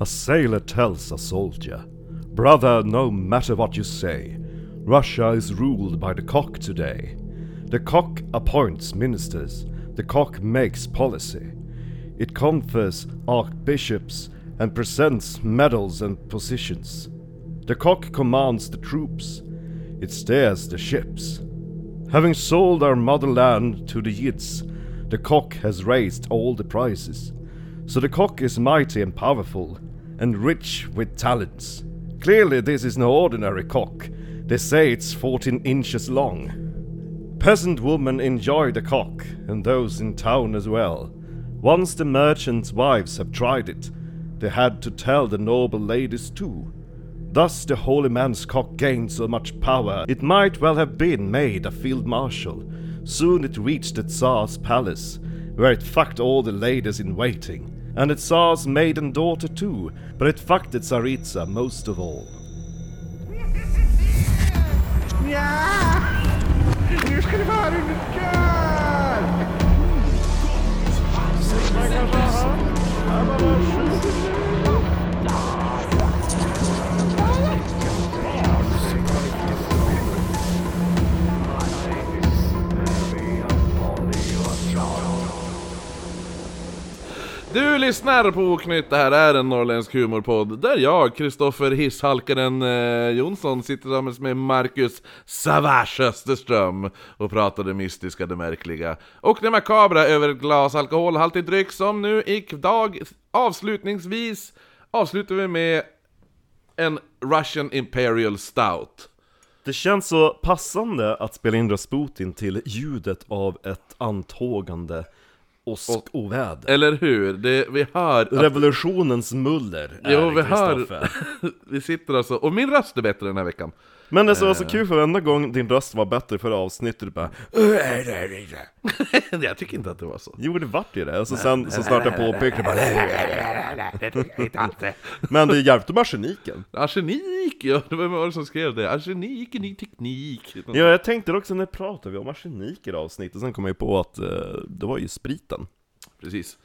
A sailor tells a soldier, Brother, no matter what you say, Russia is ruled by the cock today. The cock appoints ministers, the cock makes policy. It confers archbishops and presents medals and positions. The cock commands the troops, it steers the ships. Having sold our motherland to the Yidds, the cock has raised all the prices. So the cock is mighty and powerful, and rich with talents. Clearly, this is no ordinary cock. They say it's 14 inches long. Peasant women enjoy the cock, and those in town as well. Once the merchants' wives have tried it, they had to tell the noble ladies too. Thus the holy man's cock gained so much power, it might well have been made a field marshal. Soon it reached the Tsar's palace, where it fucked all the ladies in waiting, and the Tsar's maiden daughter too, but it fucked the Tsaritsa most of all. Ja! Nu ska du få höra hur det går! Du lyssnar på Oknytt, det här är en norrländsk humorpodd där jag, Kristoffer Hisshalkaren eh, Jonsson, sitter tillsammans med Marcus Savage Österström och pratar det mystiska, det märkliga och det makabra över ett glas alkoholhaltig dryck som nu idag avslutningsvis avslutar vi med en Russian Imperial Stout. Det känns så passande att spela in Rasputin till ljudet av ett antågande åskoväder. Eller hur? Det, vi hör att Revolutionens muller är Jo, vi Kristoffer. hör. vi sitter alltså, och min röst är bättre den här veckan. Men det var så kul för varenda gång din röst var bättre för avsnittet, du bara Jag tycker inte att det var så. Jo det vart ju det, och så sen så snart jag påpekade bara Det tycker inte alltid. Men det hjälpte med arseniken Arsenik! Ja, det var vem var det som skrev det? Arsenik är ny teknik. Ja jag tänkte också, när pratade vi om arsenik i det avsnittet? Sen kom jag ju på att eh, det var ju spriten Precis.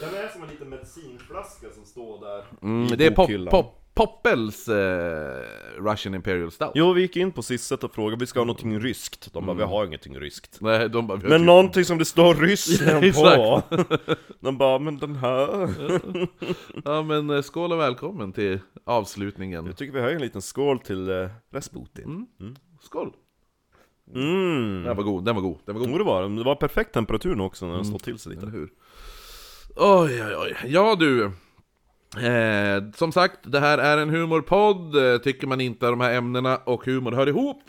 Den är som en liten medicinflaska som står där Mm, det är pop, pop, Poppels eh, Russian Imperial Stout. Jo vi gick in på sisset och frågade, vi ska ha någonting ryskt De bara, vi har ingenting ryskt Nej, de bara, vi har Men typ- någonting som det står Ryssland på! exakt. De bara, men den här... Ja men eh, skål och välkommen till avslutningen. Jag tycker vi höjer en liten skål till eh, Rasputin Skål! Mm! Den var god, den var god, den var god. Jo det var den, det var perfekt temperatur nu också när den stod till sig lite Eller hur? Oj, oj, oj. Ja du. Eh, som sagt, det här är en humorpodd. Eh, Tycker man inte de här ämnena och humor hör ihop,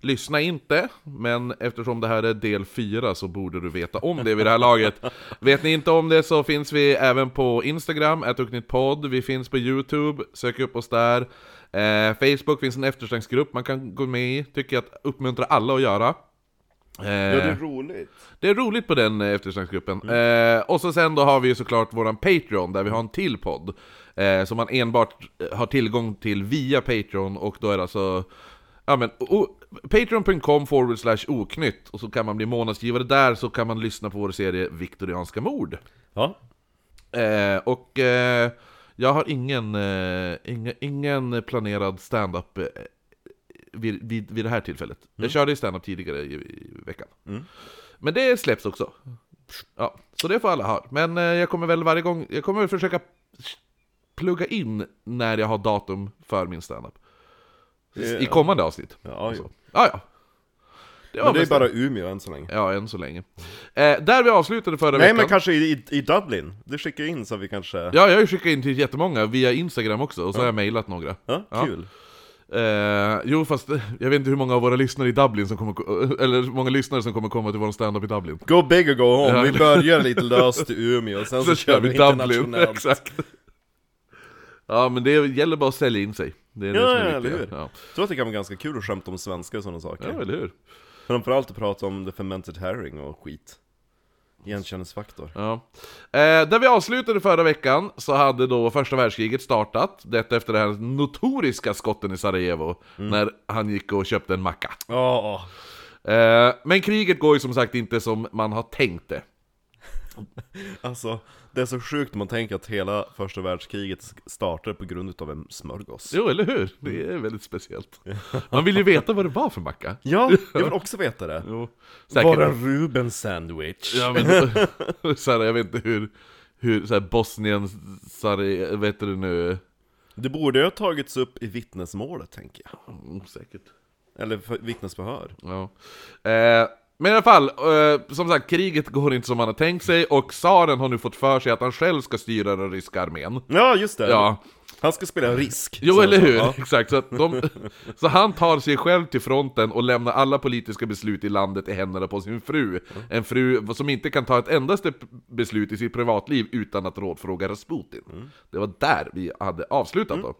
lyssna inte. Men eftersom det här är del 4 så borde du veta om det vid det här laget. Vet ni inte om det så finns vi även på Instagram, podd. Vi finns på YouTube, sök upp oss där. Eh, Facebook finns en eftersnacksgrupp man kan gå med i. Tycker jag att uppmuntra alla att göra. Eh, roligt det är roligt på den eh, eftersnacksgruppen. Eh, och så sen då har vi ju såklart våran Patreon där vi har en till podd. Eh, som man enbart eh, har tillgång till via Patreon och då är det alltså... Ja men, o- patreon.com forward slash oknytt och så kan man bli månadsgivare där så kan man lyssna på vår serie Viktorianska mord. Ja, Eh, och eh, jag har ingen, eh, ingen, ingen planerad stand-up eh, vid, vid, vid det här tillfället. Mm. Jag körde ju stand-up tidigare i, i veckan. Men det släpps också. Ja, så det får alla ha. Men eh, jag kommer väl varje gång, jag kommer väl försöka plugga in när jag har datum för min stand-up. I Det- kommande avsnitt. ja, Så. jo. Ja, ja. Det var Men det är mest- bara Umeå än så länge Ja, än så länge. Eh, där vi avslutade förra Nej veckan. men kanske i, i- i Dublin, det skickar in så vi kanske... Ja, jag har ju skickat in till jättemånga via Instagram också, och så har jag mejlat några. Ja, Ja. kul! Eh, jo, fast eh, jag vet inte hur många av våra lyssnare i Dublin som kommer, ko- eller hur många lyssnare som kommer komma till vår stand-up i Dublin. Go big or go home, Ja. vi börjar lite löst i Umeå och sen så, kör vi internationellt exakt. Ja, men det gäller bara att sälja in sig. Det är det Ja, som är eller viktigt. hur? Ja. Jag tror att det kan vara ganska kul att skämta om svenskar och sådana saker ja, eller hur? Framförallt att prata om the fermented herring och skit Igenkänningsfaktor Ja. Eh, där vi avslutade förra veckan så hade då första världskriget startat. Detta efter den här notoriska skotten i Sarajevo, Mm. när han gick och köpte en macka. Ja, Eh, men kriget går ju som sagt inte som man har tänkt det. Alltså, det är så sjukt man tänker att hela första världskriget startade på grund av en smörgås. Jo, eller hur? Det är väldigt speciellt. Man vill ju veta vad det var för macka. Ja, jag vill också veta det. Jo, Var säkert. en Ruben sandwich. Ja, men, så här, jag vet inte hur, hur så här, Bosnien, Sari, vet du nu, Det borde ju ha tagits upp i vittnesmålet, tänker jag. mm, säkert. Eller för- vittnesförhör. Ja. Eh, men i alla fall, eh, som sagt, kriget går inte som man har tänkt sig och tsaren har nu fått för sig att han själv ska styra den ryska armén. Ja, just det. Ja, Han ska spela risk. jo Så- eller hur? Ja. Exakt, så, att de, så han tar sig själv till fronten och lämnar alla politiska beslut i landet i händerna på sin fru. En fru som inte kan ta ett endaste p- beslut i sitt privatliv utan att rådfråga Rasputin. Mm. Det var där vi hade avslutat då.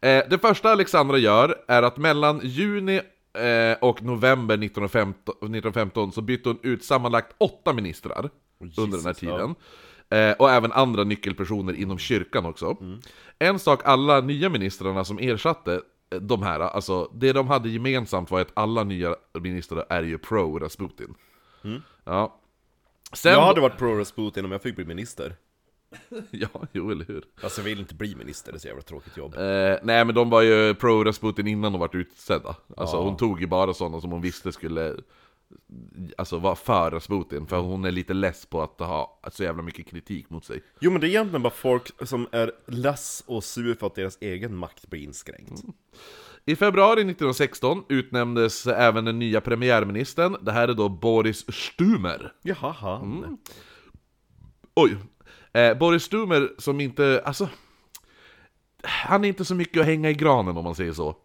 Eh, det första Alexandra gör är att mellan juni eh, och november 1915, 1915 så bytte hon ut sammanlagt åtta ministrar under den här tiden. Eh, och även andra nyckelpersoner inom kyrkan också. En sak alla nya ministrarna som ersatte eh, de här, alltså det de hade gemensamt var att alla nya ministrar är ju pro Rasputin. Ja. Sen, Jag hade varit pro Rasputin om jag fick bli minister. ja, jo eller hur. Alltså jag vill inte bli minister, det är så jävla tråkigt jobb. Eh, nej men de var ju pro Rasputin innan de vart utsedda. Alltså hon tog ju bara sådana som hon visste skulle Alltså vara för Rasputin, för hon är lite less på att ha så jävla mycket kritik mot sig. Jo men det är egentligen bara folk som är less och sur för att deras egen makt blir inskränkt. Mm. I februari 1916 utnämndes även den nya premiärministern, det här är då Boris Stumer. Jaha, han. Mm. Oj! Eh, Boris Stumer som inte, alltså... Han är inte så mycket att hänga i granen om man säger så.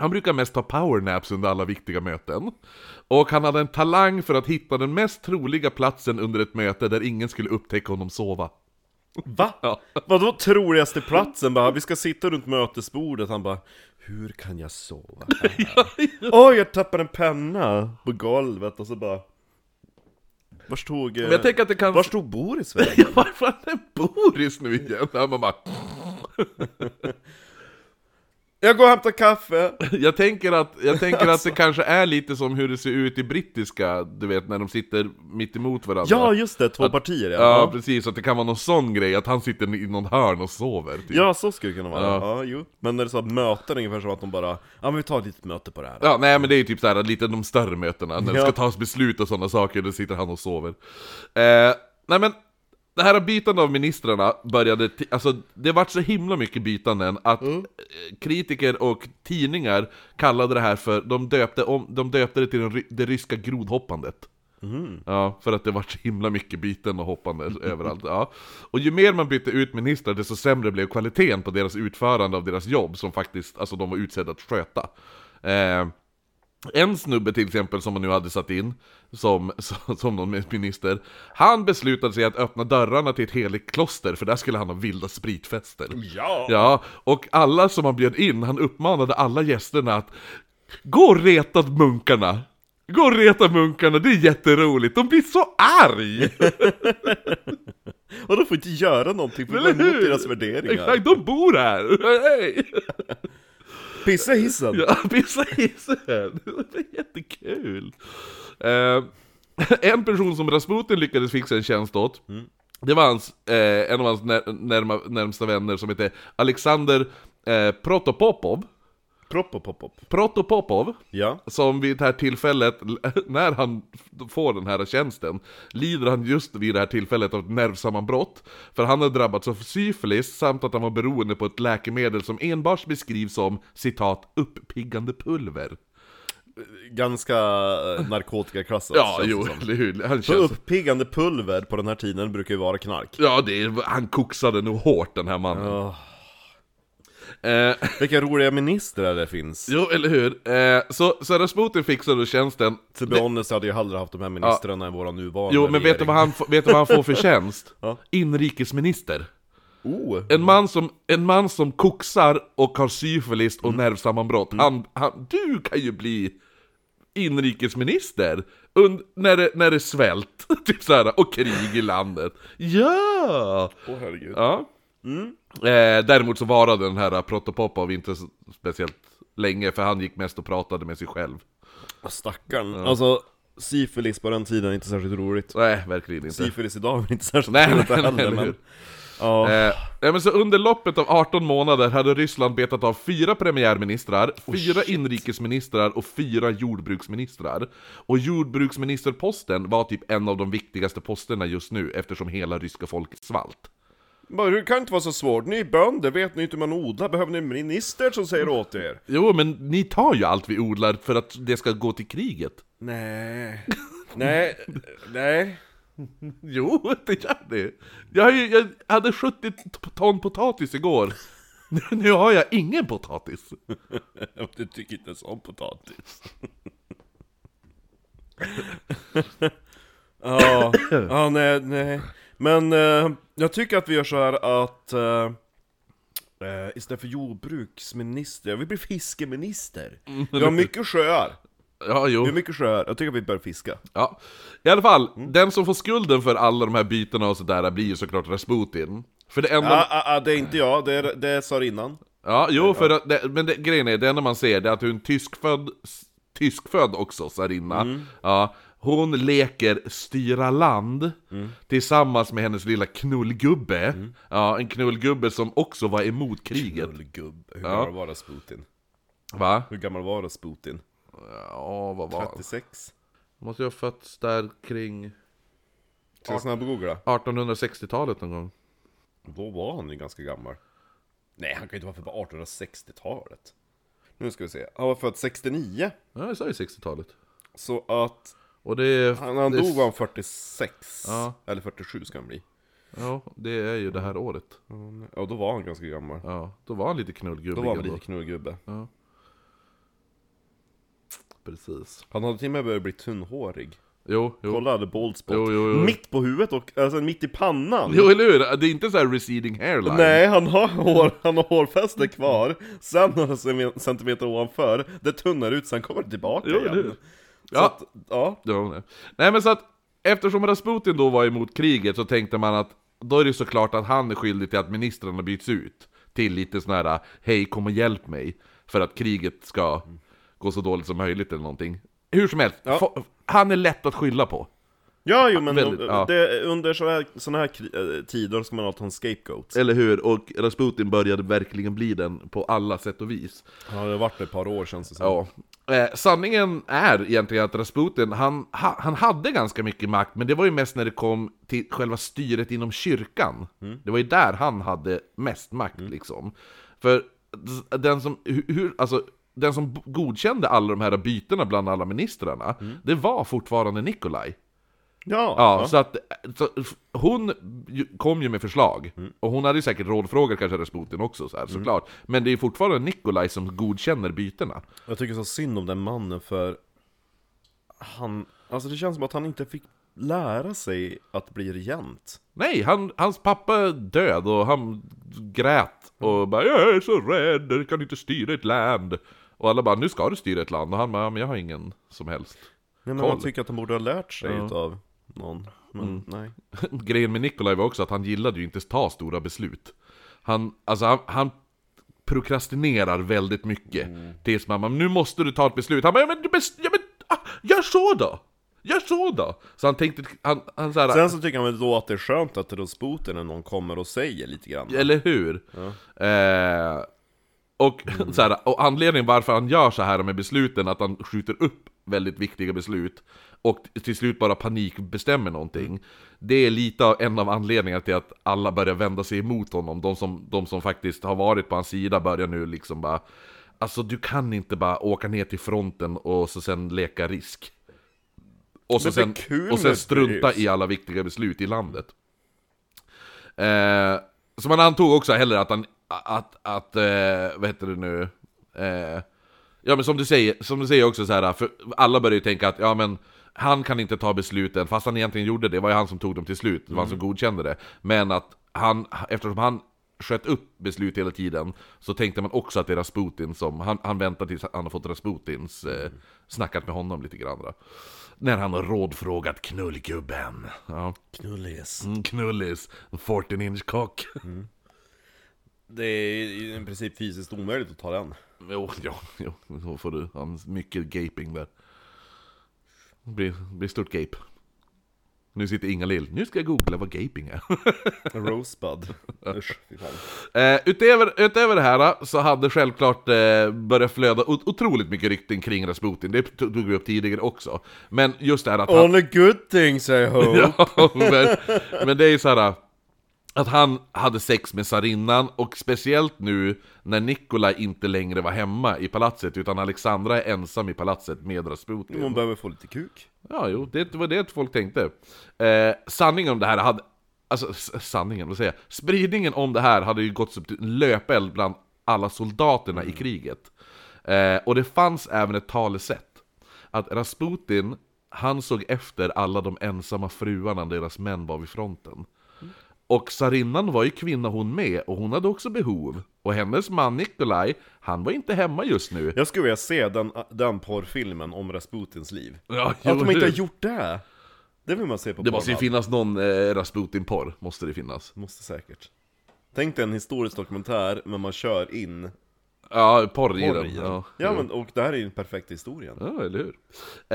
Han brukar mest ta powernaps under alla viktiga möten. Och han hade en talang för att hitta den mest troliga platsen under ett möte där ingen skulle upptäcka honom sova. Va? Ja. Vadå troligaste platsen bara? Vi ska sitta runt mötesbordet, han bara Hur kan jag sova här? Oj, jag tappade en penna på golvet och så bara Var stod... Men jag tänker att det kan... Eh, Var stod Boris vägen? Varför är det Boris nu igen? Han bara, Jag går och hämtar kaffe! Jag tänker, att, jag tänker Alltså. att det kanske är lite som hur det ser ut i brittiska, du vet när de sitter mitt emot varandra. Ja, just det, två partier ja. Ja, Ja, precis. Att det kan vara någon sån grej, att han sitter i någon hörn och sover. Typ. Ja, så skulle det kunna vara. Ja. Ja. jo. Men när det är så att möten är ungefär som att de bara Ja, men vi tar ett litet möte på det här. Ja, nej men det är ju typ såhär lite de större mötena, när det Ja. ska tas beslut och sådana saker, då sitter han och sover. Eh, nej men, det här bytande av ministrarna började, ti- alltså det vart så himla mycket bytanden att Mm. eh, kritiker och tidningar kallade det här för, de döpte, om, de döpte det till den, ry- det ryska grodhoppandet. Ja, för att det vart så himla mycket byten och hoppande överallt. Ja. Och ju mer man bytte ut ministrar, desto sämre blev kvaliteten på deras utförande av deras jobb som faktiskt, alltså de var utsedda att sköta. Eh, en snubbe till exempel som man nu hade satt in som, som, som någon minister Han beslutade sig att öppna dörrarna till ett heligt kloster för där skulle han ha vilda spritfester Ja! Ja, och alla som han bjöd in, han uppmanade alla gästerna att Gå och reta munkarna! Gå och reta munkarna, det är jätteroligt, de blir så arg! Och de får inte göra någonting för det går Eller emot hur? deras värderingar. Exakt, de bor här! Hej! Pissa i hissen! Ja, pissa i hissen! Det är jättekul! Eh, en person som Rasputin lyckades fixa en tjänst åt, Mm. det var hans, eh, en av hans när, närma, närmsta vänner som hette Alexander eh, Protopopov. Propp och pop, pop. Protopopov, Ja. som vid det här tillfället, när han får den här tjänsten, lider han just vid det här tillfället av ett nervsammanbrott. För han har drabbats av syfilis samt att han var beroende på ett läkemedel som enbart beskrivs som citat uppiggande pulver. ganska eh, narkotikaklassat Ja, känns det jo, som. eller hur? Han Så känns... uppiggande pulver på den här tiden brukar ju vara knark Ja, det är, han koksade nog hårt den här mannen. Eh, Vilka roliga ministrar det finns jo, eller hur? Eh, så, så Rasputin fixade då tjänsten. To be honest hade jag hellre haft de här ministrarna än våra nuvarande Jo, men vet du, vad han, f- vet du vad han får för tjänst? Ja. Inrikesminister. Oh! En man som, en man som koksar och har syfilis och nervsammanbrott, han, han, du kan ju bli inrikesminister! Und, när, det, när det är svält, typ så här, och krig i landet. Ja! Åh herregud ja. Eh, däremot så varade den här Protopopov inte s- speciellt länge, för han gick mest och pratade med sig själv. Stackarn Alltså, Syfilis på den tiden är inte särskilt roligt. Nej, verkligen inte. Syfilis idag är inte särskilt Nej, roligt nej, nej, heller. eller hur? men, ja. Eh, nej, men så under loppet av 18 månader hade Ryssland betat av fyra premiärministrar, fyra inrikesministrar och fyra jordbruksministrar. Och jordbruksministerposten var typ en av de viktigaste posterna just nu, eftersom hela ryska folket svalt. Bara, det kan inte vara så svårt. Ni är bönder, vet ni inte hur man odlar? Behöver ni en minister som säger åt er? Jo, men ni tar ju allt vi odlar för att det ska gå till kriget. Nej. Nej. Nej. Jo, det gör ni! Jag, har ju- jag hade 70 ton potatis igår. Nu, nu har jag ingen potatis. Du tycker inte ens om potatis. ja, ja, nej, nej. Men eh, jag tycker att vi gör så här att eh, eh, istället för jordbruksminister, vi blir fiskeminister. Vi har mycket sjöar. Ja, jo. Vi har mycket sjöar. Jag tycker att vi bör fiska. Ah, Ja. I alla fall, den som får skulden för alla de här bytena och sådär blir ju såklart Rasputin. För det enda... Ah, Ja, ah, ah, det är inte jag, det, är, det sa innan. jo, för att det, men det, grejen är, det enda man ser det är att hon är en tyskfödd, tyskfödd också, tsarinna. Ja, hon leker styra land tillsammans med hennes lilla knullgubbe. Ja, en knullgubbe som också var emot kriget. Gubb. Hur gammal var Rasputin? Va? Hur gammal var Rasputin? Ja, vad var han? 36? Måste ju ha fötts där kring Ska jag snabbgoogla? 1860-talet någon gång. Då var han ju ganska gammal. Nej, han kan ju inte vara född på 1860-talet. Nu ska vi se. Han var född 69. Ja, jag sa ju 60-talet. Så att Och det... han, när han det dog var han 46. Ja. Eller 47 ska han bli. Ja, det är ju det här året. Ja, då var han ganska gammal. Ja, då var han lite knullgubbig Då var han ändå. lite knullgubbe. Precis. Han hade till och med börjat bli tunnhårig. Jo, jo. Kolla, han hade bald spot. Jo, jo, jo. Mitt på huvudet och alltså mitt i pannan. Jo, eller hur? Det är inte så här receding hairline. Nej, han har, hår, han har hårfäste kvar, sen några cem- centimeter ovanför, det tunnar ut, sen kommer det tillbaka Jo, eller hur? igen. Ja. Så att, ja. Jo, nej. nej, men så att eftersom Rasputin då var emot kriget så tänkte man att då är det såklart att han är skyldig till att ministrarna byts ut. Till lite sån här hej kom och hjälp mig. För att kriget ska gå så dåligt som möjligt eller någonting. Hur som helst, fo- han är lätt att skylla på. Ja, jo men Väldigt, eh, ja. det, under sådana här, såna här kri- eh, tider ska man alltid ha en scapegoat. Eller hur? Och Rasputin började verkligen bli den på alla sätt och vis. Ja, det har varit ett par år känns det som. Ja. Eh, sanningen är egentligen att Rasputin, han, ha, han hade ganska mycket makt, men det var ju mest när det kom till själva styret inom kyrkan. Det var ju där han hade mest makt liksom. För s- den som, hu- hur, alltså, den som b- godkände alla de här bytena bland alla ministrarna, det var fortfarande Nikolaj. Ja, Ja, så att så, f- hon ju- kom ju med förslag, och hon hade ju säkert rådfrågor kanske Rasputin också så här, såklart. Men det är ju fortfarande Nikolaj som godkänner bytena. Jag tycker så synd om den mannen för han, alltså det känns som att han inte fick lära sig att bli regent. Nej, han, hans pappa är död och han grät och bara 'Jag är så rädd, jag kan inte styra ett land' Och alla bara 'Nu ska du styra ett land' och han bara "Ja, 'Men jag har ingen som helst' Nej, men Koll. Mm. man tycker att han borde ha lärt sig utav någon. Men nej. Grejen med Nikolaj var också att han gillade ju inte att ta stora beslut Han, alltså han, han prokrastinerar väldigt mycket Tills mamma 'Nu måste du ta ett beslut' Han bara 'Ja men, du bes- ja, men ah, gör så då! Gör så då!' Så han tänkte, han, han så här, Sen så tycker han väl då att det är skönt att Rasputin när någon kommer och säger lite grann. Eller hur? Eh, och, så här, och anledningen varför han gör så här med besluten, att han skjuter upp väldigt viktiga beslut och t- till slut bara panikbestämmer någonting. Det är lite av en av anledningarna till att alla börjar vända sig emot honom. De som, de som faktiskt har varit på hans sida börjar nu liksom bara Alltså du kan inte bara åka ner till fronten och så sen leka risk. Och, så Men det är sen, kul och sen med strunta risk. i alla viktiga beslut i landet. Eh, så man antog också heller att han, att, att eh, vad heter det nu? Eh, ja men som du säger, som du säger också så här, för alla börjar ju tänka att ja men han kan inte ta besluten, fast han egentligen gjorde det, det var ju han som tog dem till slut, det var han som Mm. godkände det. Men att han, eftersom han sköt upp beslut hela tiden, så tänkte man också att det är Rasputin som, han, han väntar tills han har fått Rasputins, Mm. eh, snackat med honom lite grann. Då. När han har rådfrågat knullgubben. Ja. Knullis. Mm, knullis, Mm. 14 inch kock. Det är i i princip fysiskt omöjligt att ta den. Jo, ja, jo, så får du. Han, mycket gaping där. Blir, blir stort gape. Nu sitter Inga Lill. Nu ska jag googla vad gaping är. Rosebud. Usch, fy fan. Eh, utöver, utöver det här så hade självklart eh, börjat flöda ot- otroligt mycket rykten kring Rasputin. Det to- tog vi upp tidigare också. Men just det här att han... Only good things I hope. Ja, men, men det är ju så här att han hade sex med tsarinnan och speciellt nu när Nikolaj inte längre var hemma i palatset utan Alexandra är ensam i palatset med Rasputin. Hon behöver få lite kuk. Ja, jo, det var det folk tänkte. Eh, sanningen om det här hade... Alltså, s- sanningen, vad säger jag? Spridningen om det här hade ju gått som en löpeld bland alla soldaterna Mm. i kriget. Eh, och det fanns även ett talesätt. Att Rasputin, han såg efter alla de ensamma fruarna när deras män var vid fronten. Mm. Och tsarinnan var ju kvinna hon med, och hon hade också behov. Och hennes man Nikolaj, han var inte hemma just nu. Jag skulle vilja se den, äh, den porrfilmen om Rasputins liv. Ja, Att de jo, inte har hur? gjort det! Det vill man se på Det måste ju Pornhub. finnas någon eh, Rasputin-porr, måste det finnas. Måste säkert. Tänk dig en historisk dokumentär, men man kör in Ja, porr i porr den. i den. Ja. ja, men, och det här är ju den perfekta historien. ja, eller hur?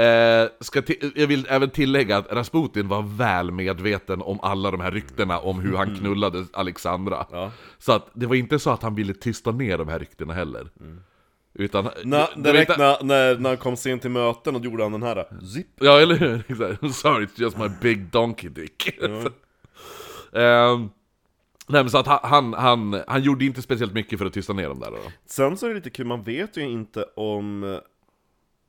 Eh, ska ti- jag vill även tillägga att Rasputin var väl medveten om alla de här ryktena om hur han knullade Alexandra. Mm. Ja. Så att det var inte så att han ville tysta ner de här ryktena heller. Mm. Utan... Na, det var direkt inte- när, när, när han kom sent till möten och gjorde han den här Zip! Ja, eller hur? Exakt. Sorry, it's just my big donkey dick. Ehm, nej, men så att han, han, han, han gjorde inte speciellt mycket för att tysta ner dem där då. Sen så är det lite kul, man vet ju inte om,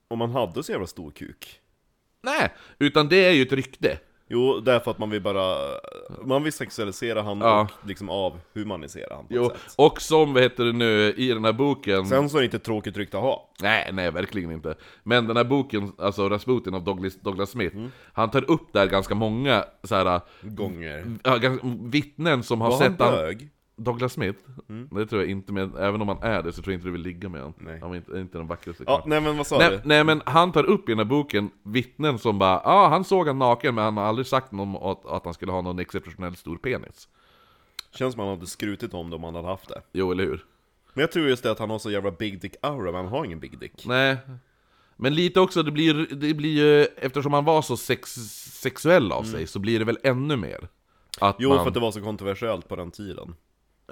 om man hade så jävla stor kuk. Nej, utan det är ju ett rykte. Jo, därför att man vill bara, man vill sexualisera han Ja. och liksom avhumanisera han på Jo, ett sätt. och som, vad heter det nu, i den här boken... Sen så är det inte ett tråkigt rykte att ha. Nej, nej, verkligen inte. Men den här boken, alltså Rasputin av Douglas, Douglas Smith, han tar upp där ganska många så här, Gånger. ja, gans- vittnen som har Var han Mm. sett han- Mm. bög? Douglas Smith? Det tror jag inte, men även om han är det så tror jag inte du vill ligga med honom. Nej. Han var inte, inte den vackraste Ja, kanske. nej men vad sa Nej, du? nej men han tar upp i den här boken vittnen som bara Ja, ah, han såg han naken men han har aldrig sagt någon om att, att han skulle ha någon exceptionellt stor penis Känns som han hade skrutit om det om han hade haft det. Jo, eller hur? Men jag tror just det att han har så jävla big dick aura, men han har ingen big dick. Nej. Men lite också, det blir, det blir ju, eftersom han var så sex, sexuell av sig så blir det väl ännu mer. Mm. Att Jo, man, för att det var så kontroversiellt på den tiden.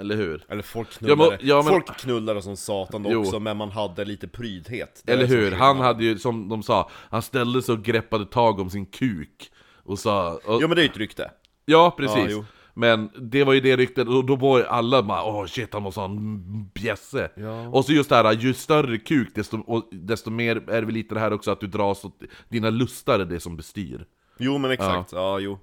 Eller hur? Eller folk Ja, knullade, men- ja, men- folk knullade som satan Jo. också, men man hade lite prydhet. Det är Eller så hur? skillnad. Han hade ju, som de sa, han ställde sig och greppade tag om sin kuk. Och sa... Och, Ja men det är ju ett rykte. ja, precis. Ja, jo. men det var ju det ryktet, och då var ju alla bara åh shit han måste ha en bjässe. Och så just det här, ju större kuk desto, och desto mer är det väl lite det här också att du dras åt, dina lustar är det som bestyr. Jo men exakt, ja, jo.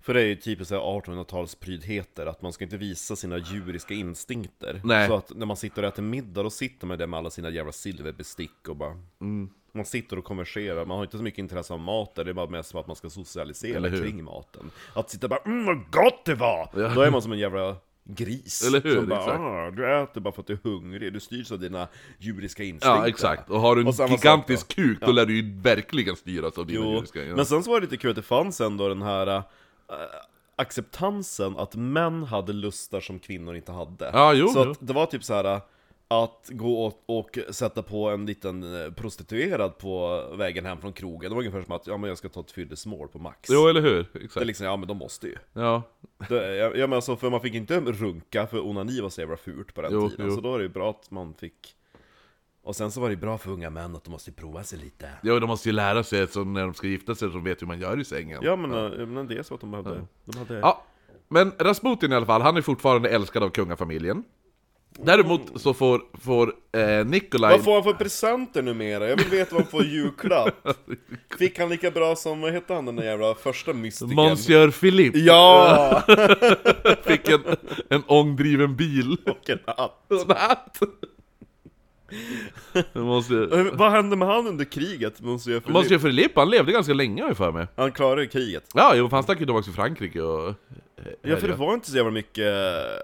För det är ju typiskt så här 1800-tals prydheter, att man ska inte visa sina djuriska instinkter. Nej. Så att när man sitter och äter middag, då sitter man där med alla sina jävla silverbestick och bara... Mm. Man sitter och konverserar, man har inte så mycket intresse av maten, det är bara mest som att man ska Eller socialisera hur? kring maten. Att sitta och bara 'Mm vad gott det var!' Då är man som en jävla gris. Eller hur? Som bara, Exakt. "Ah, du äter bara för att du är hungrig, du styrs av dina djuriska instinkter. Ja, exakt. Och har du en Och samma sak gigantisk då. kuk, då lär du ju verkligen styras av dina Jo, djuriska ja. men sen så var det lite kul att det fanns ändå den här äh, acceptansen att män hade lustar som kvinnor inte hade. Ja, jo, så jo. Att det var typ så här äh, att gå och, och sätta på en liten eh, prostituerad på vägen hem från krogen, det var ungefär som att ja, men jag ska ta ett fyllesmål på Max. Jo, eller hur? Det är Exakt. liksom, ja men de måste ju. Ja. Det, ja, ja, men alltså, för man fick inte runka, för onani var så jävla fult på den Jo, tiden, jo. så då var det ju bra att man fick... Och sen så var det ju bra för unga män att de måste ju prova sig lite. ja, de måste ju lära sig så när de ska gifta sig, så de vet hur man gör i sängen. Ja men, eh, men det är så att de behövde... De hade... Ja. Men Rasputin i alla fall, han är fortfarande älskad av kungafamiljen. Däremot så får, får eh, Nikolaj... Mm. Vad får han för presenter numera? Jag vill veta vad han får i julklapp. Fick han lika bra som, vad hette han den där jävla första mystikern? Monsieur Philippe Ja! fick en, en ångdriven bil. Och en hatt. Och en hatt. Det måste... Eh, Vad hände med han under kriget? Monsieur Philippe? Monsieur Philippe, han levde ganska länge har jag för mig. Han klarade ju kriget. Ja, jo, för han stack ju tillbaka till Frankrike och... Ja för det var inte så jävla mycket... eh,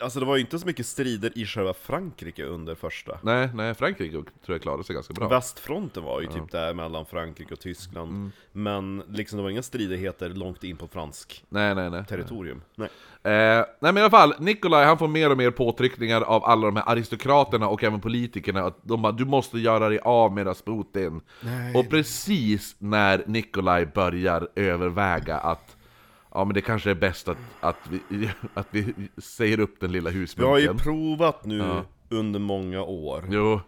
Alltså det var ju inte så mycket strider i själva Frankrike under första. Nej, nej, Frankrike tror jag klarade sig ganska bra. Västfronten var ju typ där mellan Frankrike och Tyskland. Men liksom det var inga stridigheter långt in på fransk Nej, nej, nej. territorium. Nej. Eh, nej men i alla fall, Nikolaj han får mer och mer påtryckningar av alla de här aristokraterna och även politikerna att de bara, du måste göra dig av med Rasputin. Och precis när Nikolaj börjar överväga att ja men det kanske är bäst att, att, vi, att vi säger upp den lilla Vi har husmunken. ju provat nu under många år. Jo.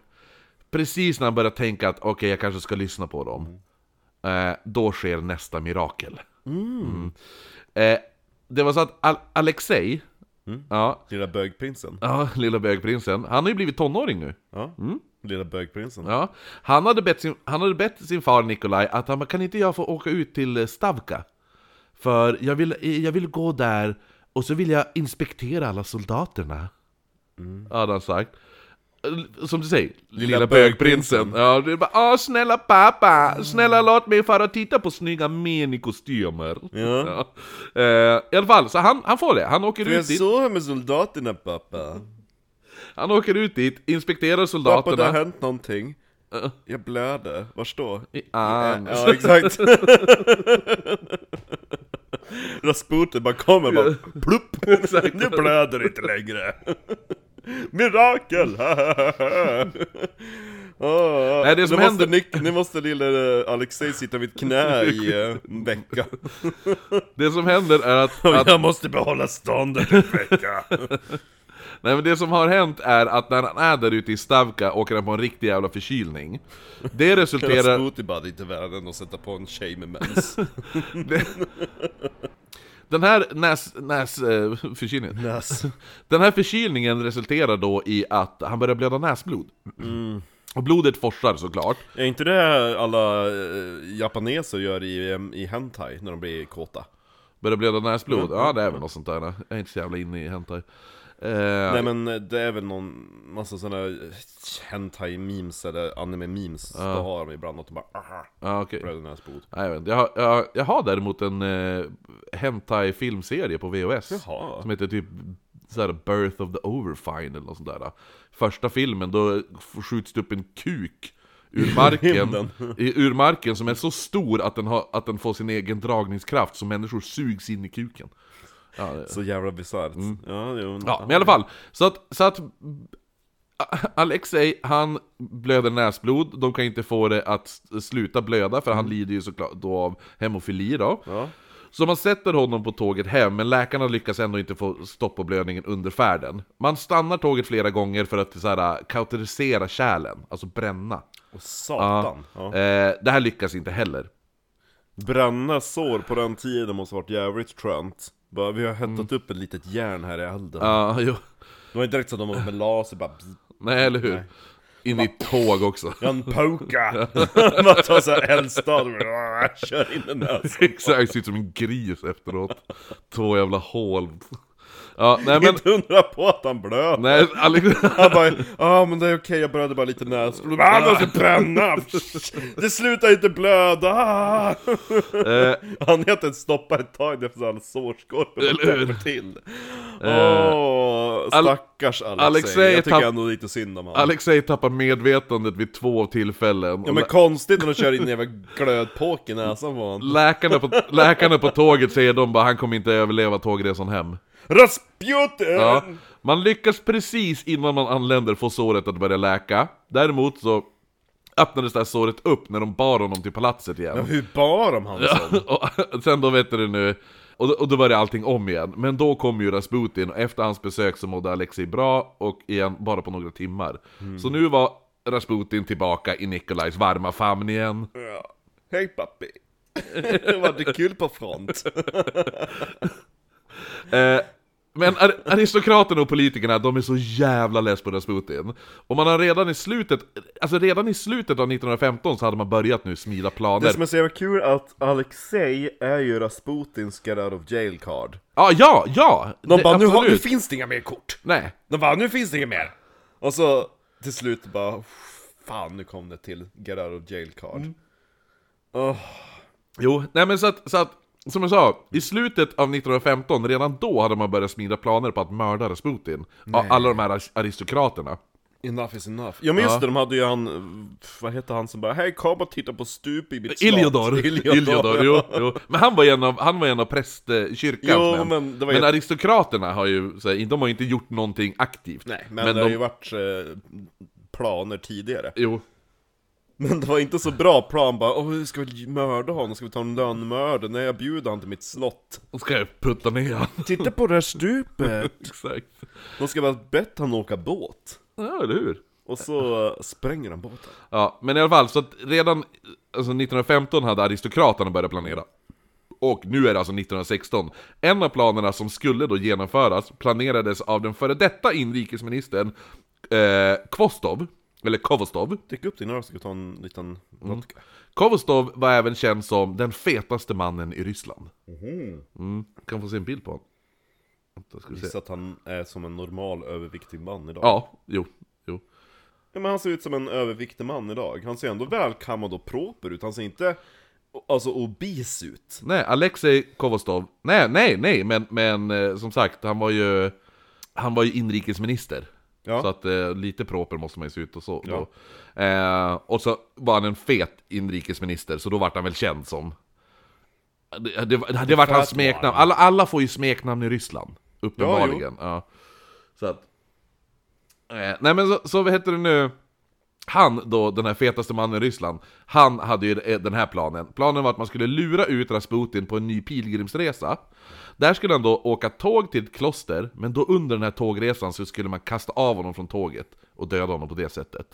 Precis när han börjar tänka att okej, jag kanske ska lyssna på dem. Eh, då sker nästa mirakel. Mm. Eh, det var så att Al- Alexei, ja, Lilla bögprinsen. ja, lilla bögprinsen, han har ju blivit tonåring nu. Ja. Lilla bögprinsen. Ja. Han, hade bett sin, han hade bett sin far Nikolaj att han bara, kan inte jag få åka ut till eh, Stavka? För jag vill, eh, jag vill gå där och så vill jag inspektera alla soldaterna. Hade han sagt. Eh, Som du säger, Mm. lilla, bögprinsen. Ja, det är bara, Åh, snälla pappa, snälla låt mig fara och titta på snygga män i kostymer. Ja. Eh, I alla fall, så han, han får det. Han åker, Jag ut dit, såg här med soldaterna pappa. han åker ut dit, inspekterar Pappa det har soldaterna. hänt någonting. Jag blöder. Var då? I ah, arms. Ja exakt. Rasputin bara kommer bara plupp. Nu blöder det inte längre. Mirakel! Oh, Nej, det som nu, måste händer- Nick, nu måste lille eh, Alexej sitta vid ett knä i eh, en vecka. Det som händer är att, att Jag måste behålla ståndet en vecka. Nej men det som har hänt är att när han är där ute i Stavka åker han på en riktig jävla förkylning. Det resulterar... Rasputin bara, det är inte värre än att sätta på en tjej med mens. Den här näs... näs eh, förkylningen. Näs. Den här förkylningen resulterar då i att han börjar blöda näsblod. Mm. Och blodet forsar såklart. Är inte det alla eh, japaneser gör i, eh, i Hentai när de blir kåta? Börjar blöda Mm, näsblod. Ja det är väl något sånt där. Jag är inte så jävla inne i hentai. Eh, Nej men eh, det är väl någon massa sådana hentai-memes eller anime-memes Då har de ibland att de bara "Aha, ja, okej. bröder näsblod Nej, jag, vet inte. jag, har- jag, jag har däremot en eh, Hentai-filmserie på VHS Jaha. Som heter typ såhär, Birth of the Overfine eller något sånt där Första filmen, då skjuts det upp en kuk ur marken, rymden. i, ur marken som är så stor att den, har, att den får sin egen dragningskraft så människor sugs in i kuken Så jävla bisarrt Eh. Mm. Ja, jo, Ja, men i alla fall. Så att, så att Alexei, han blöder näsblod, de kan inte få det att s- sluta blöda för han lider ju såklart då av hemofili då. Ja. Så man sätter honom på tåget hem, men läkarna lyckas ändå inte få stopp på blödningen under färden. Man stannar tåget flera gånger för att så här, kauterisera kärlen, alltså bränna. Och Ja. satan ja. Eh, det här lyckas inte heller. Bränna sår på den tiden måste varit jävligt skönt bara, Vi har hettat upp ett litet järn här i elden Ja, jo. Det var inte direkt så att de var med laser bara Nej, eller hur? In i ett tåg också. Gunpoka! Man tar såhär eldstad och bara, kör in en näs Exakt, ser ut som en gris efteråt. Två jävla hål. Ja, nej men... Inte undra på att han blöder Nej, Alex... Han bara, ja men det är okej, jag blöder bara lite näsblod. Han måste bränna! Det slutar inte blöda! Eh, Han heter stoppa ett tag efter alla sårskorpor Eller hur? täpper till. Åh, stackars Alexei. Alexei jag tycker tapp- ändå lite synd om honom. Alexej tappar medvetandet vid två tillfällen. ja men konstigt när de kör in en jävla glödpåk i näsan på honom. läkarna, på, läkarna på tåget säger de bara han kommer inte överleva tågresan hem. Rasputin! Ja, man lyckas precis innan man anländer få såret att börja läka. Däremot så öppnades det här såret upp när de bar honom till palatset igen. Hur bar de han som? och sen då vet du nu, och, då- och då börjar allting om igen. Men då kom ju Rasputin, och efter hans besök så mådde Alexei bra, och igen bara på några timmar. Mm. Så nu var Rasputin tillbaka i Nikolajs varma famn igen. Hej pappi! Var det kul på front? Eh, men ar- aristokraterna och politikerna, de är så jävla less på Rasputin. Och man har redan i slutet, alltså redan i slutet av 1915 så hade man börjat nu smida Det planer. som är så jävla kul är att Alexei är ju Rasputins get out of jail card. Ah, ja, ja! De Det- bara nu, har, nu absolut. finns det inga mer kort! Nej. De bara nu finns det inga mer! Och så till slut bara Fan nu kom Mm. det till get out of jail card Jo, nej men så att, så att som jag sa, i slutet av 1915, redan då hade man börjat smida planer på att mörda Rasputin. Ja, Alla de här ar- aristokraterna. Enough is enough. Ja men just det, de hade ju han, vad hette han som bara Hej kom och titta på stup i mitt slott." Iljador! Iljador, Iljador, ja. jo, jo. Men han var ju en av, han var ju en av prästkyrkans Jo, män. men det var men ju- aristokraterna har ju, så här, de har ju inte gjort någonting aktivt. Nej, men, det har ju varit eh, planer tidigare. Jo, Men det var inte så bra plan bara Åh, ska vi mörda honom? Ska vi ta en lönnmördare? Nej, jag bjuder han till mitt slott. då ska jag putta ner han. Titta på det här stupet! Exakt. De ska bara bett han åka båt. Ja, eller hur? Och så eh, spränger han båten. Ja, men i alla fall, så att redan alltså 1915 hade aristokraterna börjat planera. Och nu är det alltså 1916. En av planerna som skulle då genomföras planerades av den före detta inrikesministern eh, Kvostov, eller Kovostov. Drick upp din öl, ska vi ta en liten vodka. Kovostov var även känd som den fetaste mannen i Ryssland. Mm, kan få se en bild på honom. Vänta, ska vi se. Gissa att han är som en normal överviktig man idag. Ja, jo, jo. Ja, men han ser ut som en överviktig man idag. Han ser ändå välkammad och proper ut. Han ser inte alltså obis ut. Nej, Alexej Kovostov. Nej, nej, nej, men, men eh, som sagt, han var ju, han var ju inrikesminister. Ja. Så att eh, lite proper måste man ju se ut och så. Ja. Då. Eh, och så var han en fet inrikesminister, så då vart han väl känd som... Det, det, det, det vart hans smeknamn. Alla, alla får ju smeknamn i Ryssland, uppenbarligen. Ja, Så att... Eh, nej men så, så vad heter det nu? Han då, den här fetaste mannen i Ryssland, han hade ju eh, den här planen. Planen var att man skulle lura ut Rasputin på en ny pilgrimsresa. Där skulle han då åka tåg till ett kloster, men då under den här tågresan så skulle man kasta av honom från tåget och döda honom på det sättet.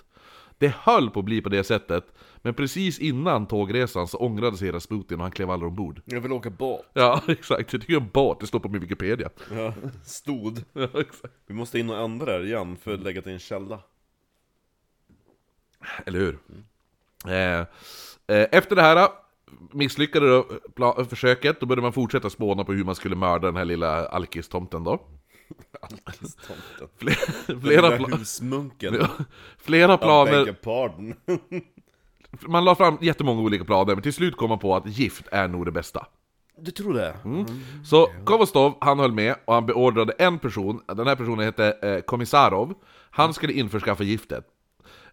Det höll på att bli på det sättet, men precis innan tågresan så ångrade sig Rasputin och han klev aldrig ombord. Jag vill åka båt. Ja, exakt. Det är ju en båt, det står på min Wikipedia. Ja, stod. Ja, exakt. Vi måste in och ändra det igen för att lägga till en källa. Eller hur? Eh, eh, efter det här misslyckade då eh, pla- försöket, då började man fortsätta spåna på hur man skulle mörda den här lilla alkistomten då. Alkistomten. Fle- Den flera, där pla- husmunken. flera I planer, beg your pardon. man la fram jättemånga olika planer, men till slut kom man på att gift är nog det bästa. Du tror det? Mm. Så Kovostov, han höll med och han beordrade en person, den här personen hette eh, Komissarov, han skulle införskaffa giftet.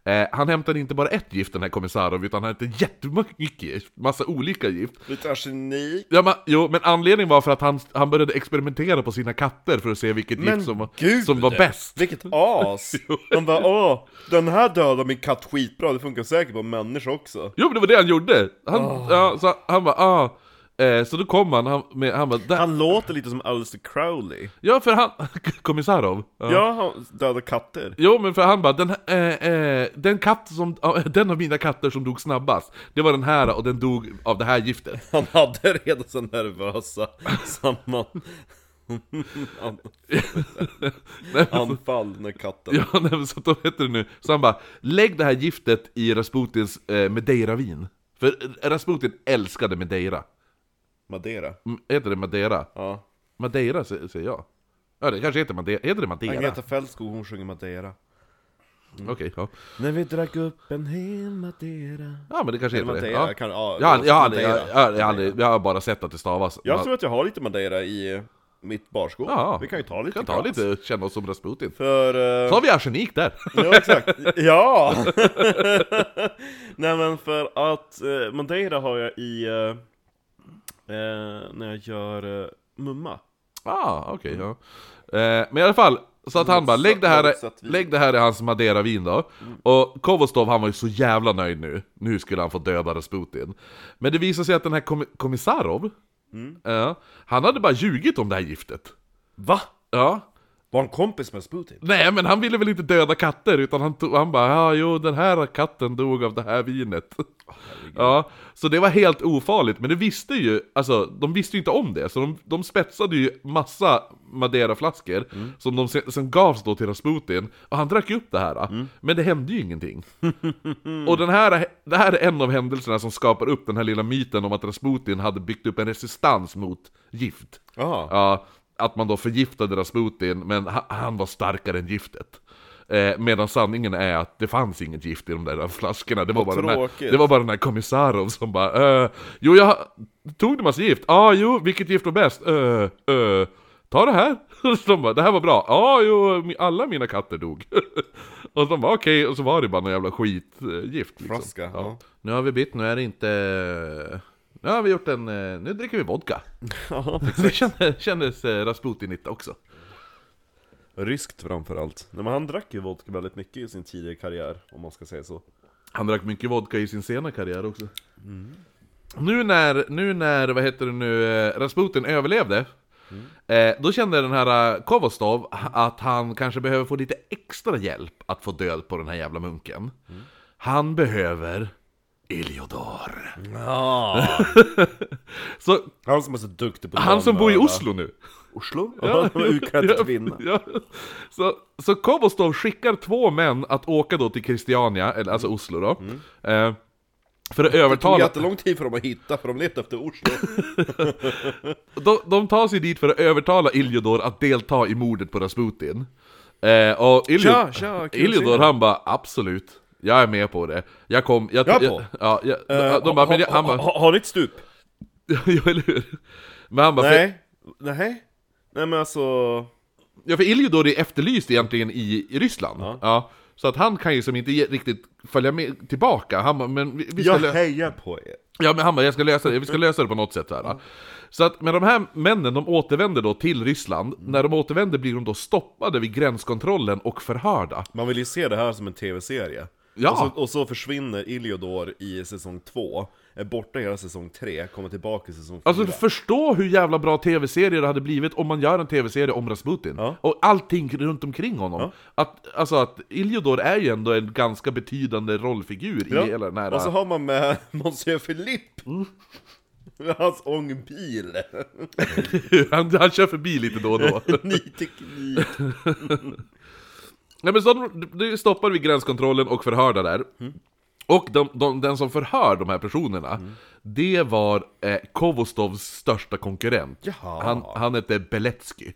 Eh, han hämtade inte bara ett gift den här Komissarov, utan han hade jättemycket gift, massa olika gift. Lite arsenik. Ja, men, jo, men anledningen var för att han, han började experimentera på sina katter för att se vilket Men gift som, var- gud! som var bäst. Vilket as! De bara åh, den här dödar min katt skitbra, det funkar säkert på människor också. Jo, men det var det han gjorde! Han, ja, så han bara ah. Eh, så då kom han, han, med, han bara där. Han låter lite som Alistair Crowley. Ja, för han... Kommissarov. Ja. Ja, han dödar katter. Jo, men för han bara den, här- eh, eh, den katt som... ja, den av mina katter som dog snabbast, det var den här och den dog av det här giftet. Han hade redan så nervösa samman... an- Anfall när katten... Ja, nej, men så att då heter det nu. Så han bara, lägg det här giftet i Rasputins eh, Madeira-vin. För eh, Rasputin älskade Madeira. Madeira. M- Heter det Madeira? Ja. Madeira sä- säger jag. Ja det kanske heter Madeira. Heter det Madeira? Agneta Fältskog, hon sjunger Madeira. Okej, ja. När vi drack upp en hel Madeira. Ja men det kanske heter det. Madeira, Ja. kan- ja, jag, har- jag, har aldrig- Madeira. jag, jag, har- jag, har aldrig- jag har bara sett att det stavas. Jag tror att jag har lite Madeira i eh, mitt barskåp. Ja. Vi kan ju ta lite. kan ta glas. lite och känna oss som Rasputin. För... eh, Så har vi arsenik där. Ja, exakt. Ja! Nej men för att eh, Madeira har jag i... Eh, eh, när jag gör eh, mumma. ah, okej. ja. eh, men i alla fall, så att han bara lägg det, här, Motsatt vin. lägg det här i hans Madeira-vin då. Och Kovostov han var ju så jävla nöjd nu. Nu skulle han få döda Rasputin. Men det visade sig att den här kom- Komissarov, ja, han hade bara ljugit om det här giftet. Va? Ja, Var han kompis med Sputin? Nej men han ville väl inte döda katter utan han, tog, han bara ja jo den här katten dog av det här vinet. ja, så det var helt ofarligt men det visste ju, alltså de visste ju inte om det så de, de spetsade ju massa Madeiraflaskor som de sen, sen gavs då till Rasputin och han drack ju upp det här men det hände ju ingenting. Och den här, det här är en av händelserna som skapar upp den här lilla myten om att Rasputin hade byggt upp en resistans mot gift. Jaha. Ja, att man då förgiftade Rasputin, men ha- han var starkare än giftet. Eh, medan sanningen är att det fanns inget gift i de där flaskorna. Det var, bara den, här, tråkigt. det var bara den här kommissarov som bara eh, Jo, jag tog du massa gift? Ja, ah, jo, vilket gift var bäst? Eh, eh, ta det här! Och de bara, det här var bra. Ja, ah, jo, mi- alla mina katter dog. och de bara okej, och så var det bara någon jävla skitgift. Liksom. Flaska, ja. Nu har vi bytt, nu är det inte... Nu har vi gjort en... eh, Nu dricker vi vodka. det kändes, kändes eh, Rasputinigt också. Ryskt framförallt. Nej men han drack ju vodka väldigt mycket i sin tidiga karriär, om man ska säga så. Han drack mycket vodka i sin sena karriär också. Nu när, nu när, vad heter det nu, eh, Rasputin överlevde, eh, då kände den här eh, Kovostov att han kanske behöver få lite extra hjälp att få död på den här jävla munken. Han behöver Iljodar. Så Han som är så duktig på att han som bor i mördar. Oslo nu. Oslo? Ja, han var utklädd kvinna. Ja. Så, så Kobostov skickar två män att åka då till Christiania, eller alltså Oslo då. Eh, för Mm. Det att tog övertala... jättelång tid för dem att hitta, för de letade efter Oslo. De, de tar sig dit för att övertala Iljodor att delta i mordet på Rasputin. Eh, och Iljo, Tja, tja, kul att se Iljodor dig. han bara absolut, jag är med på det. Jag kom... Jag, Jag är jag, på. ja, jag, Eh, de bara, men jag, ha- han ha- bara... ha- Har ni ett stup? ja, eller hur? Men han bara, för- Nej. Nej. Nej men alltså... Ja för Iljodor är efterlyst egentligen i, i Ryssland. Ja. Så att han kan ju som inte ge- riktigt följa med tillbaka. Han bara, men vi, vi ska Jag lö- hejar på er. ja, men han bara, jag ska lösa det, vi ska Mm. lösa det på något sätt. Så, här, va. så att, men de här männen, de återvänder då till Ryssland. Mm. När de återvänder blir de då stoppade vid gränskontrollen och förhörda. Man vill ju se det här som en tv-serie. Ja. Och, så, och så försvinner Iljodor i säsong två, är borta hela säsong tre, kommer tillbaka i säsong fyra. Alltså förstå hur jävla bra tv-serie det hade blivit om man gör en tv-serie om Rasputin. Ja. Och allting runt omkring honom. Att, alltså att Iljodor är ju ändå en ganska betydande rollfigur Ja. Alltså- i hela den här... Och så har man med Monsieur Philippe! Hans ångbil! han, han kör förbi lite då och då. Ny teknik! Nej men så de, de stoppar vid gränskontrollen och förhörda där. Och de, de, den som förhör de här personerna, det var eh, Kovostovs största konkurrent. Jaha. Han, han hette Beletsky.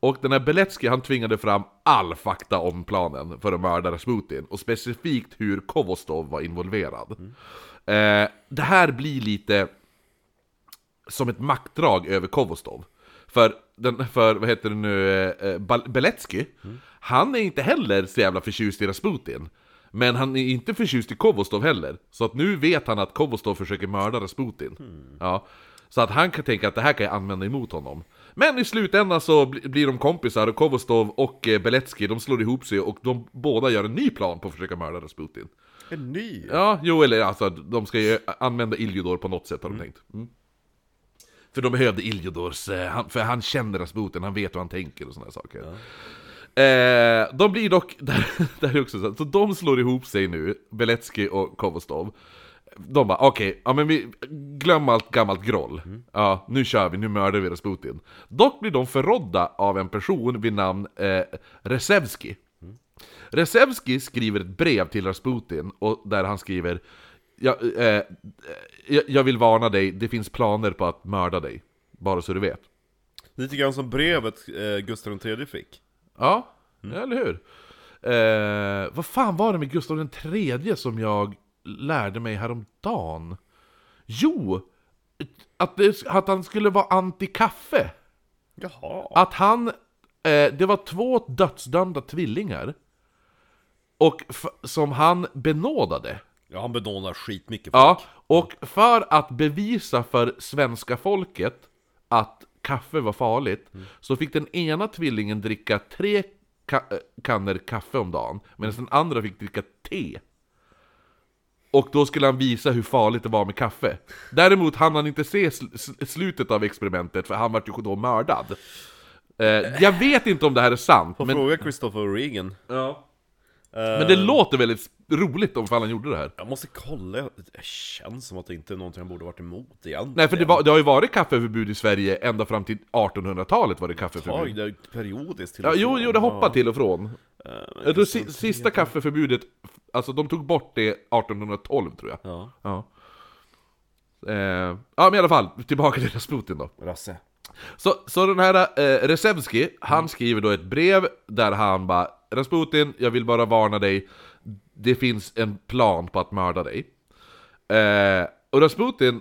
Och den här Beletsky, han tvingade fram all fakta om planen för att mörda Rasputin. Och specifikt hur Kovostov var involverad. Eh, det här blir lite som ett maktdrag över Kovostov. För, den, för vad heter det nu, eh, Bal- Beletsky, han är inte heller så jävla förtjust i Rasputin. Men han är inte förtjust i Kovostov heller. Så att nu vet han att Kovostov försöker mörda Rasputin. Ja. Så att han kan tänka att det här kan jag använda emot honom. Men i slutändan så bli- blir de kompisar och Kovostov och eh, Beletsky, de slår ihop sig och de båda gör en ny plan på att försöka mörda Rasputin. En ny! Ja, jo eller alltså de ska ju använda Iljodor på något sätt har de tänkt. Mm. För de behövde Iljodors, eh, han- för han känner Rasputin, han vet hur han tänker och sådana saker. Eh, de blir dock, där, där är också så, så de slår ihop sig nu, Beletsky och Kovostov. De bara okej, ja men vi glöm allt gammalt groll. Ja, nu kör vi, nu mördar vi Rasputin. Dock blir de förrådda av en person vid namn eh, Resevski. Resevski skriver ett brev till Rasputin och där han skriver jag, eh, eh, jag, jag vill varna dig, det finns planer på att mörda dig. Bara så du vet. Lite grann som brevet eh, Gustav III fick. Ja, eller hur? Eh, vad fan var det med Gustav den tredje som jag lärde mig häromdagen? Jo! Att, det, att han skulle vara anti-kaffe. Jaha. Att han... Eh, det var två dödsdömda tvillingar. Och f- som han benådade. Ja, han benådar skitmycket folk. Ja, och för att bevisa för svenska folket att kaffe var farligt så fick den ena tvillingen dricka tre ka- äh, kannor kaffe om dagen medan den andra fick dricka te. Och då skulle han visa hur farligt det var med kaffe. Däremot hann han inte se sl- sl- slutet av experimentet för han vart ju då mördad. Eh, jag vet inte om det här är sant, Får men, fråga Christopher Reagan. men det låter väldigt roligt om fan han gjorde det här. Jag måste kolla, det känns som att det inte är någonting han borde varit emot egentligen. Nej, för det, var, det har ju varit kaffeförbud i Sverige ända fram till 1800-talet var det Tag kaffeförbud. det periodiskt till Ja, och jo, från. jo, det hoppar till och från. det si, sista kaffeförbudet, alltså de tog bort det 1812 tror jag. Ja. Ja. Eh, ja, men i alla fall, tillbaka till Rasputin då. Rasse. Så, så den här eh, Resevski, han skriver då ett brev där han bara Rasputin, jag vill bara varna dig. Det finns en plan på att mörda dig. Eh, och Rasputin,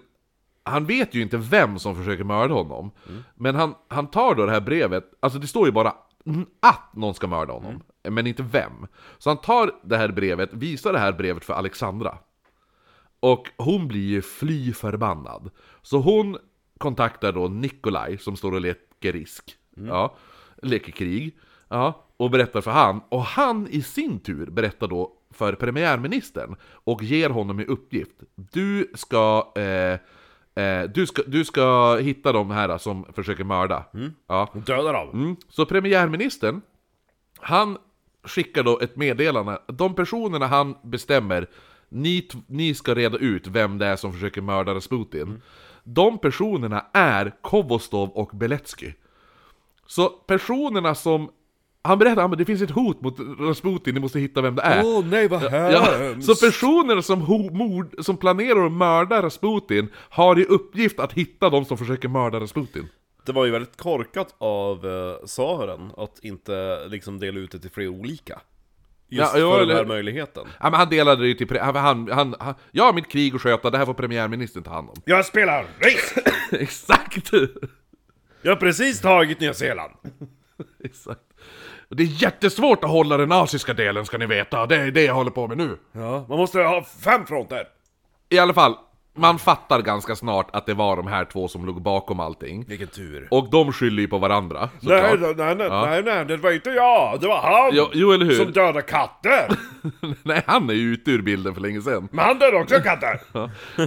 han vet ju inte vem som försöker mörda honom. Men han, han tar då det här brevet, alltså det står ju bara n- att någon ska mörda honom. Men inte vem. Så han tar det här brevet, visar det här brevet för Alexandra. Och hon blir ju fly förbannad. Så hon kontaktar då Nikolaj som står och leker risk. Ja, leker krig. Ja, och berättar för han. Och han i sin tur berättar då för premiärministern. Och ger honom i uppgift. Du ska... Eh, eh, du, ska, du ska hitta de här som försöker mörda. Ja. Döda dem! Mm. Så premiärministern, han skickar då ett meddelande. De personerna han bestämmer, ni, t- ni ska reda ut vem det är som försöker mörda Rasputin. De personerna är Kovostov och Beletsky. Så personerna som... Han berättar att det finns ett hot mot Rasputin, ni måste hitta vem det är. Åh nej vad Ja, hemskt! så personer som, ho- mord, som planerar att mörda Rasputin har i uppgift att hitta de som försöker mörda Rasputin. Det var ju väldigt korkat av eh, tsaren att inte liksom dela ut det till flera olika. Just Ja, ja, för eller- den här möjligheten. Ja, men han delade det ju till... pre- Han, han, han, han, jag har mitt krig att sköta, det här får premiärministern ta hand om. Jag spelar risk! Exakt! Jag har precis tagit Nya Zeeland! Exakt. Det är jättesvårt att hålla den asiska delen ska ni veta, det är det jag håller på med nu. Ja, man måste ha fem fronter! I alla fall, man fattar ganska snart att det var de här två som låg bakom allting. Vilken tur! Och de skyller ju på varandra, Nej, såklart. nej, nej, nej, nej, nej, det var inte jag! Det var han! Jo, jo, eller hur? Som dödade katter! Nej, han är ju ute ur bilden för länge sedan. Men han dödade också katter!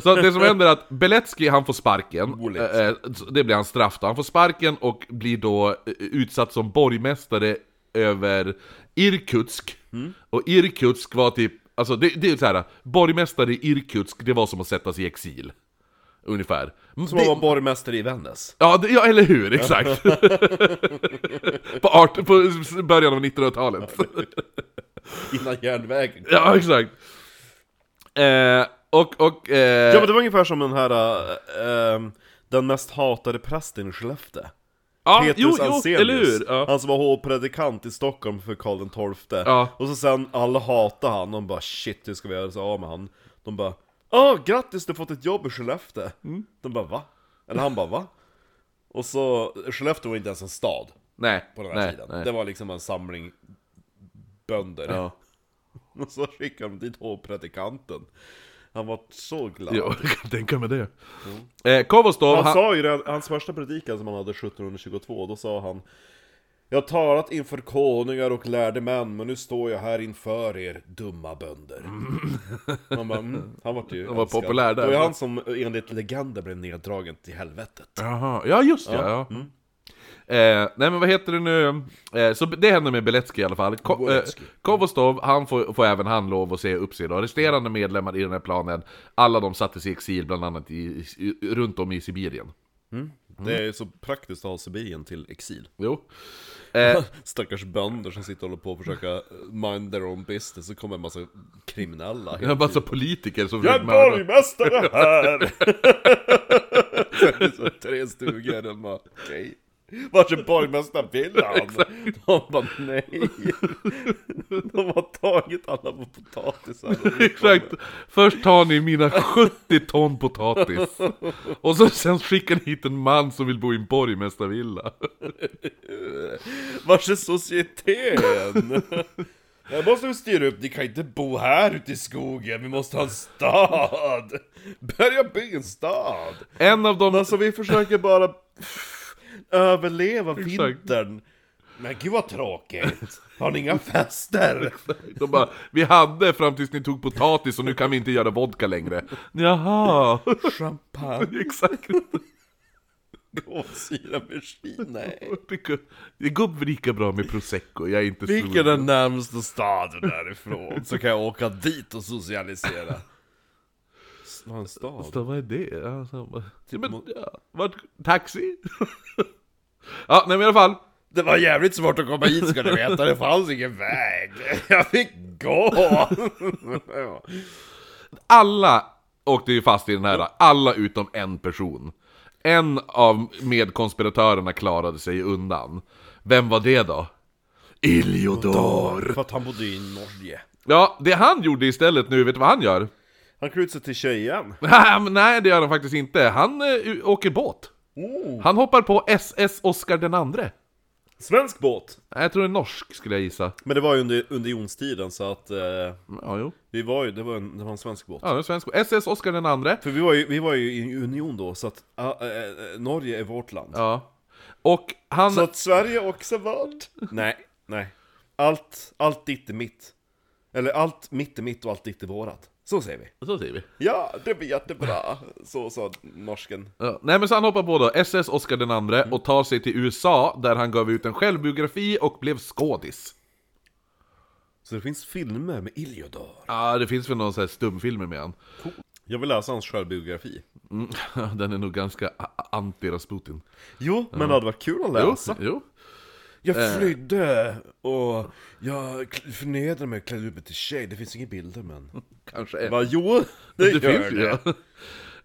Så det som händer är att Beletsky han får sparken, Roligt. Eh, eh, det blir hans straff då. Han får sparken och blir då eh, utsatt som borgmästare över Irkutsk. Mm. Och Irkutsk var typ, alltså det, det är ju så här, borgmästare i Irkutsk, det var som att sätta sig i exil. Ungefär. Som Det- att vara borgmästare i Vännäs. Ja, det, ja, eller hur? Exakt! på, art, på början av 1900-talet. Innan järnvägen. ja, exakt. Eh, och, och... Eh, Ja men det var ungefär som den här, eh, ehm, den mest hatade prästen i Skellefteå. ja, Petrus jo, Alsenius, jo, eller hur? Ja. han som var hovpredikant i Stockholm för Karl XII Ja. Och så sen, alla hatade han, de bara 'Shit, hur ska vi göra oss av med han?' De bara 'Åh, grattis, du har fått ett jobb i Skellefteå' Mm. De bara 'Va?' Eller han bara 'Va?' Och så, Skellefteå var inte ens en stad Nej, på den här nej, tiden nej. Det var liksom en samling bönder Ja. Och så skickade de dit hovpredikanten Han var så glad Jo, jag kan tänka mig det. Mm. Eh, Kovostov, Han han, sa ju det, hans första predikan som han hade 1722, då sa han Jag har talat inför konungar och lärde män, men nu står jag här inför er dumma bönder. Han, bara, mm, han var ju Han var älskad. populär där. Det var ju han som enligt legenden blev neddragen till helvetet. Jaha, ja just det, ja. Mm. Eh, nej men vad heter det nu? Eh, så det händer med Beletski i alla fall. Ko- eh, Beletsky. Kovostov, han får, får även han lov att se upp sig då. Resterande medlemmar i den här planen, alla de sattes i exil bland annat i, i, runt om i Sibirien. Mm. Det är ju så praktiskt att ha Sibirien till exil. Jo. Eh, Stackars bönder som sitter och håller på och försöka eh, mind their own business, så kommer en massa kriminella. det var en massa politiker som Jag är försökte mörda- borgmästare här! så är det så tre stugor, de bara okej. Vart är borgmästarvillan? De bara nej. De har tagit alla våra potatisar. Exakt! Först tar ni mina 70 ton potatis Och så sen skickar ni hit en man som vill bo i en borgmästarvilla Vart är societeten? Jag måste vi styra upp, ni kan inte bo här ute i skogen, vi måste ha en stad! Börja bygga en stad! En av dem... Alltså vi försöker bara överleva vintern. Men gud vad tråkigt. Har ni inga fester? De bara, vi hade fram tills ni tog potatis och nu kan vi inte göra vodka längre. Jaha, Champagne exakt. och syra med gin? Nej. Det går lika bra med prosecco, jag är inte stor. Vilken är den närmsta staden därifrån? Så kan jag åka dit och socialisera. Vad en stad? Så Alltså, vad är det? Ja, så bara, ja, men, ja, vart, taxi? ja, nej men i alla fall. Det var jävligt svårt att komma hit ska ni veta, det fanns ingen väg. Jag fick gå. Ja. Alla åkte ju fast i den här, alla utom en person. En av medkonspiratörerna klarade sig undan. Vem var det då? Iljodor. För att han bodde i Norge. Ja, det han gjorde istället nu, vet du vad han gör? Han klär ut sig till tjejen. Men Nej, det gör han faktiskt inte. Han eh, u- åker båt. Han hoppar på SS Oscar den andre. Svensk båt! Nej, jag tror det är norsk, skulle jag gissa. Men det var ju under unionstiden så att eh, Ja, jo. vi var ju, det var en, det var en svensk båt. Ja, det är svensk. SS Oscar den andre. För vi var, ju, vi var ju i union då, så att ah, eh, eh, Norge är vårt land. Ja. Och han... Så att Sverige också vart? Nej, nej. Allt, allt ditt är mitt. Eller allt mitt är mitt och allt ditt är vårat. Så säger vi. Så säger vi. Ja, det blir jättebra. Så sa norsken. Ja, nej men så han hoppar på då SS Oscar den andre Mm. och tar sig till USA där han gav ut en självbiografi och blev skådis. Så det finns filmer med Iljodor. Ja, det finns väl någon sån här stumfilmer med han. Jag vill läsa hans självbiografi. Mm, Den är nog ganska a- anti-Rasputin. Jo, men det hade varit kul att Jo, läsa. jo. Jag flydde och jag kl- förnedrade mig och klädde ut mig till tjej. Det finns inga bilder men... Kanske är. Va, jo, det, Det gör finns ju, det. ja.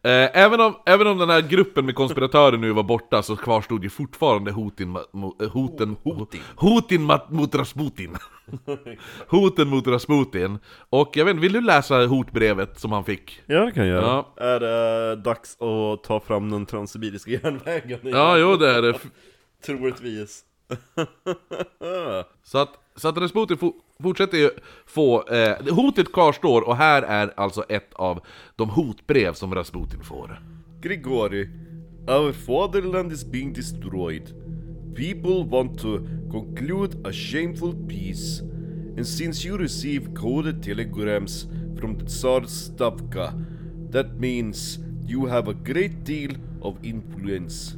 Eh, Även om, även om den här gruppen med konspiratörer nu var borta så kvarstod ju fortfarande hotin, ma- mo- eh, hoten, hotin. hotin mat- mot Rasputin. hoten mot Rasputin. Och jag vet inte, vill du läsa hotbrevet som han fick? Ja, det kan jag göra. Ja. Är det dags att ta fram den transsibiriska järnvägen? igen? Ja, jo det är det. Troligtvis. Så att, så att Rasputin fo- fortsätter ju få... Eh, hotet kvarstår och här är alltså ett av de hotbrev som Rasputin får. Grigori, our fatherland is being destroyed. People want to conclude a shameful peace. And since you receive coded telegrams from the Tsar Stavka, that means you have a great deal of influence.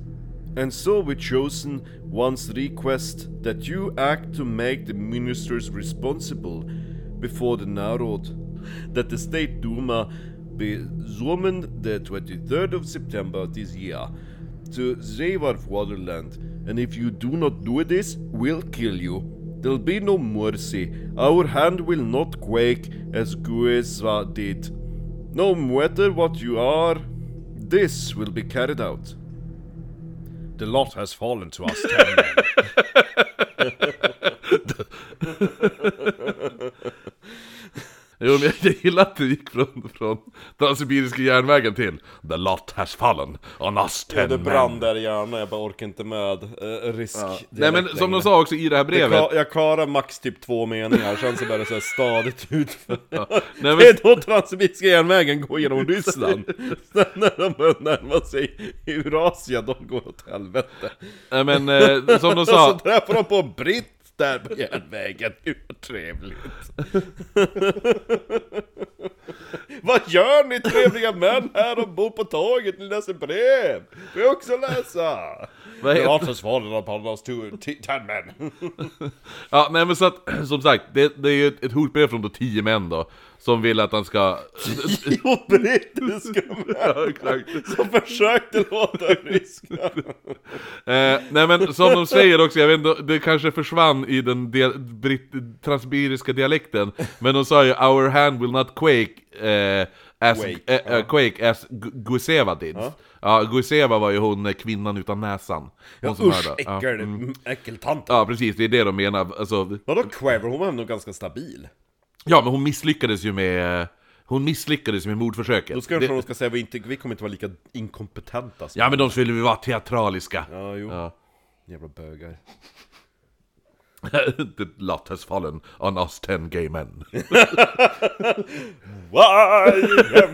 And so we chosen one's request that you act to make the ministers responsible before the Narod, that the State Duma be summoned the 23rd of September this year to save our fatherland, and if you do not do this, we'll kill you. There'll be no mercy. Our hand will not quake as Gueza did. No matter what you are, this will be carried out. The lot has fallen to us. ten men. Jo, men jag, jag gillar att det gick från, från Transsibiriska järnvägen till The lot has fallen on us ten Ja, det brann men. där i hjärnan, jag bara orkar inte med eh, risk Nej direkt men som de längre. sa också i det här jag, brevet klar, jag klarar max typ två meningar, sen så börjar det så här stadigt utför Nej Det men, är då Transsibiriska järnvägen går genom Ryssland Sen när de börjar närma sig Eurasien, de går åt helvete nej, men eh, som Så de sa träffar de på en britt där på järnvägen, hur trevligt! Vad gör ni trevliga män här ombord på tåget? Ni läser brev! Får jag också läsa? Vad heter- försvararna på oss tur, ti- ten män! Ja nej men så att, som sagt Det, det är ju ett, ett hotbrev från då tio män då Som vill att han ska Jo, brittiska män! exakt. Som försökte låta ryska! Eh, nej men som de säger också, jag vet inte, det kanske försvann i den dia- britt, transsibiriska dialekten Men de sa ju 'Our hand will not quake' eh, as, Wake, eh, eh, quake as Gu- Guiseva did Ja, Guiseva var ju hon eh, kvinnan utan näsan hon som Usch, hörde. Ja. Mm. äckel, äckeltant! ja precis, det är det de menar alltså, Vadå Quaver? Hon var ändå ganska stabil. Ja men hon misslyckades ju med, hon misslyckades med mordförsöket Då ska kanske Det- de ska säga vi, inte, vi kommer inte vara lika inkompetenta som... Ja men de skulle ju vara teatraliska Ja, jo. Ja. Jävla bögar. The lot has fallen on us ten gay men Why MCA?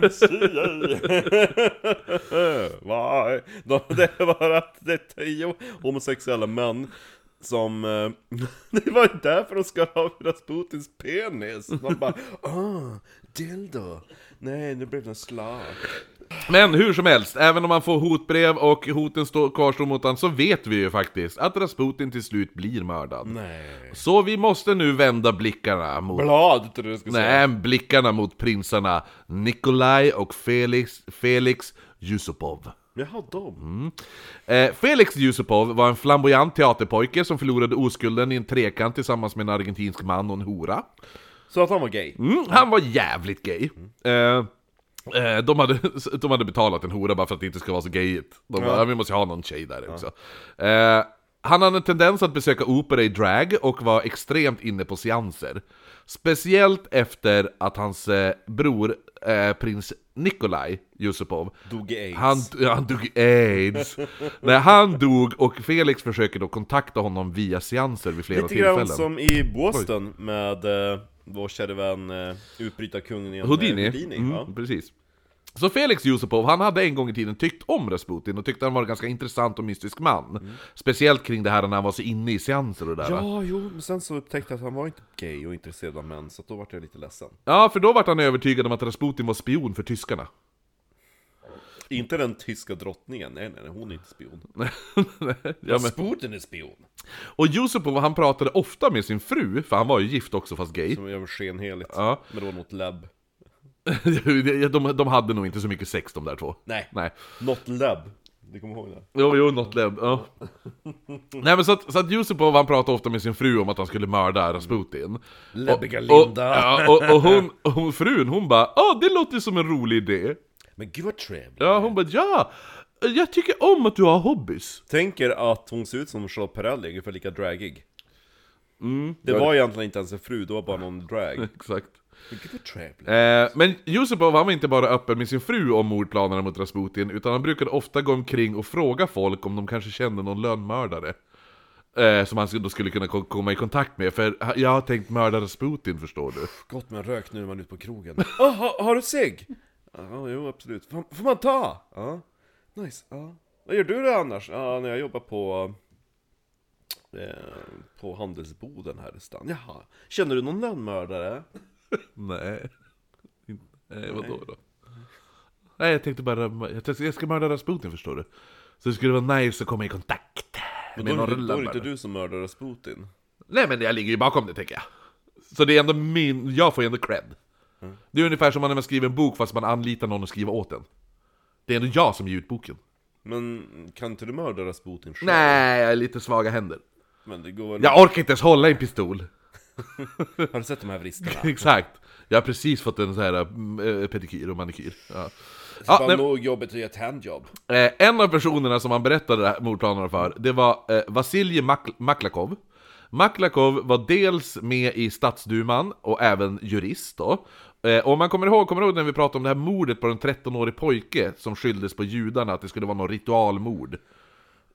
Why? De, det var att det är tio homosexuella män som... eh, Det var ju därför de skar av Rasputins penis. Man bara ah, dildo. Nej, nu blev den slav. Men hur som helst, även om man får hotbrev och hoten står, kvarstår mot honom så vet vi ju faktiskt att Rasputin till slut blir mördad. Nej. Så vi måste nu vända blickarna mot... Blad tror jag du skulle säga. Nej, blickarna mot prinsarna Nikolaj och Felix, Felix Yusupov. Jaha, de. Eh, Felix Yusupov var en flamboyant teaterpojke som förlorade oskulden i en trekant tillsammans med en argentinsk man och en hora. Så att han var gay. Mm, han var jävligt gay. Eh, eh, de, hade, de hade betalat en hora bara för att det inte ska vara så gayigt. De bara, "Ja, vi måste ha någon tjej där också. Eh, Han hade en tendens att besöka opera i drag och var extremt inne på seanser. Speciellt efter att hans eh, bror, eh, prins Nikolaj Yusupov, Dog i aids. han, ja, han dog i aids. När han dog och Felix försöker då kontakta honom via seanser vid flera Lite grann tillfällen. som i Boston med eh, vår kära vän uh, utbrytarkungen igen, eh, Houdini. Houdini mm, ja. Precis. Så Felix Yusupov, han hade en gång i tiden tyckt om Rasputin och tyckte han var en ganska intressant och mystisk man. Mm. Speciellt kring det här när han var så inne i seanser och det där. va? ja, jo, men sen så upptäckte jag att han var inte gay och intresserad av män, så att då vart jag lite ledsen. ja, för då vart han övertygad om att Rasputin var spion för tyskarna. Inte den tyska drottningen, nej nej, nej hon är inte spion. ja, men. Sputen är spion! Och Yusupov, han pratade ofta med sin fru, för han var ju gift också fast gay. Som gör skenheligt, Ja. men då något labb. de, de hade nog inte så mycket sex de där två. Nej. Nej. Något labb, du kommer ihåg det? Jo, jo, något lem, ja. Nej men så att, så att Yusupov han pratade ofta med sin fru om att han skulle mörda Rasputin. Läbbiga Och- och- Linda. Ja, och, och, hon, och hon, frun, hon bara ah det låter ju som en rolig idé. Men gud vad trevligt! Ja, hon bara ja, jag tycker om att du har hobbys. Tänker att hon ser ut som Charlotte Perrelli, ungefär lika dragig. Mm. det var egentligen inte ens en fru, det var bara någon drag. Men Exakt. gud vad trevligt! Eh, men Yusupov han var inte bara öppen med sin fru om mordplanerna mot Rasputin, utan han brukade ofta gå omkring och fråga folk om de kanske kände någon lönnmördare. Eh, som han då skulle kunna ko- komma i kontakt med, för jag har tänkt mörda Rasputin förstår du. Gott med en rök nu när man är ute på krogen. Oh, ha, har du cigg? Ja, jo absolut. Får, får man ta? Ja. Nice. Ja. Vad gör du då annars? Ja, när jag jobbar på... Eh, på handelsboden här i stan. Jaha. Känner du någon lönnmördare? Nej. Nej, vadå då? Nej, jag tänkte bara, jag tänkte- jag ska mörda Rasputin förstår du. Så det skulle vara nice att komma i kontakt. Men med då är, det, någon då är det lönnmördare. inte du som mördar Rasputin. Nej men jag ligger ju bakom det tänker jag. Så det är ändå min, jag får ju ändå cred. Mm. Det är ungefär som när man skriver en bok fast man anlitar någon att skriva åt en. Det är ändå jag som ger ut boken. Men kan inte du mörda Rasputin själv? Nej, jag är lite svaga händer. Men det går väl... Jag orkar inte ens hålla i en pistol. Har du sett de här vristerna? Exakt. Jag har precis fått en sån här eh, pedikyr och manikyr. Ja. Ja, Bara nej- nog jobbet att ge ett handjob. Eh, en av personerna som han berättade det här mordplanerna för, det var eh, Vasilij Mak- Maklakov. Maklakov var dels med i stadsduman och även jurist då. Eh, och om man kommer ihåg, kommer du ihåg när vi pratade om det här mordet på en 13-årig pojke som skylldes på judarna, att det skulle vara något ritualmord?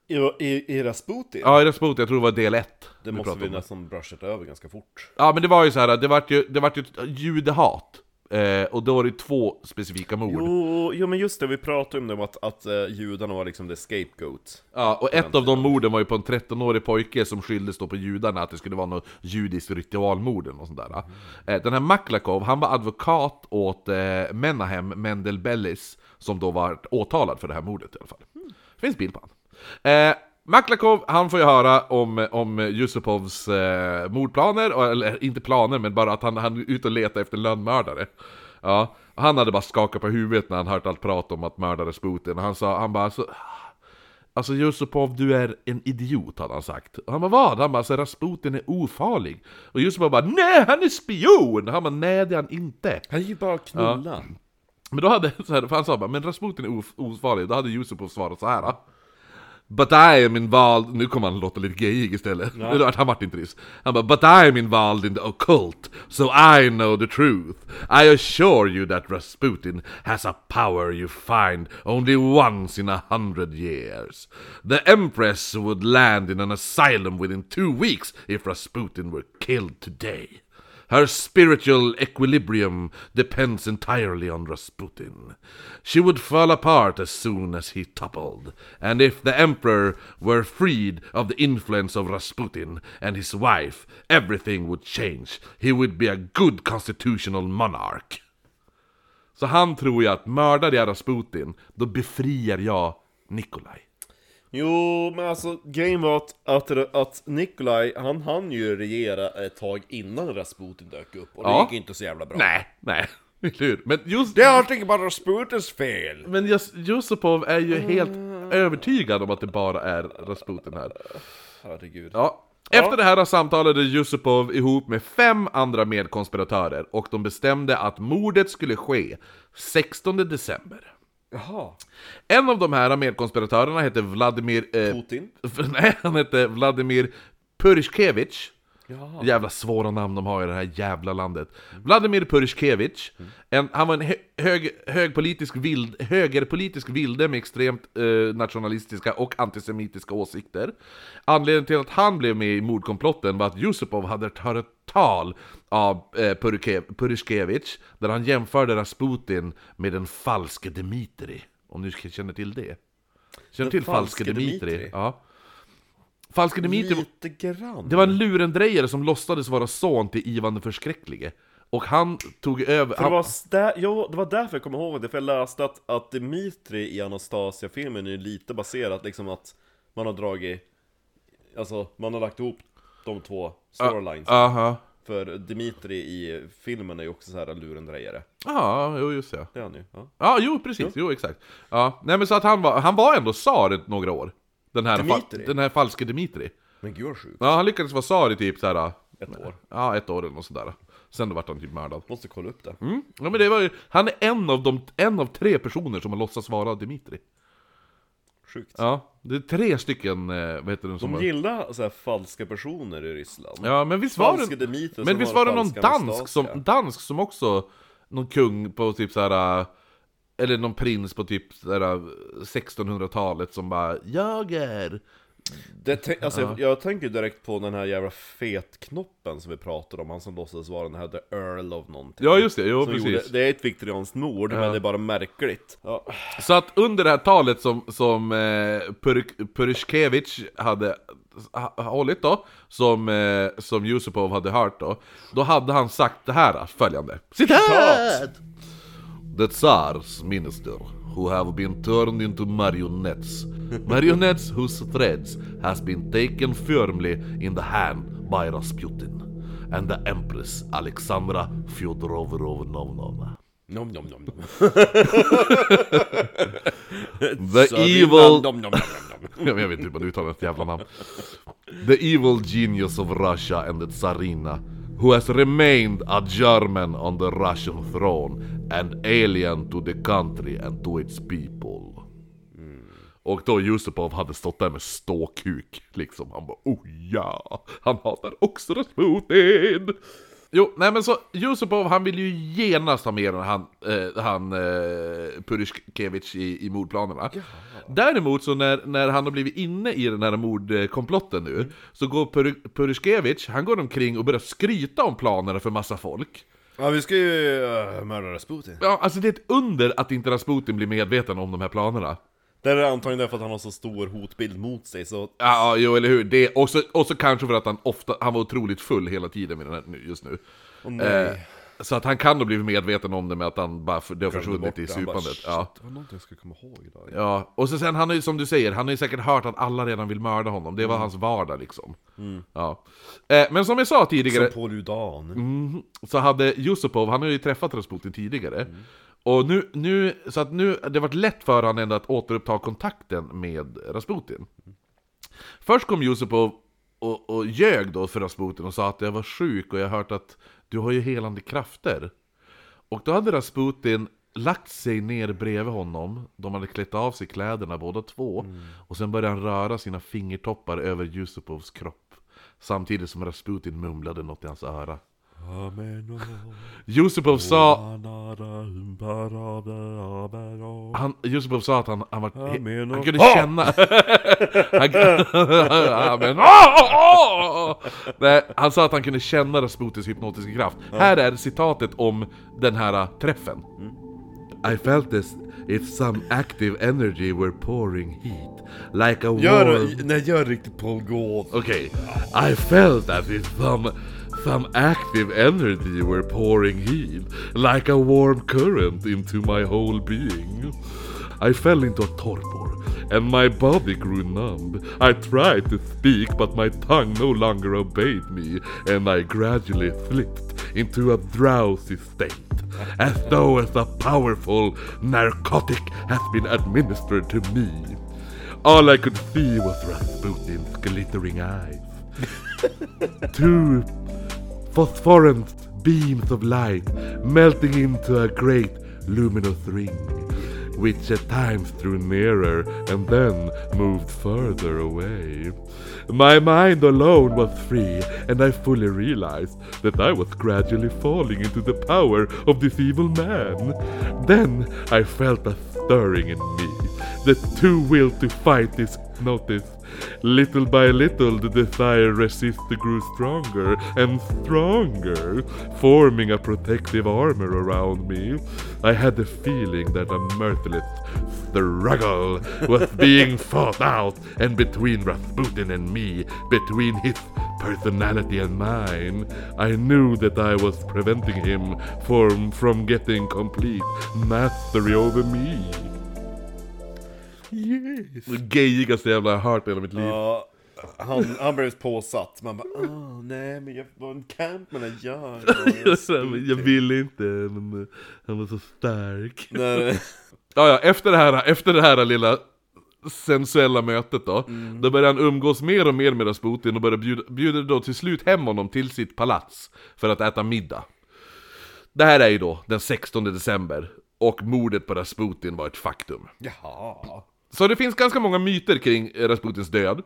I, i, i Rasputin? Ja, i Rasputin, jag tror det var del 1. det måste vi nästan brushat över ganska fort. Ja, men det var ju så här, det vart ju, det vart ju ett judehat. Eh, och då var det två specifika mord. Jo, jo men just det, vi pratade om det, om att, att eh, judarna var liksom the scapegoat. Ja, och ett av de morden var ju på en 13-årig pojke som skylldes då på judarna att det skulle vara något judiskt ritualmord eller något sånt där. Eh, Den här Maklakov, han var advokat åt eh, Menahem Mendel Bellis, som då var åtalad för det här mordet i alla fall. Finns bild på han. Eh, Maklakov, han får ju höra om, om Yusupovs eh, mordplaner, och- eller inte planer, men bara att han, han är ute och letar efter lönnmördare. Ja, han hade bara skakat på huvudet när han hört allt prat om att mörda Rasputin, och han sa, han bara så, Alltså Yusupov, du är en idiot, hade han sagt. Och han bara vad? Han bara alltså, Rasputin är ofarlig. Och Yusupov bara nej, han är spion! Han bara nej, det är han inte. Han gick bara och knulla. Men då hade, så här, för han sa bara men Rasputin är of- ofarlig, då hade Yusupov svarat så här. "Ah, But I am involved, nu kommer han låta lite gayig istället. Ja. Han vart inte ryss. Han bara But I am involved in the occult, so I know the truth. I assure you that Rasputin has a power you find only once in a hundred years. The Empress would land in an asylum within two weeks if Rasputin were killed today. Her spiritual equilibrium depends entirely on Rasputin. She would fall apart as soon as he toppled, and if the Emperor were freed of the influence of Rasputin and his wife, everything would change. He would be a good constitutional monarch. Så han tror ju att mördar jag Rasputin, då befriar jag Nikolaj. Jo, men alltså grejen var att, att, att Nikolaj, han hann ju regera ett tag innan Rasputin dök upp. Och det Ja. gick inte så jävla bra. Nej, nej, eller hur? Men just... Det är allting bara Rasputins fel! Men Jos- Yusupov är ju helt övertygad om att det bara är Rasputin här. Herregud. Ja. Efter det här samtalade Yusupov ihop med fem andra medkonspiratörer och de bestämde att mordet skulle ske 16 december. Jaha. En av de här medkonspiratörerna hette Vladimir... Eh, Putin? nej, han hette Vladimir Purishkevich. Jaha. Jävla svåra namn de har i det här jävla landet. Vladimir Purishkevich, en, han var en hö, hög, högpolitisk vild, högerpolitisk vilde med extremt eh, nationalistiska och antisemitiska åsikter. Anledningen till att han blev med i mordkomplotten var att Yusupov hade hört ett tal av eh, Purike- Purishkevich, där han jämförde Rasputin med den falske Dmitri. Om du känner till det? Känner du Den till falske, falske Dmitri? Dmitri? Ja. Falske Dmitri var- Lite grann. det var en lurendrejare som låtsades vara son till Ivan den förskräcklige. Och han tog över... För det, Han, var stä- jo, det var därför jag kommer ihåg det, för jag läste att, att Dimitri i Anastasia-filmen är lite baserat liksom att man har dragit, alltså man har lagt ihop de två storylines. aha. För Dimitri i filmen är ju också så här lurendrejare. Ja, jo just det. Det är han ju. Ja. Ja, jo precis, jo exakt. Ja, nej men så att han var, han var ändå tsar ett- några år. Den här, Dmitri? den här falske Dimitri. Men gud vad sjukt. Ja, han lyckades vara tsar i typ så här. Ett år. Ja, ett år eller något sådär. Sen då vart han typ mördad. Måste kolla upp det. Mm. Ja men det var ju, han är en av de, en av tre personer som har låtsats vara Dimitri. Sjukt. Ja, det är tre stycken, eh, vad heter den som De har- gillar så här falska personer i Ryssland. Ja, men visst var Falske det... Dimitri som Men visst har var det någon falska dansk Anastasia. som, dansk som också... Någon kung på typ så här. äh, Eller någon prins på typ så här, äh, 1600-talet som bara Jag är... Det tän- alltså, jag, jag tänker direkt på den här jävla fetknoppen som vi pratade om, han som låtsades vara den här the earl of någonting. Ja just det, jo som precis. gjorde, det är ett viktorianskt mord, men det är bara märkligt. Ja. Så att under det här talet som, som eh, Pur- Purishkevich hade ha- hållit då, som, eh, som Yusupov hade hört då, då hade han sagt det här följande. Citat! The Tsar's minister who have been turned into marionettes. Marionettes whose threads has been taken firmly in the hand by Rasputin and the Empress Alexandra Fyodorovna. Nom, nom, nom, nom. The Så vi vann, nom, evil nom, nom, nom, nom. Jag vet inte hur man uttalar ett jävla namn. The evil genius of Russia and the Tsarina, who has remained a German on the Russian throne and alien to the country and to its people. Och då Yusupov hade stått där med ståkuk, liksom. Han bara oh ja, han hatar också Rasputin! Jo, nej men så Yusupov han vill ju genast ha med den, han, eh, han eh, Purishkevich i, i mordplanerna. Däremot så när, när han har blivit inne i den här mordkomplotten nu, så går Pur, Purishkevich, han går omkring och börjar skryta om planerna för massa folk. Ja, vi ska ju uh, mörda Rasputin. Ja, alltså det är ett under att inte Rasputin blir medveten om de här planerna. Det är antagligen därför att han har så stor hotbild mot sig, så Ja, ja, jo eller hur. Det, och, så, och så kanske för att han ofta, han var otroligt full hela tiden med den här, nu- just nu. Eh, så att han kan då bli medveten om det med att han bara, för- det har försvunnit i Han bara, supandet. "Shit, Ja. Det var någonting jag skulle komma ihåg idag. ja, och så sen han har ju som du säger, han har ju säkert hört att alla redan vill mörda honom. Det var hans vardag liksom. Ja. Eh, men som jag sa tidigare, Som Paul Udan. så hade Yusupov, han har ju träffat Rasputin tidigare. Och nu, nu, så att nu, det har varit lätt för han ändå att återuppta kontakten med Rasputin. Först kom Yusupov och, och ljög då för Rasputin och sa att jag var sjuk och jag har hört att du har ju helande krafter. Och då hade Rasputin lagt sig ner bredvid honom, de hade klätt av sig kläderna båda två, och sen började han röra sina fingertoppar över Yusupovs kropp, samtidigt som Rasputin mumlade något i hans öra. Yusupov sa, han, Yusupov sa att han, han, var, Amen. han kunde känna... han, Amen. Ah, ah, ah. Nej, han sa att han kunde känna Rasputins hypnotiska kraft. Här är citatet om den här äh, träffen. I felt this if some active energy were pouring heat like a warm... Gör, nej, gör riktigt Paul Gauth. Okay, I felt as if some some active energy were pouring in, like a warm current into my whole being. I fell into a torpor, and my body grew numb. I tried to speak, but my tongue no longer obeyed me, and I gradually slipped into a drowsy state, as though as a powerful narcotic has been administered to me. All I could see was Rasputin's glittering eyes. Two phosphorescent beams of light melting into a great luminous ring, which at times drew nearer and then moved further away. My mind alone was free, and I fully realized that I was gradually falling into the power of this evil man. Then I felt a stirring in me, the true will to fight this notice. Little by little, the desire resisted grew stronger and stronger, forming a protective armor around me. I had the feeling that a merciless struggle was being fought out, and between Rasputin and me, between his personality and mine, I knew that I was preventing him from, from getting complete mastery over me. Yes. Det gejigaste jävla jag har hört i hela mitt liv. Ja, han, han blev påsatt. Man bara åh nej men jag var en camp men jag gör Jag sa, Alltså, "Men jag ville inte, men eh, han var så stark. När, Ja, ja, efter det här, efter det här lilla sensuella mötet då, då börjar han umgås mer och mer med Rasputin och börjar bjuda, bjuder då till slut hem honom till sitt palats för att äta middag. Det här är ju då den 16 december och mordet på Rasputin var ett faktum. Jaha. Så det finns ganska många myter kring eh, Rasputins död.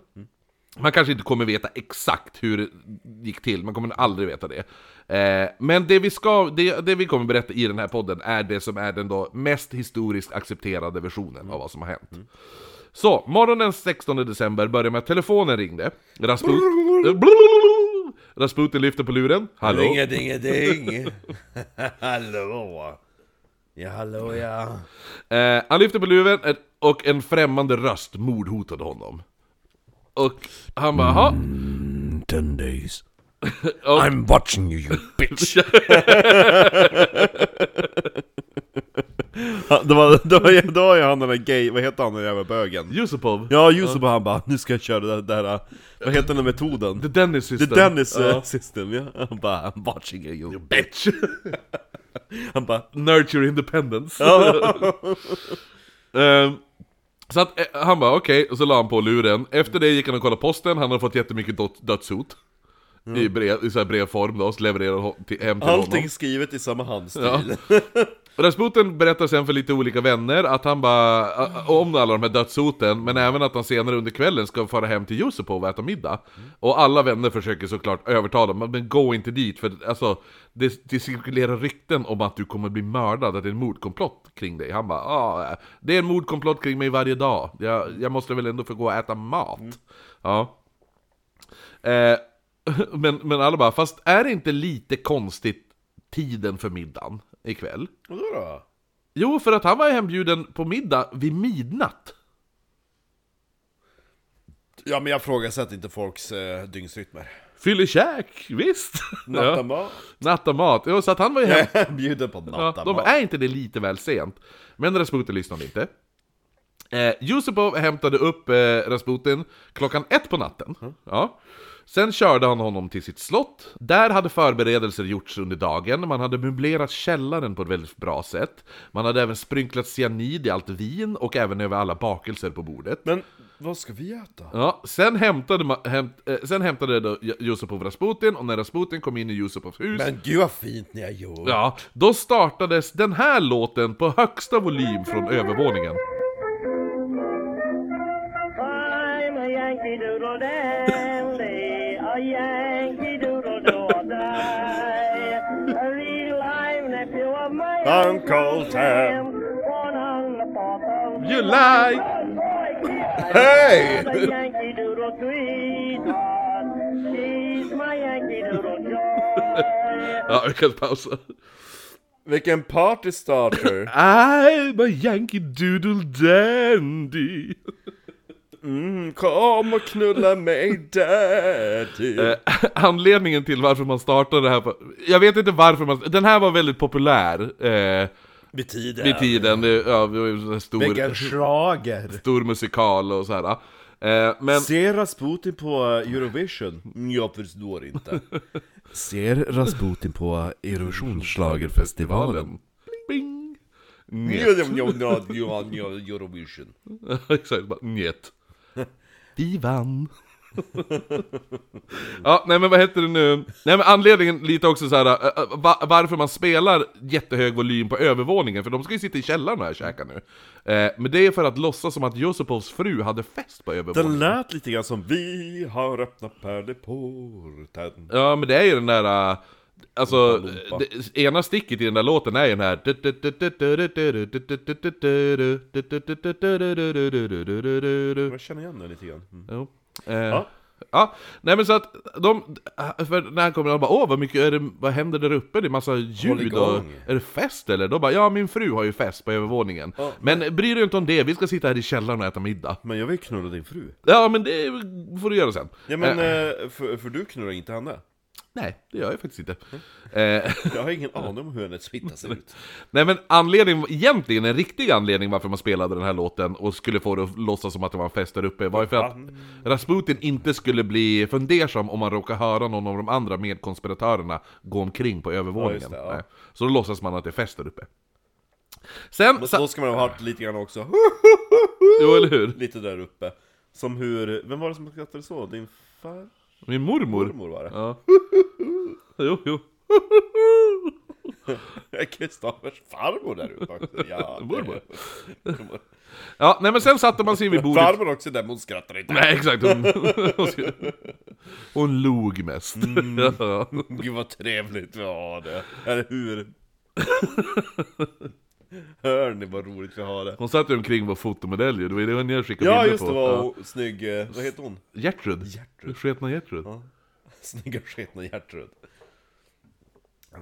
Man kanske inte kommer veta exakt hur det gick till, man kommer aldrig veta det. Eh, men det vi, ska, det, det vi kommer berätta i den här podden är det som är den då mest historiskt accepterade versionen av vad som har hänt. Så, morgonen 16 december börjar med att telefonen ringde. Rasput... Rasputin lyfter på luren. Hallå? Ringa dinga ding. hallå. Ja hallå ja. Eh, han lyfter på luren ett- och en främmande röst mordhotade honom. Och han bara, "Jaha." Ten days. I'm watching you, you bitch. Ja, Det var, det var, det var ju han den där gay, vad heter han den jävla bögen? Yusupov? Ja Yusuf han bara, nu ska jag köra det där, det här, vad heter den där metoden? The Dennis The system. Uh, Dennis Ja. eh, system ja. Han bara, I'm watching you, you Bitch! Han bara, Nurture independence. Ehm, så att eh, han bara okej, och så la han på luren. Efter det gick han och kollade posten, han hade fått jättemycket dot- dödshot. I, brev, I så här brevform då, så levererade hon till, hem till honom. allting skrivet i samma handstil. Ja. Rasputin berättar sen för lite olika vänner att han bara, a- a- om alla de här dödshoten, men även att han senare under kvällen ska fara hem till Yusupov och äta middag. Och alla vänner försöker såklart övertala honom, men gå inte dit för alltså, det, det cirkulerar rykten om att du kommer bli mördad, att det är en mordkomplott kring dig. Han bara, ah, det är en mordkomplott kring mig varje dag, jag, jag måste väl ändå få gå och äta mat. Ja. Eh, men, men alla bara, fast är det inte lite konstigt tiden för middagen ikväll? Vadå då? Jo, för att han var hembjuden på middag vid midnatt. Ja men jag frågasätter inte folks eh, dygnsrytmer. Fyllekäk, visst! ja. Nattamat. Nattamat. Jo, så att han var ju hem... Jag bjuder på Ja, nattamat. de är inte det lite väl sent? Men Rasputin lyssnade inte. Eh, Yusupov hämtade upp eh, Rasputin klockan ett på natten. Ja. Sen körde han honom till sitt slott. Där hade förberedelser gjorts under dagen. Man hade möblerat källaren på ett väldigt bra sätt. Man hade även sprinklat cyanid i allt vin och även över alla bakelser på bordet. Men vad ska vi äta? Ja, sen hämtade, ma- hämt, eh, sen hämtade då J- Yusupov Rasputin, och när Rasputin kom in i Yusupovs hus Men gud vad fint ni har gjort. Ja, då startades den här låten på högsta volym från övervåningen. I'm a Yankee Doodle dandy, a Yankee Doodle do or die. A real live nephew of my Uncle Sam. Born on the fourth of You like! Hey! I'm a Yankee Doodle sweetheart. She's my Yankee Doodle joy. Ja, vi kan pausa. Vilken party starter. I'm a Yankee Doodle Dandy! Mm, kom och knulla mig typ. daddy. Eh, Anledningen till varför man startade det här på... Jag vet inte varför man... Den här var väldigt populär eh, Vid tiden. vid tiden. Det, ja, det var ju en Vilken stor, schlager. stor musikal och så här. Eh, men... Ser Rasputin på eh, Eurovision? Mm, Jag förstår inte. Ser Rasputin på Eurovisionsschlagerfestivalen? Bing! Ja, ja, ja, ja, ja, ja, Eurovision. Exakt, bara njet. Vi vann. Ja, nej men vad heter det nu? Nej men anledningen lite också så här, äh, äh, va, varför man spelar jättehög volym på övervåningen, för de ska ju sitta i källaren och här och käka nu. Eh, men det är för att låtsas som att Josepovs fru hade fest på Den övervåningen. lät lite grann som Vi har öppnat pärleporten Ja men det är ju den där, äh, alltså, Lumpa, lumpa. det, ena sticket i den där låten är ju den här... Jag känner igen den lite grann mm. Jo. Eh, ja. nej men så att de, för när han kommer de bara åh vad mycket, är det, vad händer där uppe? Det är massa ljud och, igång." är det fest eller? De bara ja min fru har ju fest på övervåningen. Men bry dig inte om det, vi ska sitta här i källaren och äta middag. Men jag vill knulla din fru Ja men det får du göra sen. Ja men, eh, för, för du knullar inte henne Nej, det gör jag faktiskt inte. Eh, Jag har ingen aning om hur hennes fitta ser ut nej men anledningen, egentligen en riktig anledning varför man spelade den här låten och skulle få det att låtsas som att det var en fest där uppe var ju för att Rasputin inte skulle bli fundersam om man råkar höra någon av de andra medkonspiratörerna gå omkring på övervåningen. Ja, just det, ja. Nej. Så då låtsas man att det är fest där uppe. Sen, Men sa, så ska man ha hört lite grann också jo eller hur? Lite där uppe Som hur, vem var det som skrattade så? Din farmor Min mormor. var det? Ja. Jo, jo. Kristoffers farmor där uppe också, ja det- Mormor. Ja, nej men sen satte man sig vid bordet. Farmor också där, men hon skrattar inte Nej exakt, hon, hon, skulle- hon log mest. Mm. Ja. Gud vad trevligt vi har det, eller hur? Hör ni vad roligt vi har det? Hon satt ju omkring vår fotomedaljer, det var ju det hon skickade Ja bilder just det, på. var hon, snygg, eh, vad heter hon? Ja. Gertrud. Gertrud. Sketna Gertrud. Snygga sketna Gertrud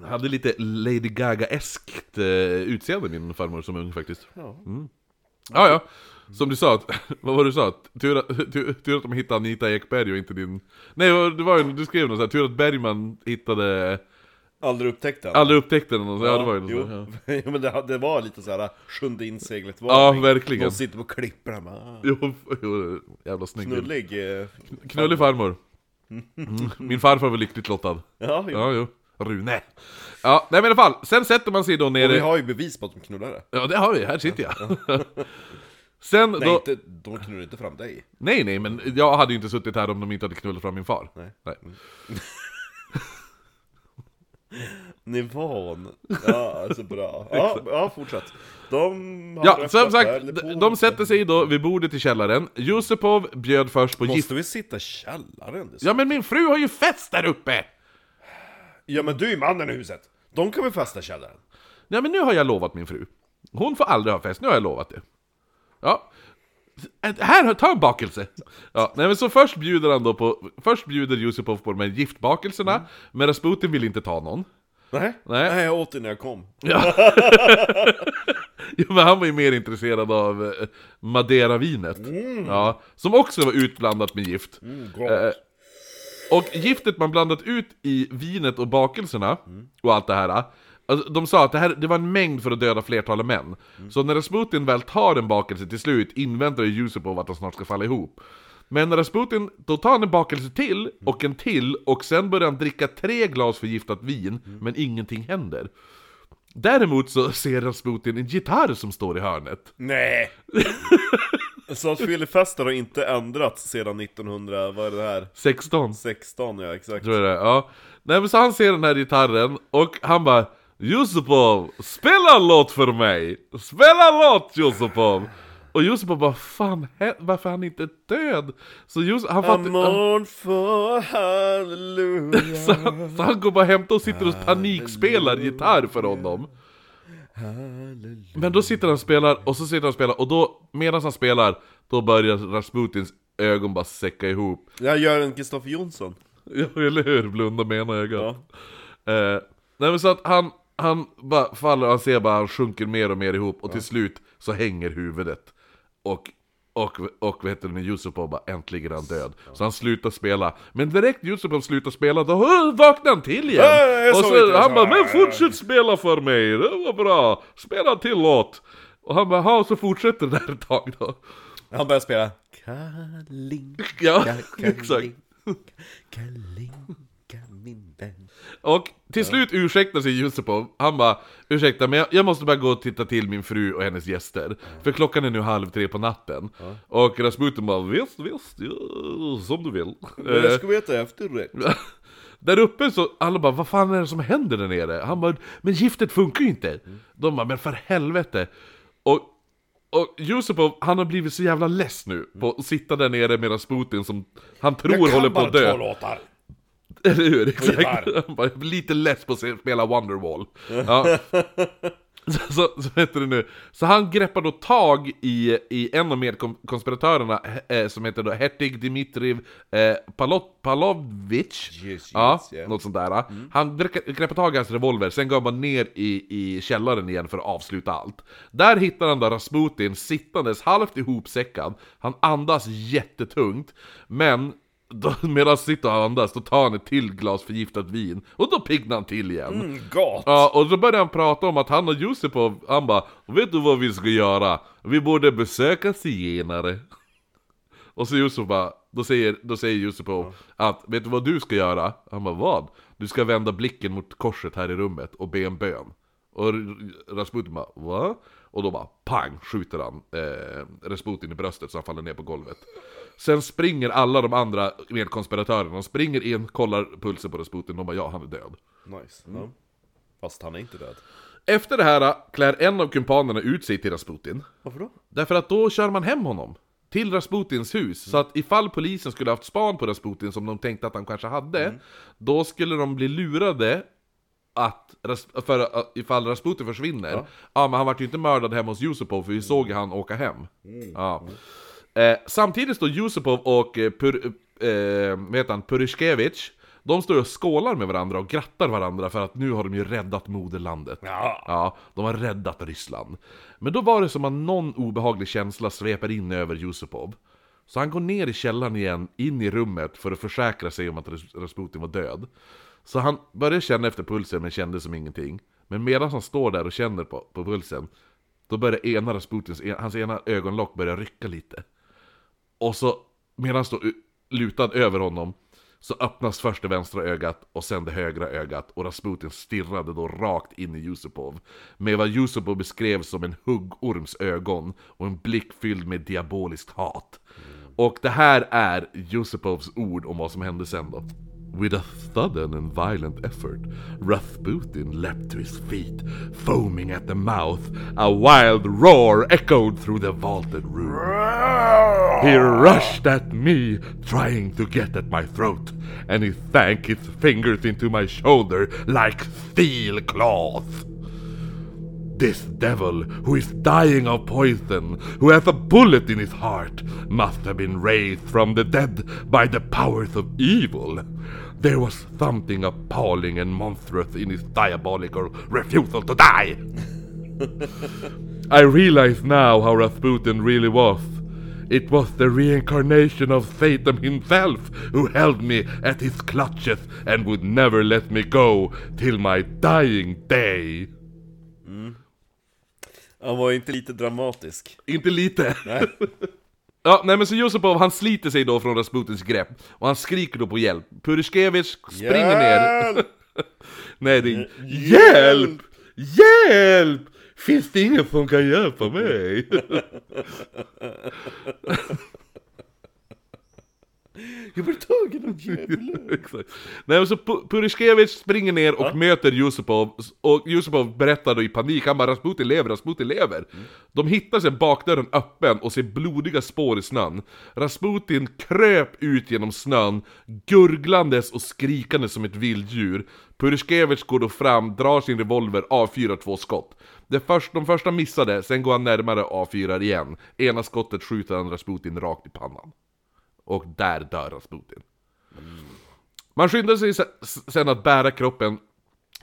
Hade lite Lady Gaga-eskt eh, utseende min farmor som ung faktiskt. Ja. Mm. ja, ja. Som du sa, att, vad var det du sa? Att Tur, att- tur, tur att de hittade Anita Ekberg och inte din... Nej, det var ju, du skrev något sånt här, tur att Bergman hittade... Aldrig upptäckt den? Aldrig upptäckte den, och så, ja, det var ju något sånt, ja. jo. ja. men det, det var lite såhär, sjunde inseglet ja, varning verkligen. Någon sitter på klipporna bara, ah, Jo, jo, jävla snygg bild. knullig eh, Knullig farmor. Mm. Min farfar var lyckligt lottad. Ja, ja. Ja, jo. Rune. Ja, nej men i alla fall. Sen sätter man sig då Och vi nere... har ju bevis på att de knullar det Ja, det har vi. Här sitter jag. Sen Nej då... inte, de knullar inte fram dig Nej, nej, men jag hade ju inte suttit här om de inte hade knullat fram min far. Nej. nej. Mm. Nivån, ja alltså bra Ja, ja fortsätt De har Ja, som öppnat sagt, pärleport. d- de sätter sig då vid bordet i källaren. Yusupov bjöd först på gift... Måste vi sitta i källaren? Det är så- Ja, men min fru har ju fest där uppe! ja men du är mannen i huset! De kan väl fasta i källaren? Nej men nu har jag lovat min fru. Hon får aldrig ha fest, nu har jag lovat det. Ja. Ett- Här, ta en bakelse! Ja, nej men så först bjuder han då på... Först bjuder Yusupov på de här giftbakelserna, men Rasputin vill inte ta någon. Nej. Nej. Nej, jag åt det när jag kom Jo men han var ju mer intresserad av eh, Madeira-vinet. Ja, som också var utblandat med gift. gott. Eh, och giftet man blandat ut i vinet och bakelserna, och allt det här. Alltså, de sa att det, här, det var en mängd för att döda flertalet män. Så när Rasputin väl tar en bakelse till slut inväntar ju Yusupov att de snart ska falla ihop. Men när Rasputin, då tar han en bakelse till, och en till, och sen börjar han dricka tre glas förgiftat vin, men ingenting händer. Däremot så ser Rasputin en gitarr som står i hörnet. Nej! så att fyllefester har inte ändrats sedan 1900, vad är det här? 16, 16 ja, exakt tror jag det är. Ja. Nej men så han ser den här gitarren och han bara Yusupov, spela en låt för mig! Spela en låt Yusupov! Och Yusupov bara fan, hä- varför är han inte död? Så Yusupov, han A fattar... han- mourn for hallelujah Så han, så han går bara hem och sitter och panikspelar gitarr för honom. Men då sitter han och spelar, och så sitter han och spelar, och då medan han spelar, då börjar Rasputins ögon bara säcka ihop. Jag gör en Kristoffer Jonsson Ja, eller hur? Blunda med ena ögat. Ja. Eh, nej men så att han, han bara faller, han ser bara, han sjunker mer och mer ihop, och till slut så hänger huvudet. Och och, och vad heter det nu, Yusupov bara äntligen är han död. Så han slutar spela. Men direkt Yusupov slutar spela, då "Åh, vaknar han till igen! Ja, ja, jag och såg inte så, det. han bara Ja, men ja, ja." fortsätt spela för mig, det var bra! Spela en till låt! Och han bara "Ja", och så fortsätter det där ett tag då. Han börjar spela Kalinka, Ja, exakt. Kalinka min vän Och till slut ursäktar sig Yusupov, han bara Ursäkta men jag, jag måste bara gå och titta till min fru och hennes gäster För klockan är nu halv tre på natten Och Rasputin bara visst, visst, ja, som du vill Men Eh, jag ska veta efterrätt. där uppe så, alla bara vad fan är det som händer där nere? Han bara, men giftet funkar ju inte! De bara, men för helvete! Och, och Yusupov, han har blivit så jävla less nu på att sitta där nere med Rasputin som han tror håller på att dö. låtar. Eller hur? Exakt! gitarr. Han bara, jag blir lite less på att se- spela Wonderwall. Ja. Så, så, så heter det nu. Så han greppar då tag i, i en av medkonspiratörerna eh, som heter då Hertig Dimitriv eh, Palot, Palovich. yes, ja, yeah. Något sånt där. ja. Han dre- greppar tag i hans revolver, sen går man ner i, i källaren igen för att avsluta allt. Där hittar han då Rasputin sittandes halvt ihopsäckad. Han andas jättetungt, men då, medan han sitter och andas, då tar han ett till glas förgiftat vin. Och då piggnar han till igen. Gott. Ja, och så började han prata om att han och Josipov, han bara Vet du vad vi ska göra? Vi borde besöka zigenare Och så Josipov bara, då säger, då säger Josipov att Vet du vad du ska göra? Han bara vad? Du ska vända blicken mot korset här i rummet och be en bön Och R- Rasputin bara va? Och då bara pang skjuter han eh, Rasputin i bröstet så han faller ner på golvet Sen springer alla de andra medkonspiratörerna, de springer in, kollar pulsen på Rasputin, de bara ja han är död Nice. Ja. Fast han är inte död. efter det här äh, klär en av kumpanerna ut sig till Rasputin. Varför då? Därför att då kör man hem honom. Till Rasputins hus. Så att ifall polisen skulle haft span på Rasputin som de tänkte att han kanske hade. Då skulle de bli lurade att, Ras- för, att ifall Rasputin försvinner. Ja. men han vart ju inte mördad hemma hos Yusupov för vi såg ju han åka hem. Ja. Eh, samtidigt står Yusupov och eh, Pur, eh, vad heter han, Purishkevich de står och skålar med varandra och grattar varandra för att nu har de ju räddat moderlandet. Ja. Ja, de har räddat Ryssland. Men då var det som att någon obehaglig känsla sveper in över Yusupov. Så han går ner i källaren igen, in i rummet för att försäkra sig om att Ras- Rasputin var död. Så han började känna efter pulsen men kände som ingenting. Men medan han står där och känner på, på pulsen, då börjar ena Rasputins, hans ena ögonlock börja rycka lite. Och så, medan han står u- lutad över honom, så öppnas först det vänstra ögat och sen det högra ögat och Rasputin stirrade då rakt in i Yusupov. Med vad Yusupov beskrev som en huggorms ögon och en blick fylld med diaboliskt hat. Och det här är Yusupovs ord om vad som hände sen då. With a sudden and violent effort, Rasputin leapt to his feet, foaming at the mouth. A wild roar echoed through the vaulted room. He rushed at me, trying to get at my throat, and he sank his fingers into my shoulder like steel claws. This devil, who is dying of poison, who has a bullet in his heart, must have been raised from the dead by the powers of evil. There was something appalling and monstrous in his diabolical refusal to die. I realize now how Rasputin really was. It was the reincarnation of Satan himself who held me at his clutches and would never let me go till my dying day. Han var ju inte lite dramatisk. Inte lite. ja, nej men så Yusupov han sliter sig då från Rasputins grepp och han skriker då på hjälp. Purishkevich springer ner. Hjälp! Nej, det är... Hjälp! Hjälp! Finns det ingen som kan hjälpa mig? Jag blir tagen av djävulen. Exakt. Nej, men så Pu- Purishkevich springer ner och möter Yusupov Och Yusupov berättar då i panik, han bara Rasputin lever, Rasputin lever De hittar sen bakdörren öppen och ser blodiga spår i snön Rasputin kröp ut genom snön Gurglandes och skrikandes som ett vilddjur Purishkevich går då fram, drar sin revolver, avfyrar två skott det först, De första missade, sen går han närmare och avfyrar igen Ena skottet skjuter han Rasputin rakt i pannan Och där dör Rasputin man skyndade sig se- s- sen att bära kroppen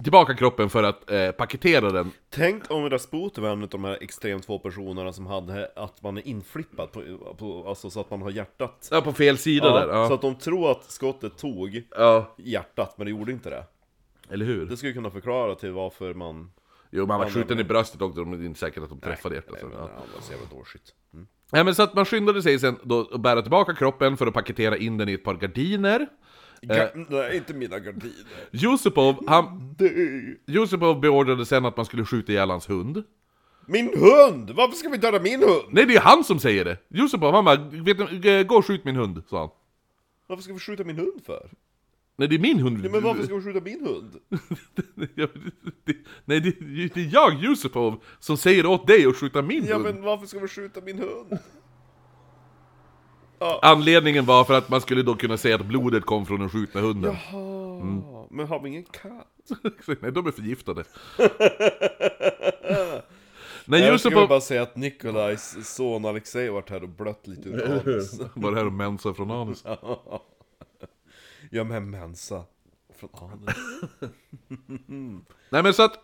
Tillbaka kroppen för att eh, paketera den Tänk om Rasputin var en av de här extremt få personerna som hade att man är inflippad på, på alltså så att man har hjärtat. ja, på fel sida där ja. Så att de tror att skottet tog ja, hjärtat, men det gjorde inte det. eller hur? Det skulle kunna förklara till varför man... Jo, man var skjuten i bröstet och de det är inte säkert att de träffade hjärtat Nej, sen, men, ja. ja, det var så jävla dåligt. Nej men så att man skyndade sig sen då att bära tillbaka kroppen för att paketera in den i ett par gardiner Ja, nej, inte mina gardiner. Yusupov, han, Det är- Yusupov beordrade sen att man skulle skjuta ihjäl hans hund. Min hund! Varför ska vi döda min hund? Nej, det är ju han som säger det! Yusupov, han bara, vet du, gå och skjut min hund, sa han. Varför ska vi skjuta min hund för? Nej, det är min hund! Nej, men varför ska vi skjuta min hund? Jag- det, nej, det, det är jag, Yusupov, som säger åt dig att skjuta min Ja hund! men varför ska vi skjuta min hund? Anledningen var för att man skulle då kunna säga att blodet kom från den skjutna hunden. Mm. Ja, Ah, Men har vi ingen katt? nej, de är förgiftade. Nej, Jag skulle Yusupov... bara säga att Nikolajs son Alexej varit här och blött lite ur anus. Var det här och mensa från anus? Ja men mensa. Från anus. Nej men så att...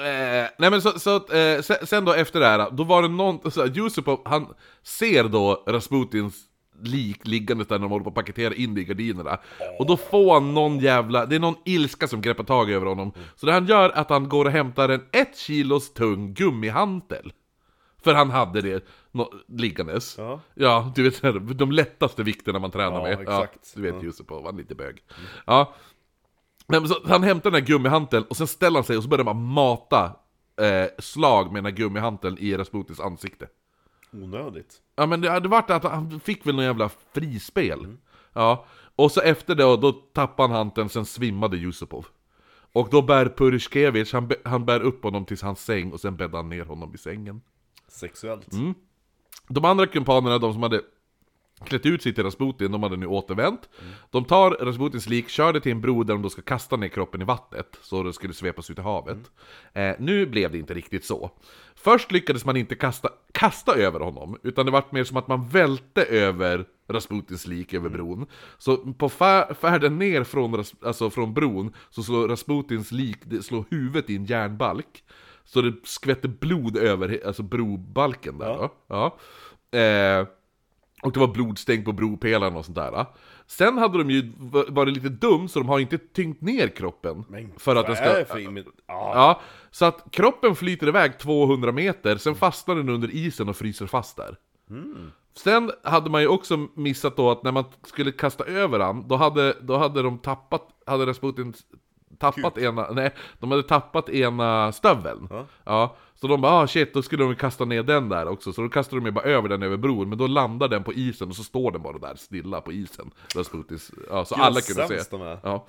Eh, nej men så, så att, eh, sen, sen då efter det här, då var det någon, så här, Yusupov, han ser då Rasputins lik liggandes där när de håller på att paketera in det i gardinerna. Och då får han någon jävla, det är någon ilska som greppar tag över honom. Så det han gör är att han går och hämtar en ett kilos tung gummihantel. För han hade det nå- liggandes. Ja. Ja, du vet så här, de lättaste vikterna man tränar Ja, med. exakt. Ja, du vet Ja. Yusupov, han är lite bög. Ja. Nej, men så han hämtar den här gummihanteln och sen ställer han sig och så börjar man mata eh, slag med den här gummihanteln i Rasputins ansikte. Onödigt. Ja men det hade varit att han fick väl någon jävla frispel. Mm. Ja. Och så efter det, då tappade han hanteln, sen svimmade Yusupov. Och då bär Purishkevich, han, bä- han bär upp honom till hans säng och sen bäddar han ner honom i sängen. Sexuellt. Mm. De andra kumpanerna, de som hade klätt ut sig till Rasputin, de hade nu återvänt. De tar Rasputins lik, kör det till en bro där de då ska kasta ner kroppen i vattnet, så det skulle svepas ut i havet. Eh, nu blev det inte riktigt så. Först lyckades man inte kasta, kasta över honom, utan det vart mer som att man välte över Rasputins lik över bron. Så på fär, färden ner från, Ras- alltså från bron så slår Rasputins lik, det slår huvudet i en järnbalk. Så det skvätter blod över he- alltså brobalken där då. Ja. Eh, och det var blodstänk på bropelaren och sånt där. Sen hade de ju v- varit lite dum så de har inte tyngt ner kroppen. för att den Vad ska... är det för imi- ah, Ja, så att kroppen flyter iväg 200 meter, sen fastnar den under isen och fryser fast där. Sen hade man ju också missat då att när man skulle kasta över han, då hade, då hade de tappat, hade Rasputin tappat ena, nej, de hade tappat ena stöveln. Ja. så de bara ah, shit, då skulle de kasta ner den där också, så då kastade de ju bara över den över bron, men då landar den på isen och så står den bara där stilla på isen. Rasputins, ja, så Gud, vad alla kunde se. sämst de är. Ja.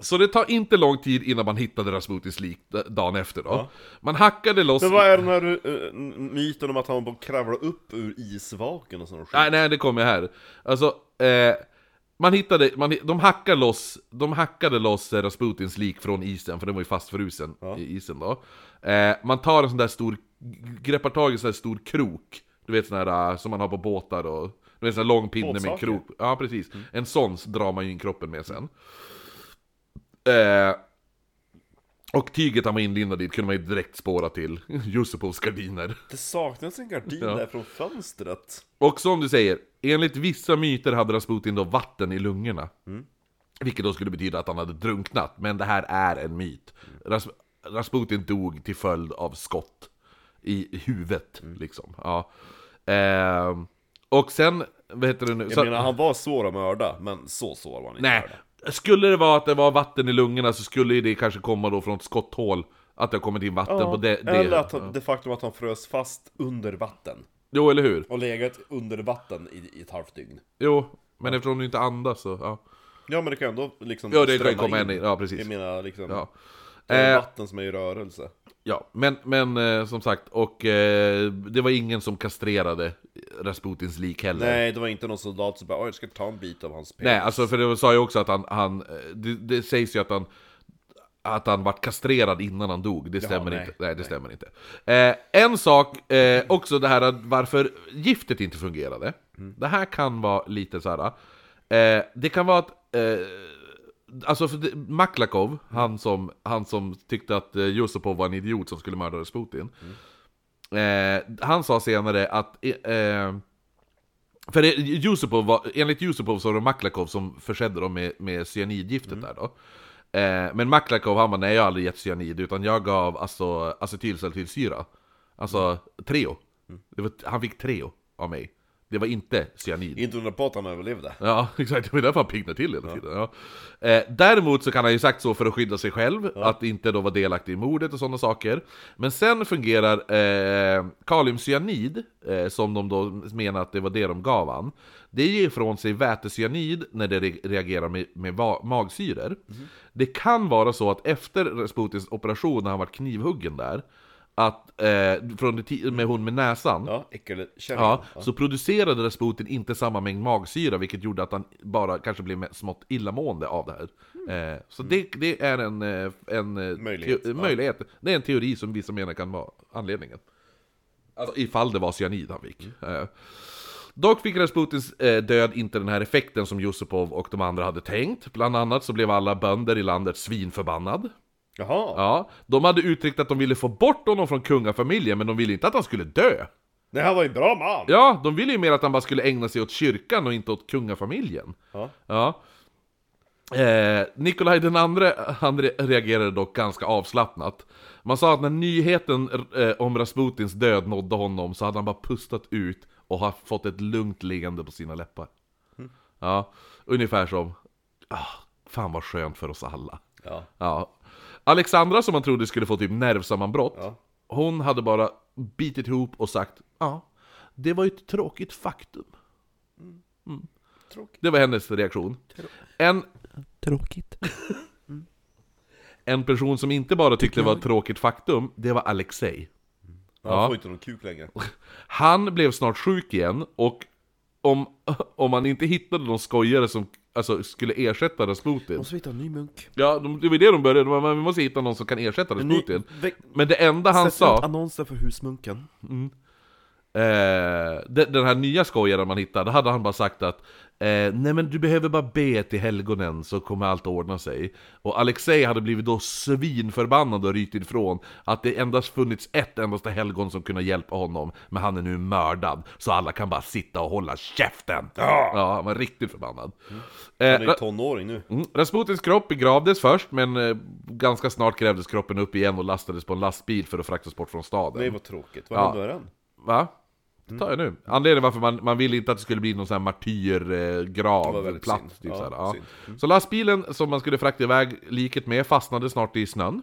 Så det tar inte lång tid innan man hittade Rasputins lik d- dagen efter då. Man hackade loss... Men vad är den här eh, myten om att han bara kravlar upp ur isvaken och sån skit? Nej, nej, det kommer här. Alltså, eh, man hittade, man, hi- de, hackade loss, de hackade loss eh, Rasputins lik från isen, för den var ju fastfrusen i isen då. Eh, man tar en sån där stor, greppar tag i en sån där stor krok, du vet sån här eh, som man har på båtar och... Du vet sån här lång pinne med en Båtsaker. Mm. krok. Ja, precis. En sån drar man ju in kroppen med sen. Eh, och tyget han var inlindad i kunde man ju direkt spåra till Yusupovs gardiner. Det saknas en gardin Ja. där från fönstret. Och som du säger, enligt vissa myter hade Rasputin då vatten i lungorna. Mm. Vilket då skulle betyda att han hade drunknat, men det här är en myt. Mm. Ras Rasputin dog till följd av skott i huvudet, Mm. liksom. Ja. Ehm, och sen, vad heter det nu? Jag Så- menar, han var svår att mörda, men så svår var han inte att Nej, mörda. skulle det vara att det var vatten i lungorna så skulle ju det kanske komma då från ett skotthål. Att det har kommit in vatten på det. det Eller att han, det faktum att han frös fast under vatten. Jo, eller hur? Och legat under vatten i, i ett halvt dygn. Jo, men eftersom du inte andas så... Ja, Ja men det kan ändå liksom ja det kan ju strömma komma in. i- Ja, precis. Jag menar liksom, Ja. det är Eh, vatten som är i rörelse. Ja, men, men eh, som sagt, och eh, det var ingen som kastrerade Rasputins lik heller. Nej, det var inte någon soldat som bara 'Oj, jag ska ta en bit av hans penis' Nej, alltså för det sa ju också att han, han eh, det, det sägs ju att han, att han vart kastrerad innan han dog. Det stämmer nej. inte. Nej, det stämmer inte. Eh, en sak, eh, också det här att varför giftet inte fungerade. Mm. Det här kan vara lite så här. Eh, det kan vara att, eh, alltså för det, Maklakov, han som, han som tyckte att eh, Yusupov var en idiot som skulle mörda Rasputin. Eh, han sa senare att... eh, Eh, för det- Yusupov var, enligt Yusupov så var det Maklakov som försedde dem med, med cyanidgiftet där då. Eh, men Maklakov han bara, nej jag har aldrig gett cyanid, utan jag gav alltså acetylsalicylsyra. Alltså Treo. Det var, han fick Treo av mig. Det var inte cyanid. Inte undra på att han överlevde. Ja, exakt. Det var därför han piggnade till hela tiden. Ja. Eh, däremot så kan han ju sagt så för att skydda sig själv, att inte då vara delaktig i mordet och sådana saker. Men sen fungerar eh, kaliumcyanid, eh, som de då menar att det var det de gav han. Det ger ifrån sig vätecyanid när det re- reagerar med, med va- magsyror. Det kan vara så att efter Rasputins operation, när han var knivhuggen där, att, eh, från det ti- med hon med näsan, Ja, äckelkärringen. Ja, så producerade Rasputin inte samma mängd magsyra, vilket gjorde att han bara kanske blev med- smått illamående av det här. Eh, så det, det är en, eh, en eh, Mm. Möjlighet, teo- ja. möjlighet. Det är en teori som vissa menar kan vara anledningen. Alltså ifall det var cyanid han fick. Mm. Eh, Dock fick Rasputins eh, död inte den här effekten som Yusupov och de andra hade tänkt. Bland annat så blev alla bönder i landet svinförbannad. Jaha. Ja, de hade uttryckt att de ville få bort honom från kungafamiljen, men de ville inte att han skulle dö. Nej, han var ju en bra man. Ja, de ville ju mer att han bara skulle ägna sig åt kyrkan och inte åt kungafamiljen. Ja. Ja. Eh, Nikolaj den andre, han re- reagerade dock ganska avslappnat. Man sa att när nyheten eh, om Rasputins död nådde honom så hade han bara pustat ut och har fått ett lugnt leende på sina läppar. Ja, ungefär som ah, Fan vad skönt för oss alla. Ja. Ja. Alexandra som man trodde skulle få typ nervsammanbrott, Ja. hon hade bara bitit ihop och sagt ja, det var ju ett tråkigt faktum. Mm. Mm. Tråkigt. Det var hennes reaktion. En, Tråkigt. en person som inte bara tyckte det var ett tråkigt faktum, det var Alexej. Han Ja. får inte någon kuk längre. Han blev snart sjuk igen och om, om man inte hittade någon skojare som alltså, skulle ersätta Rasputin Måste vi hitta en ny munk? Ja, de, det var det de började, de bara, "Men vi måste hitta någon som kan ersätta Rasputin Väck- Men det enda han Sätt ut sa, annonser för husmunken. eh, de- den här nya skojaren man hittade, hade han bara sagt att eh, Nej men du behöver bara be till helgonen så kommer allt ordna sig Och Alexej hade blivit då svinförbannad och rykt ifrån Att det endast funnits ett endaste helgon som kunde hjälpa honom Men han är nu mördad, så alla kan bara sitta och hålla käften! Ja, han var riktigt förbannad Han är Eh, ju tonåring nu. Mm. Rasputins kropp begravdes först, men eh, ganska snart grävdes kroppen upp igen och lastades på en lastbil för att fraktas bort från staden. Nej, vad tråkigt. Vad Ja. hände med den? Va? Det tar jag Mm. nu. Anledningen varför man, man ville inte att det skulle bli någon sån här Det var martyrgrav, eh, väldigt platt. synd. Typ Ja, så, här, ja. synd. Mm. så lastbilen som man skulle frakta iväg liket med fastnade snart i snön.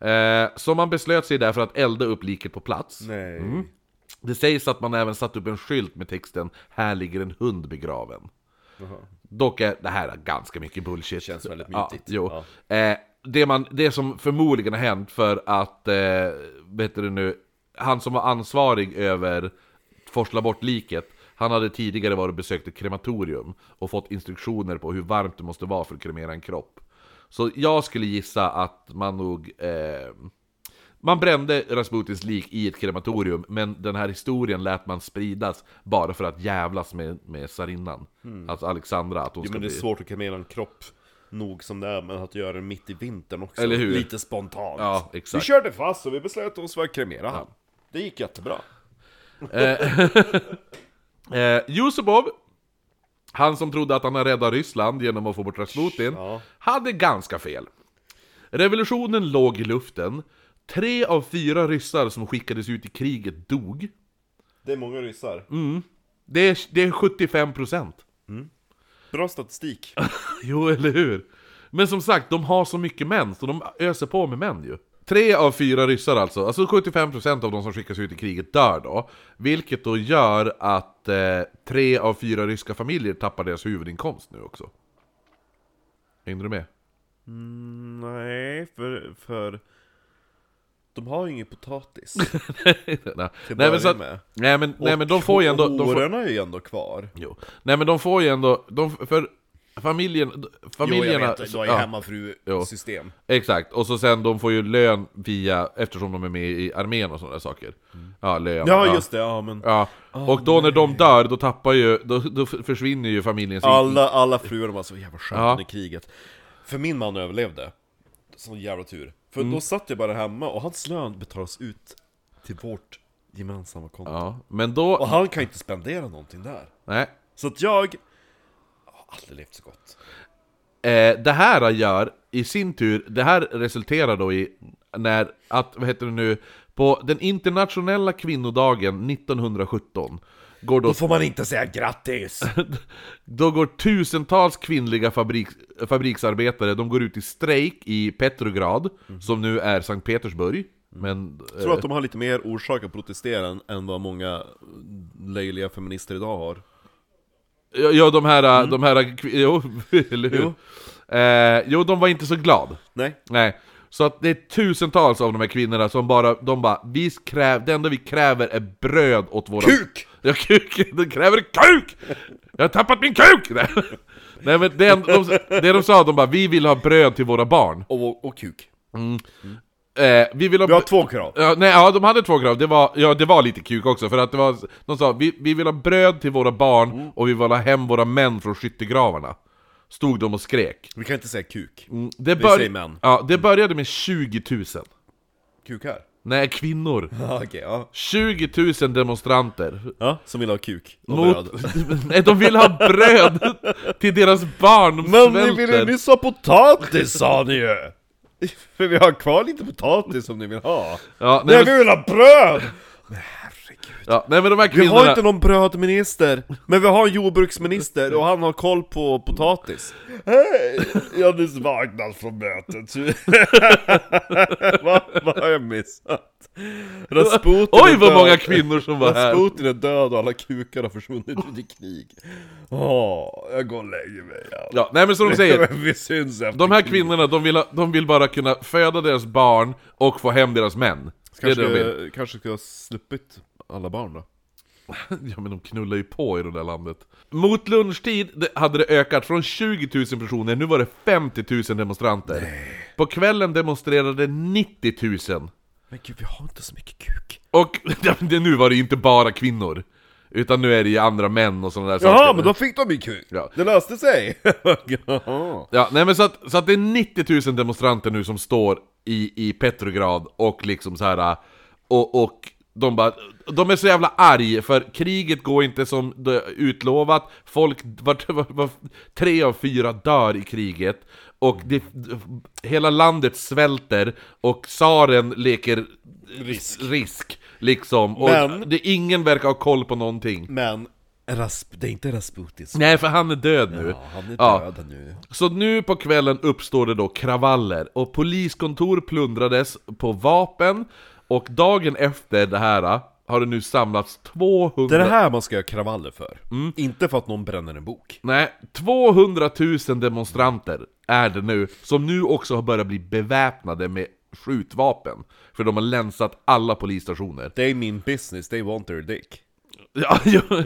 Eh, så man beslöt sig därför att elda upp liket på plats. Mm-hmm. Nej. Det sägs att man även satt upp en skylt med texten ”Här ligger en hund begraven”. Dock är det här ganska mycket bullshit. Känns väldigt mytigt. Ja, jo. Eh, det, man, det som förmodligen har hänt för att, eh, vet du nu, han som var ansvarig över forsla bort liket, han hade tidigare varit och besökt ett krematorium och fått instruktioner på hur varmt det måste vara för att kremera en kropp. Så jag skulle gissa att man nog... Eh, man brände Rasputins lik i ett krematorium, men den här historien lät man spridas bara för att jävlas med, med tsarinnan. Alltså Alexandra, att Mm. hon Jo, ska men det är bli... svårt att kremera en kropp nog som det är, men att göra det mitt i vintern också. Eller hur? Lite spontant. Ja, Vi exakt. körde fast och vi beslöt oss för att kremera han. Det gick jättebra. Eh, Yusupov, han som trodde att han hade räddat Ryssland genom att få bort Rasputin, Ja. hade ganska fel. Revolutionen låg i luften, tre av fyra ryssar som skickades ut i kriget dog. Det är många ryssar. Mm. Det är, det är 75 procent. Bra statistik. Jo, eller hur? Men som sagt, de har så mycket män, så de öser på med män ju. Tre av fyra ryssar alltså, alltså 75% av de som skickas ut i kriget dör då. Vilket då gör att eh, tre av fyra ryska familjer tappar deras huvudinkomst nu också. Hängde du med? Nej, för... för... De har ju ingen potatis. nej, börja nej, men så att, med. nej, men, nej men de får ju ändå... De får, Hororna är ju ändå kvar. jo. Nej men de får ju ändå... De, för familjen... Familjerna... du har ju ja. Jo. hemmafru-system. Exakt, och så sen de får ju lön via, eftersom de är med i armén och sådana där saker. Ja, lön. Ja, just det, ja men... Ja. och då när de dör, då tappar ju, då, då f- försvinner ju familjens... Alla, alla fruar de var så jävla skönt Ja. under kriget. För min man överlevde. Sån jävla tur. För då satt jag bara hemma och hans lön betalas ut till vårt gemensamma konto. Ja, men då... Och han kan ju inte spendera någonting där. Nej. Så att jag har aldrig levt så gott. Eh, det här gör, i sin tur, det här resulterar då i när, att, vad heter det nu, på den internationella kvinnodagen 1917 går då, Då får man inte säga grattis! då går tusentals kvinnliga fabrik, fabriksarbetare, de går ut i strejk i Petrograd, som nu är Sankt Petersburg. Jag Men, Mhm. Mm. tror att de har lite mer orsak att protestera än- än vad många löjliga feminister idag har. Ja, ja, de här, Mm. äh, de här, kvi- jo, eller hur? Jo. Eh, jo, de var inte så glad. Nej, Nej. Så att det är tusentals av de här kvinnorna som bara, de bara, vi kräv, det enda vi kräver är bröd åt våra... Kuk! Ja, kuk! De kräver kuk! Jag har tappat min kuk! Nej, Nej men det, en- de, det de sa, de bara, vi vill ha bröd till våra barn. och, och kuk. Eh, vi vill ha... Vi har två krav. Ja, nej, ja, de hade två krav. Det var, ja, det var lite kuk också, för att det var, de sa vi, vi vill ha bröd till våra barn Mm. och vi vill ha hem våra män från skyttegravarna. Stod de och skrek. Vi kan inte säga kuk. Mm, Det, Vi bör- säger män. Mm. Ja, det började med 20 000. Kuk här. Nej, kvinnor. Ja, okej, ja. 20 000 demonstranter. ja. Som vill ha kuk och Mot, bröd. nej, de vill ha bröd till deras barn, de Men ni ville ju svälter. nyss ha potatis sa ni ju! För vi har kvar lite potatis som ni vill ha. Ja, nej, Nej, men, vi vill ha bröd! ja, nej men de här Vi har kvinnorna... inte någon brödminister, men vi har en jordbruksminister och han har koll på potatis. Hej! Jag har nyss vaknat från mötet. vad, vad har jag missat? Rasputin Oj är vad död. många kvinnor som var här! Rasputin är död och alla kukar har försvunnit ut i krig. Åh, jag går och lägger mig. Ja, nej men som de säger, Vi syns efter De här kriget. kvinnorna, de vill, ha- de vill bara kunna föda deras barn och få hem deras män. Det är det de vill. Kanske, kanske skulle ha sluppit alla barn då? Ja men de knullar ju på i det där landet. Mot lunchtid det- hade det ökat från 20 000 personer, nu var det 50 000 demonstranter. På kvällen demonstrerade 90 000. Men gud, vi har inte så mycket kuk. Och ja, men det- nu var det ju inte bara kvinnor. Utan nu är det ju andra män och sådana där Jaha, men då fick de ju kuk! Ja. Det löste sig! Jaha. Ja, nej men så att, så att det är 90 000 demonstranter nu som står i, i Petrograd och liksom så här och, och de bara, de är så jävla arg för kriget går inte som det utlovat, folk, var, var, var, tre av fyra dör i kriget, och det, hela landet svälter, och tsaren leker risk, risk liksom, och Men- det, ingen verkar ha koll på någonting. Men Rasp det är inte Rasputin som... Nej, för han är död nu. Ja, han är Ja. död nu. Så nu på kvällen uppstår det då kravaller och poliskontor plundrades på vapen och dagen efter det här ah, har det nu samlats 200... Det är det här man ska göra kravaller för. Inte för att någon bränner en bok. Nej, 200 000 demonstranter är det nu, som nu också har börjat bli beväpnade med skjutvapen. För de har länsat alla polisstationer. Det är min business, they want their dick. Ja, ja.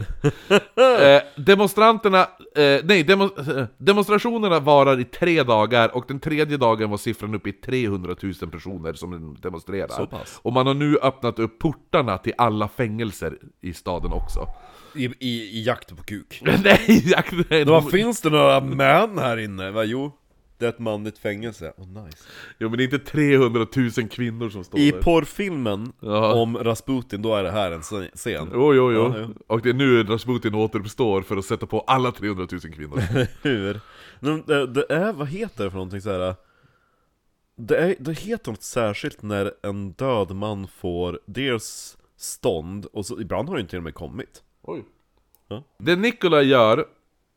Eh, demonstranterna, eh, nej, demo, eh, demonstrationerna varar i tre dagar och den tredje dagen var siffran uppe i 300 000 personer som demonstrerar. Så pass. Och man har nu öppnat upp portarna till alla fängelser i staden också. I, i, i jakt på kuk. nej, jag, nej Men vad finns det några män här inne? Va, jo, det är ett manligt fängelse. Oh, nice. jo, men det är inte 300 000 kvinnor som står I där. porrfilmen Ja. om Rasputin, då är det här en scen. Jo, jo, jo. Ja, jo. Och det är nu Rasputin återuppstår för att sätta på alla 300 000 kvinnor. Hur? Men Det, det är, vad heter det för någonting så här? Det, är, det heter något särskilt när en död man får dels stånd, och så, ibland har det inte till och med kommit. Oj. Ja. Det Nikola gör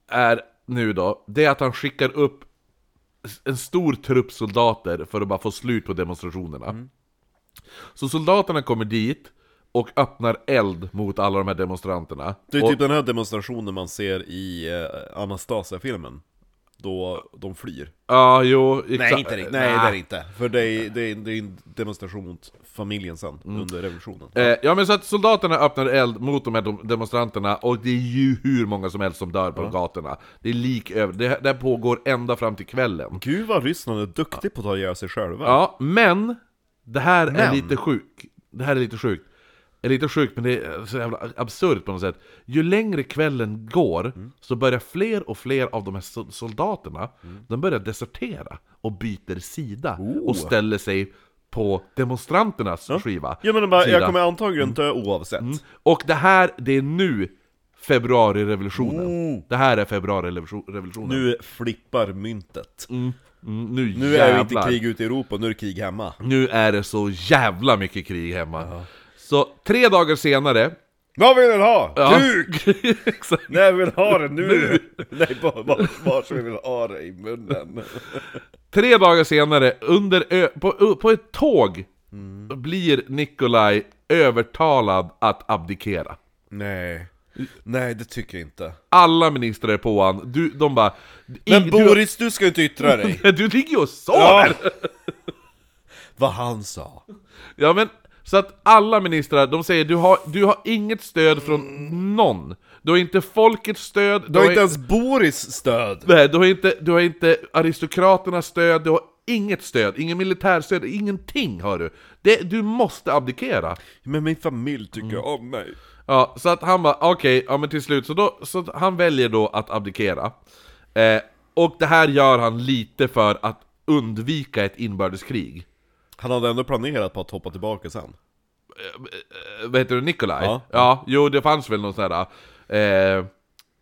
är nu då, det är att han skickar upp s- en stor trupp soldater för att bara få slut på demonstrationerna. Mm. Så soldaterna kommer dit och öppnar eld mot alla de här demonstranterna. Det är och, typ den här demonstrationen man ser i eh, Anastasia-filmen. Då de flyr. Ja, jo, exakt. Nej, Ah. det är det inte. För det är, det, är, det är en demonstration mot familjen sen, under revolutionen. Eh, ja men så att soldaterna öppnar eld mot de här dom- demonstranterna och det är ju hur många som helst som dör på gatorna. Det är lik över, det, här- det här pågår ända fram till kvällen. Gud vad Ryssland är duktig på att ta ihjäl sig själva. Ja, men det här är Men. lite sjukt. Det här är lite sjukt. Det är lite sjukt, men det är så jävla absurt på något sätt. Ju längre kvällen går, Mm. så börjar fler och fler av de här sol- soldaterna, Mm. de börjar desertera och byter sida Oh. och ställer sig på demonstranternas skiva. Jag menar bara, sida. jag kommer antagligen dö oavsett. Och det här, det är nu februarirevolutionen. Det här är februarirevolutionen. Nu, Oh. Nu flippar myntet. mm, nu, Nu är det jävlar. inte krig ute i Europa, nu är det krig hemma. Nu är det så jävla mycket krig hemma. Så tre dagar senare Vad vill ni ha? Ja. Kuk! Exakt. Nej, jag vill ha det nu! Nej, bara, bara, bara så jag vill ha det i munnen. Tre dagar senare, under ö, på, ö, på ett tåg, Mm. blir Nikolaj övertalad att abdikera. Nej. Nej, det tycker jag inte. Alla ministrar är på han. Du, de bara... i- Men Boris, du ska inte yttra dig! Du, du ligger ju och sover! Ja. Ja. Vad han sa. men, så att alla ministrar, de säger du har, du har inget stöd från någon. Du har inte folkets stöd, Mm. Du har inte ens Boris stöd! Nej, du har inte, du har inte aristokraternas stöd, du har inget stöd, ingen militärstöd, ingenting har du. Det, du måste abdikera. Men min familj tycker Mm. om mig. Ja, så att han bara, okej, ja men till slut, så, då, så att han väljer då att abdikera. Eh, och det här gör han lite för att undvika ett inbördeskrig. Han hade ändå planerat på att hoppa tillbaka sen. Eh, vad heter det, Nikolaj? Ja. Ja. jo det fanns väl någon sån här, eh,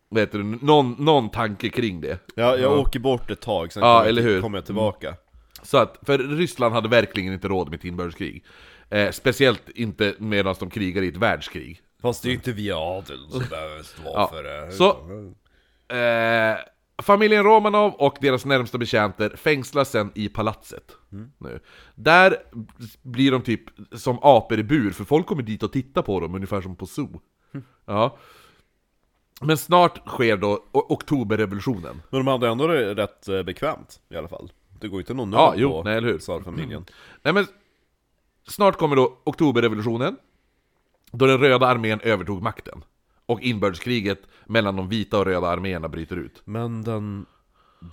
vad heter det, någon, någon tanke kring det. Ja, jag åker bort ett tag, sen Ja, kommer jag- eller hur? kommer jag tillbaka. Så att, för Ryssland hade verkligen inte råd med ett inbördeskrig. Eh, speciellt inte medan de krigar i ett världskrig. Fast det är ju inte via adeln som behöver stå Mm. Ja, för det. så- Eh, familjen Romanov och deras närmsta betjänter fängslas sen i palatset. Nu. Där blir de typ som apor i bur, för folk kommer dit och tittar på dem, ungefär som på zoo. Ja. Men snart sker då o- oktoberrevolutionen. Men de hade ändå det rätt eh, bekvämt i alla fall. Det går ju inte någon nöd Ja, jo, på nej, eller hur. Mm. tsarfamiljen. Nej men, snart kommer då oktoberrevolutionen, då den röda armén övertog makten. Och inbördeskriget mellan de vita och röda arméerna bryter ut. Men den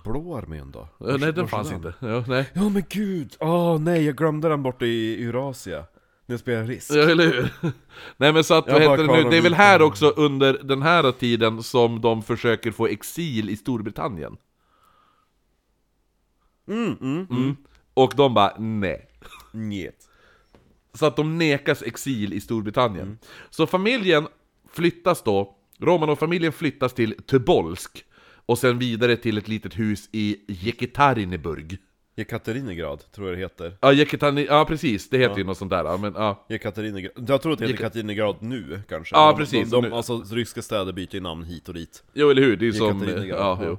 blå armén då? Eh, nej, den fanns inte. Ja, nej. Ja men gud! Åh nej, jag glömde den borta i Eurasia. När jag spelade risk. Ja, eller hur? Nej men så att, Jag vad bara heter det nu? kollar Det är väl lite. här också under den här tiden som de försöker få exil i Storbritannien? Mm, Mm, Och de bara nej. Njet. Så att de nekas exil i Storbritannien. Mm. Så familjen flyttas då, Romanov-familjen flyttas till Tubolsk och sen vidare till ett litet hus i Jekaterinburg. Jekaterinegrad, tror jag det heter. Ja, Jekatani, ja precis, det heter ju något sånt där. Ja, men, ja. Jekaterinegrad. Jag tror att det heter Jeka- Jekaterinegrad nu kanske. Ja, De- precis, De, de, nu. alltså ryska städer byter ju namn hit och dit. Jo, eller hur? Det är ju som... Jekaterinburg, Ja, ja. jo.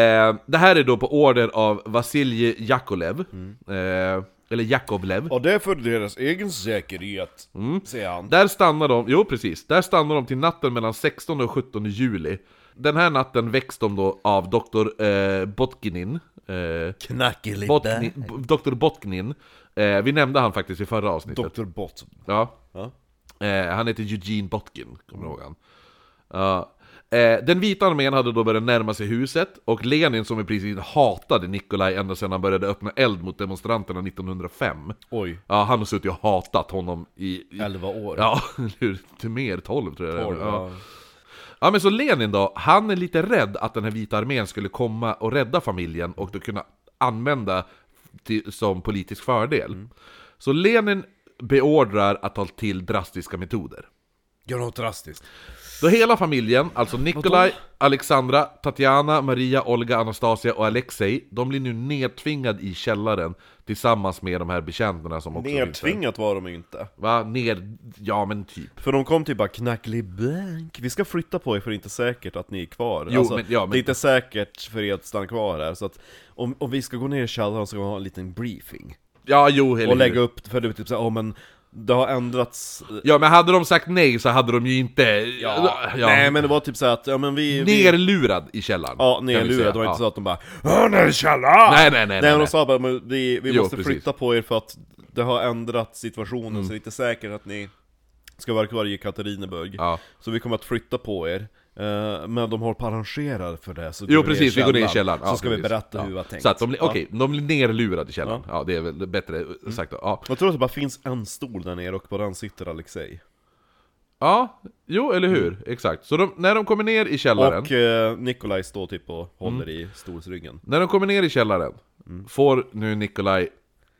Eh, det här är då på order av Vasilij Jakolev, Mm. eh, eller Jakovlev. Och det är för deras egen säkerhet, Mm. säger han. Där stannar de, jo precis, där stannar de till natten mellan 16 och 17 juli. Den här natten väcks de då av Dr. Eh, Botkinin. Eh, Knackig lite. Botni, B- Dr. Botknin. Eh, vi nämnde han faktiskt i förra avsnittet. Dr. Bot. Ja. Ja. Eh, han heter Eugene Botkin, kommer du ihåg han? Ja. Eh, den vita armén hade då börjat närma sig huset, och Lenin som i princip hatade Nikolaj ända sedan han började öppna eld mot demonstranterna 1905. Oj. Ja, han har suttit och hatat honom i... i 11 år. ja, eller hur? Till mer, 12 tror jag det är. 12, ja. ja, men så Lenin då, han är lite rädd att den här vita armén skulle komma och rädda familjen och då kunna använda till, som politisk fördel. Så Lenin beordrar att ta till drastiska metoder. Gör något drastiskt. Då hela familjen, alltså Nikolaj, Alexandra, Tatjana, Maria, Olga, Anastasia och Alexej, de blir nu nedtvingad i källaren tillsammans med de här betjänterna som också finns där. Nedtvingat var de ju inte. Va? Ned... Ja men typ. För de kom typ bara 'Knacklig blank, vi ska flytta på er för det är inte säkert att ni är kvar' Alltså, Jo, men- ja, men- Det är inte säkert för er att stanna kvar här, så att om, om vi ska gå ner i källaren så ska vi ha en liten briefing Ja jo, eller Och hur. lägga upp, för det är typ såhär, oh, men det har ändrats eh, Ja men hade de sagt nej så hade de ju inte... ja. Nej men det var typ såhär att, ja men vi... vi Nerlurad i källaren. ja, kan vi säga. nerlurade, det var Ja. inte så att de bara 'Åh, ner i källaren!' Nej, nej, nej, Nej, nej, de nej. sa bara men vi, vi Jo, måste precis. Mm. flytta på er för att det har ändrat situationen så det är inte säkert att ni ska vara kvar i Katarinaburg Ja. Så vi kommer att flytta på er Eh, Men de håller på att arrangera för det så går Jo vi precis, vi går ner i källaren. Så Ja, ska vi precis. berätta Ja. hur vi har tänkt Så att de blir, Ja. Mm. okej, de blir nerlurade i källaren. Ja. det är väl bättre sagt då. Ja. Jag tror att det bara finns en stol där nere och på den sitter Alexej ja, jo eller hur, exakt. Så de, när de kommer ner i källaren, Mm. Och eh, Nikolaj står typ och håller Mm. i stolsryggen när de kommer ner i källaren, Mm. får nu Nikolaj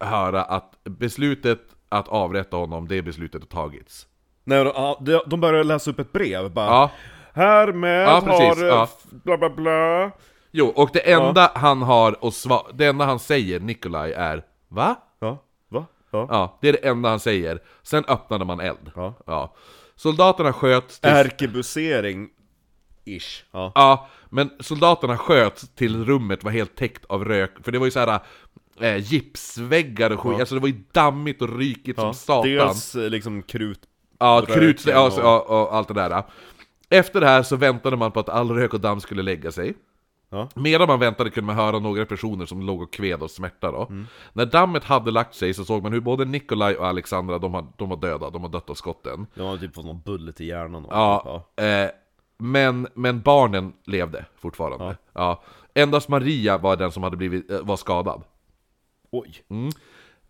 höra att beslutet att avrätta honom, det beslutet har tagits. Nej, de, ja, de- de börjar läsa upp ett brev bara Ja. Härmed Ja, precis, har... eh, ja. f- Bla bla bla Jo, och det enda han har att svara, det enda han säger, Nikolaj, är Va? Ja, va? Ja, Ja, det är det enda han säger. Sen öppnade man eld. Ja. Soldaterna sköts tills... Ärkebusering. Ish. Ja. Ja, men soldaterna sköts till rummet var helt täckt av rök, för det var ju så här eh, gipsväggar och skit, alltså det var ju dammigt och rykigt som satan. Dels eh, liksom krut... Ja, Röken krut, ja, och- så- ja, och allt det där. Efter det här så väntade man på att all rök och damm skulle lägga sig. Ja. Medan man väntade kunde man höra några personer som låg och kved av smärta då. Mm. När dammet hade lagt sig så såg man hur både Nikolaj och Alexandra, de har, de var döda, de har dött av skotten. De har typ fått någon bullet i hjärnan. och- Ja, Eh, men, men barnen levde fortfarande. Ja. Endast Maria var den som hade blivit, eh, var skadad. Oj.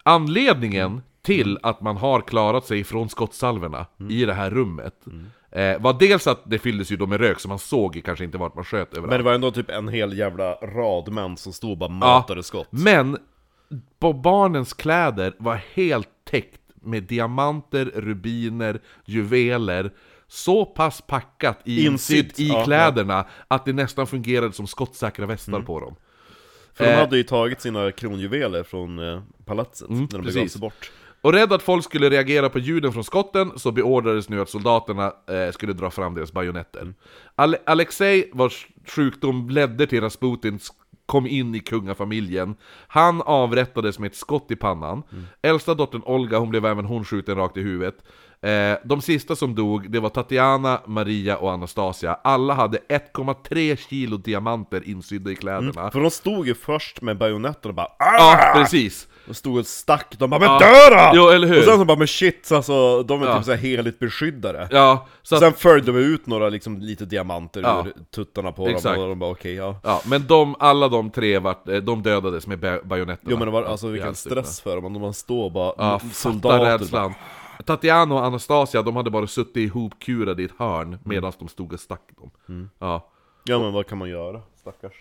Anledningen till att man har klarat sig från skottsalverna i det här rummet eh, var dels att det fylldes ju då med rök så man såg ju kanske inte vart man sköt överallt. Men det var ändå typ en hel jävla rad män som stod och bara matade skott. Men på barnens kläder var helt täckt med diamanter, rubiner, juveler så pass packat i- Insytt, insytt i ja, ja. kläderna att det nästan fungerade som skottsäkra västar Mm. på dem. För de eh. hade ju tagit sina kronjuveler från eh, palatset när de begav Mm, precis. sig bort. Och rädd att folk skulle reagera på ljuden från skotten så beordrades nu att soldaterna eh, skulle dra fram deras bajonetter. Ale- Alexej, vars sjukdom ledde till Rasputin, sk- kom in i kungafamiljen. Han avrättades med ett skott i pannan. Mm. Äldsta dottern Olga, hon blev även hon skjuten rakt i huvudet. Eh, de sista som dog, det var Tatiana, Maria och Anastasia. Alla hade 1,3 kilo diamanter insydda i kläderna. För de stod ju först med bajonetten och bara "Ah!" Ja, precis! De stod och stack, de bara 'Men Ja. dö då!' Jo, eller hur? Och sen så bara 'Men shit, alltså, de är Ja. typ så här heligt beskyddare' Ja, så att- Sen följde de ut några liksom, lite diamanter Ja. ur tuttarna på Exakt. dem och de bara okej, ja Ja, men de, alla de tre vart, eh, de dödades med ba- bajonetterna. Jo men det var, alltså Ja, vilken jävligt stress Mm, för dem, om man står och bara Ja, fatta rädslan. Tatiana och Anastasia, de hade bara suttit ihopkurade i ett hörn Mm. medan de stod och stack dem. Ja, Ja men vad kan man göra, stackars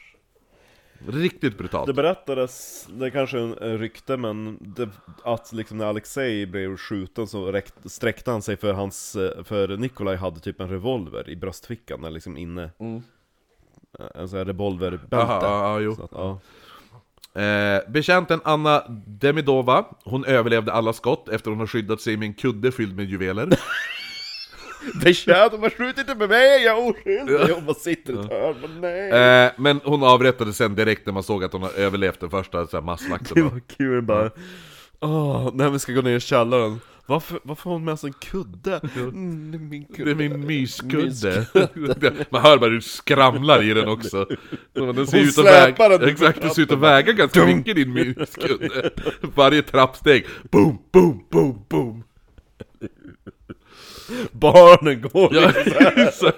riktigt brutalt. Det berättades, det är kanske är en en rykte men, det, att liksom när Alexej blev skjuten så räckte, sträckte han sig för hans, eh, för Nikolaj hade typ en revolver i bröstfickan, eller liksom inne Eh, alltså, En sån här Aha, revolverbälte ja, ja, jo. Så att, ja. Eh, betjänten Anna Demidova, hon överlevde alla skott efter hon har skyddat sig med en kudde fylld med juveler. Det är kärt, de har skjutit inte med mig, jag är oskyldig! Jag bara sitter i ett hörn, men nej! eh, men hon avrättades sen direkt när man såg att hon har överlevt den första så här, masslakten. Det var kul bara Åh, när vi ska gå ner i källaren Varför, varför har hon med sig en kudde? Mm, det är min Det är kudde min myskudde. Man hör bara hur du skramlar i den också. Den ser Hon ut att släpar väga, den exakt, den ser ut att väga ganska mycket din myskudde. Varje trappsteg. Boom, boom, boom, boom. Barnen går Ja, så-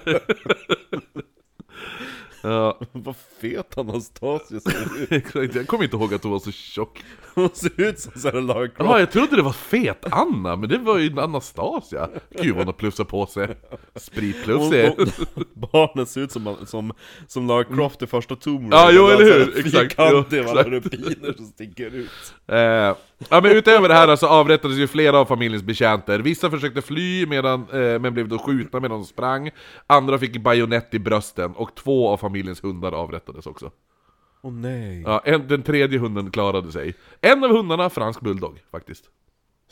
ja Vad fet Anastasia ser ut! exakt. Jag kommer inte ihåg att hon var så tjock. Hon ser ut som Sarah Lagercroft! Ja, jag trodde det var fet-Anna, men det var ju Anastasia. Gud vad hon har plussat på sig. Hon, Spritplufsig. hon, barnen ser ut som, som, som Lara Croft i första Tomb Raider Ja, jo, Med eller alla hur? så här Exakt, Fyrkantiga jo, alla exakt. rubiner som sticker ut Eh, ja, men utöver det här så alltså, avrättades ju flera av familjens betjänter. Vissa försökte fly medan, eh, men blev då skjutna medan de sprang. Andra fick bajonett i brösten och två av familjens hundar avrättades också. Åh nej! Ja, en, den tredje hunden klarade sig. En av hundarna, fransk bulldog faktiskt.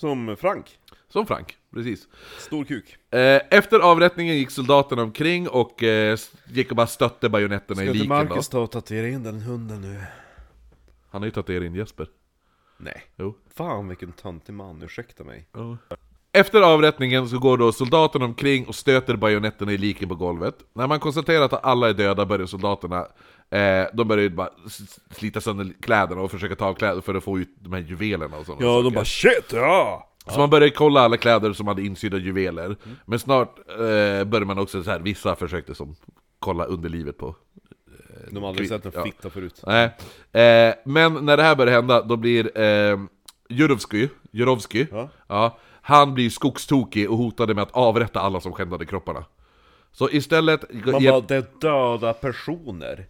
Som Frank, Som Frank, precis. stor kuk Eh, efter avrättningen gick soldaterna omkring och eh, s- gick och bara stötte bajonetterna i Ska inte liken Marcus då. ta och tatuera in den hunden nu? Han har ju tatuerat in Jesper. Nej Jo. Fan vilken töntig man, ursäkta mig Efter avrättningen så går då soldaterna omkring och stöter bajonetterna i liken på golvet. När man konstaterar att alla är döda börjar soldaterna eh, de börjar ju bara s- s- slita sönder kläderna och försöka ta av kläder för att få ut de här juvelerna och sådana saker. shit ja! Så man börjar kolla alla kläder som hade insydda juveler. Men snart eh, börjar man också så här, vissa försökte som kolla underlivet på De har aldrig sett en Ja. fitta förut Nej. Eh, men när det här börjar hända, då blir eh, Jurovsky, Jurovsky ja. han blir skogstokig och hotade med att avrätta alla som skändade kropparna. Så istället... Man ge- bara, det är döda personer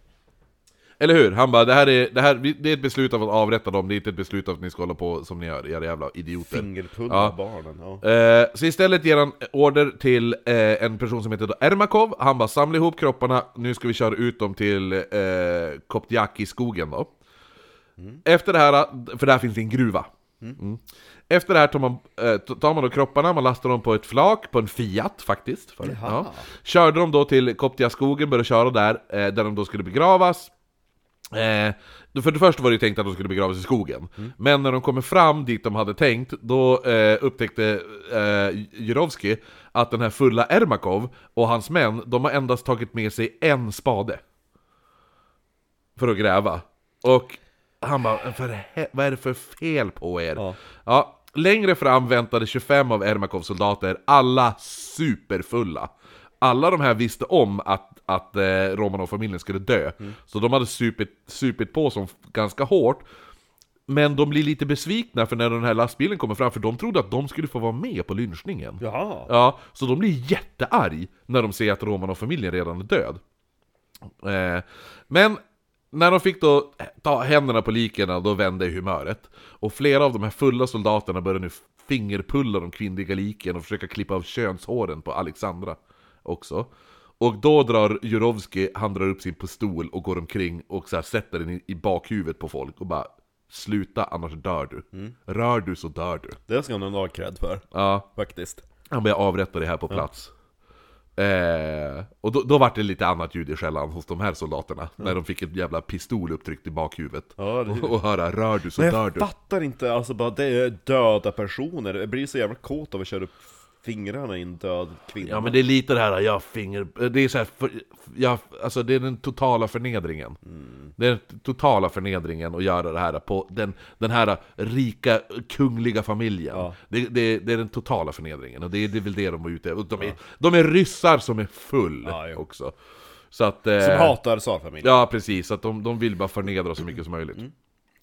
Eller hur? Han bara, det här, är, det här vi- det är ett beslut av att avrätta dem, det är inte ett beslut av att ni ska hålla på som ni gör, era jävla idioter. Fingerpullar Ja. barnen, ja Eh, så istället ger han order till eh, en person som heter då Ermakov, han bara samla ihop kropparna, nu ska vi köra ut dem till eh, Koptjaki-skogen då. Efter det här, för där finns det en gruva. Mm. Efter det här tar man, eh, t- tar man då kropparna, man lastar dem på ett flak, på en Fiat faktiskt. För, ja. Körde dem då till Koptiaskogen, började köra där, eh, där de då skulle begravas. Eh, då- för det första var det ju tänkt att de skulle begravas i skogen. Men när de kommer fram dit de hade tänkt, då eh, upptäckte eh, Jurovski att den här fulla Ermakov och hans män, de har endast tagit med sig en spade. För att gräva. Och han bara, för he- vad är det för fel på er? Ja. längre fram väntade 25 av Ermakovs soldater, alla superfulla. Alla de här visste om att, att eh, Romanov-familjen skulle dö, så de hade supit, supit på som f- ganska hårt. Men de blir lite besvikna för när den här lastbilen kommer fram, för de trodde att de skulle få vara med på lynchningen. Jaha. Ja, så de blir jättearg när de ser att Romanov-familjen redan är död. Eh, men när de fick då eh, ta händerna på liken, då vände humöret. Och flera av de här fulla soldaterna började nu fingerpulla de kvinnliga liken och försöka klippa av könshåren på Alexandra också. Och då drar Jurovski, han drar upp sin pistol och går omkring och så här sätter den i, i bakhuvudet på folk och bara Sluta annars dör du. Rör du så dör du. Det ska han ha cred för, Ja. faktiskt. Han började avrätta det här på plats. Eh, och då, då var det lite annat ljud i skällan hos de här soldaterna. När de fick ett jävla pistol upptryckt i bakhuvudet. Ja, det- och, och höra 'Rör du så Men dör jag du' fattar inte, alltså bara det är döda personer. Jag blir så jävla kåt av att köra upp fingrarna i en död kvinna. Ja men det är lite det här, jag finger... Eh, Det är så här, för, jag, alltså det är den totala förnedringen. Mm. Det är den totala förnedringen att göra det här på den, den här rika, kungliga familjen. Det, det, det är den totala förnedringen, och det, är- det är väl det de var ute efter. Och De, är, de är ryssar som är full Ja, jo. också. Så att, eh, Som hatar tsarfamiljen. Ja, precis. Så Att de, de vill bara förnedra så mycket som möjligt.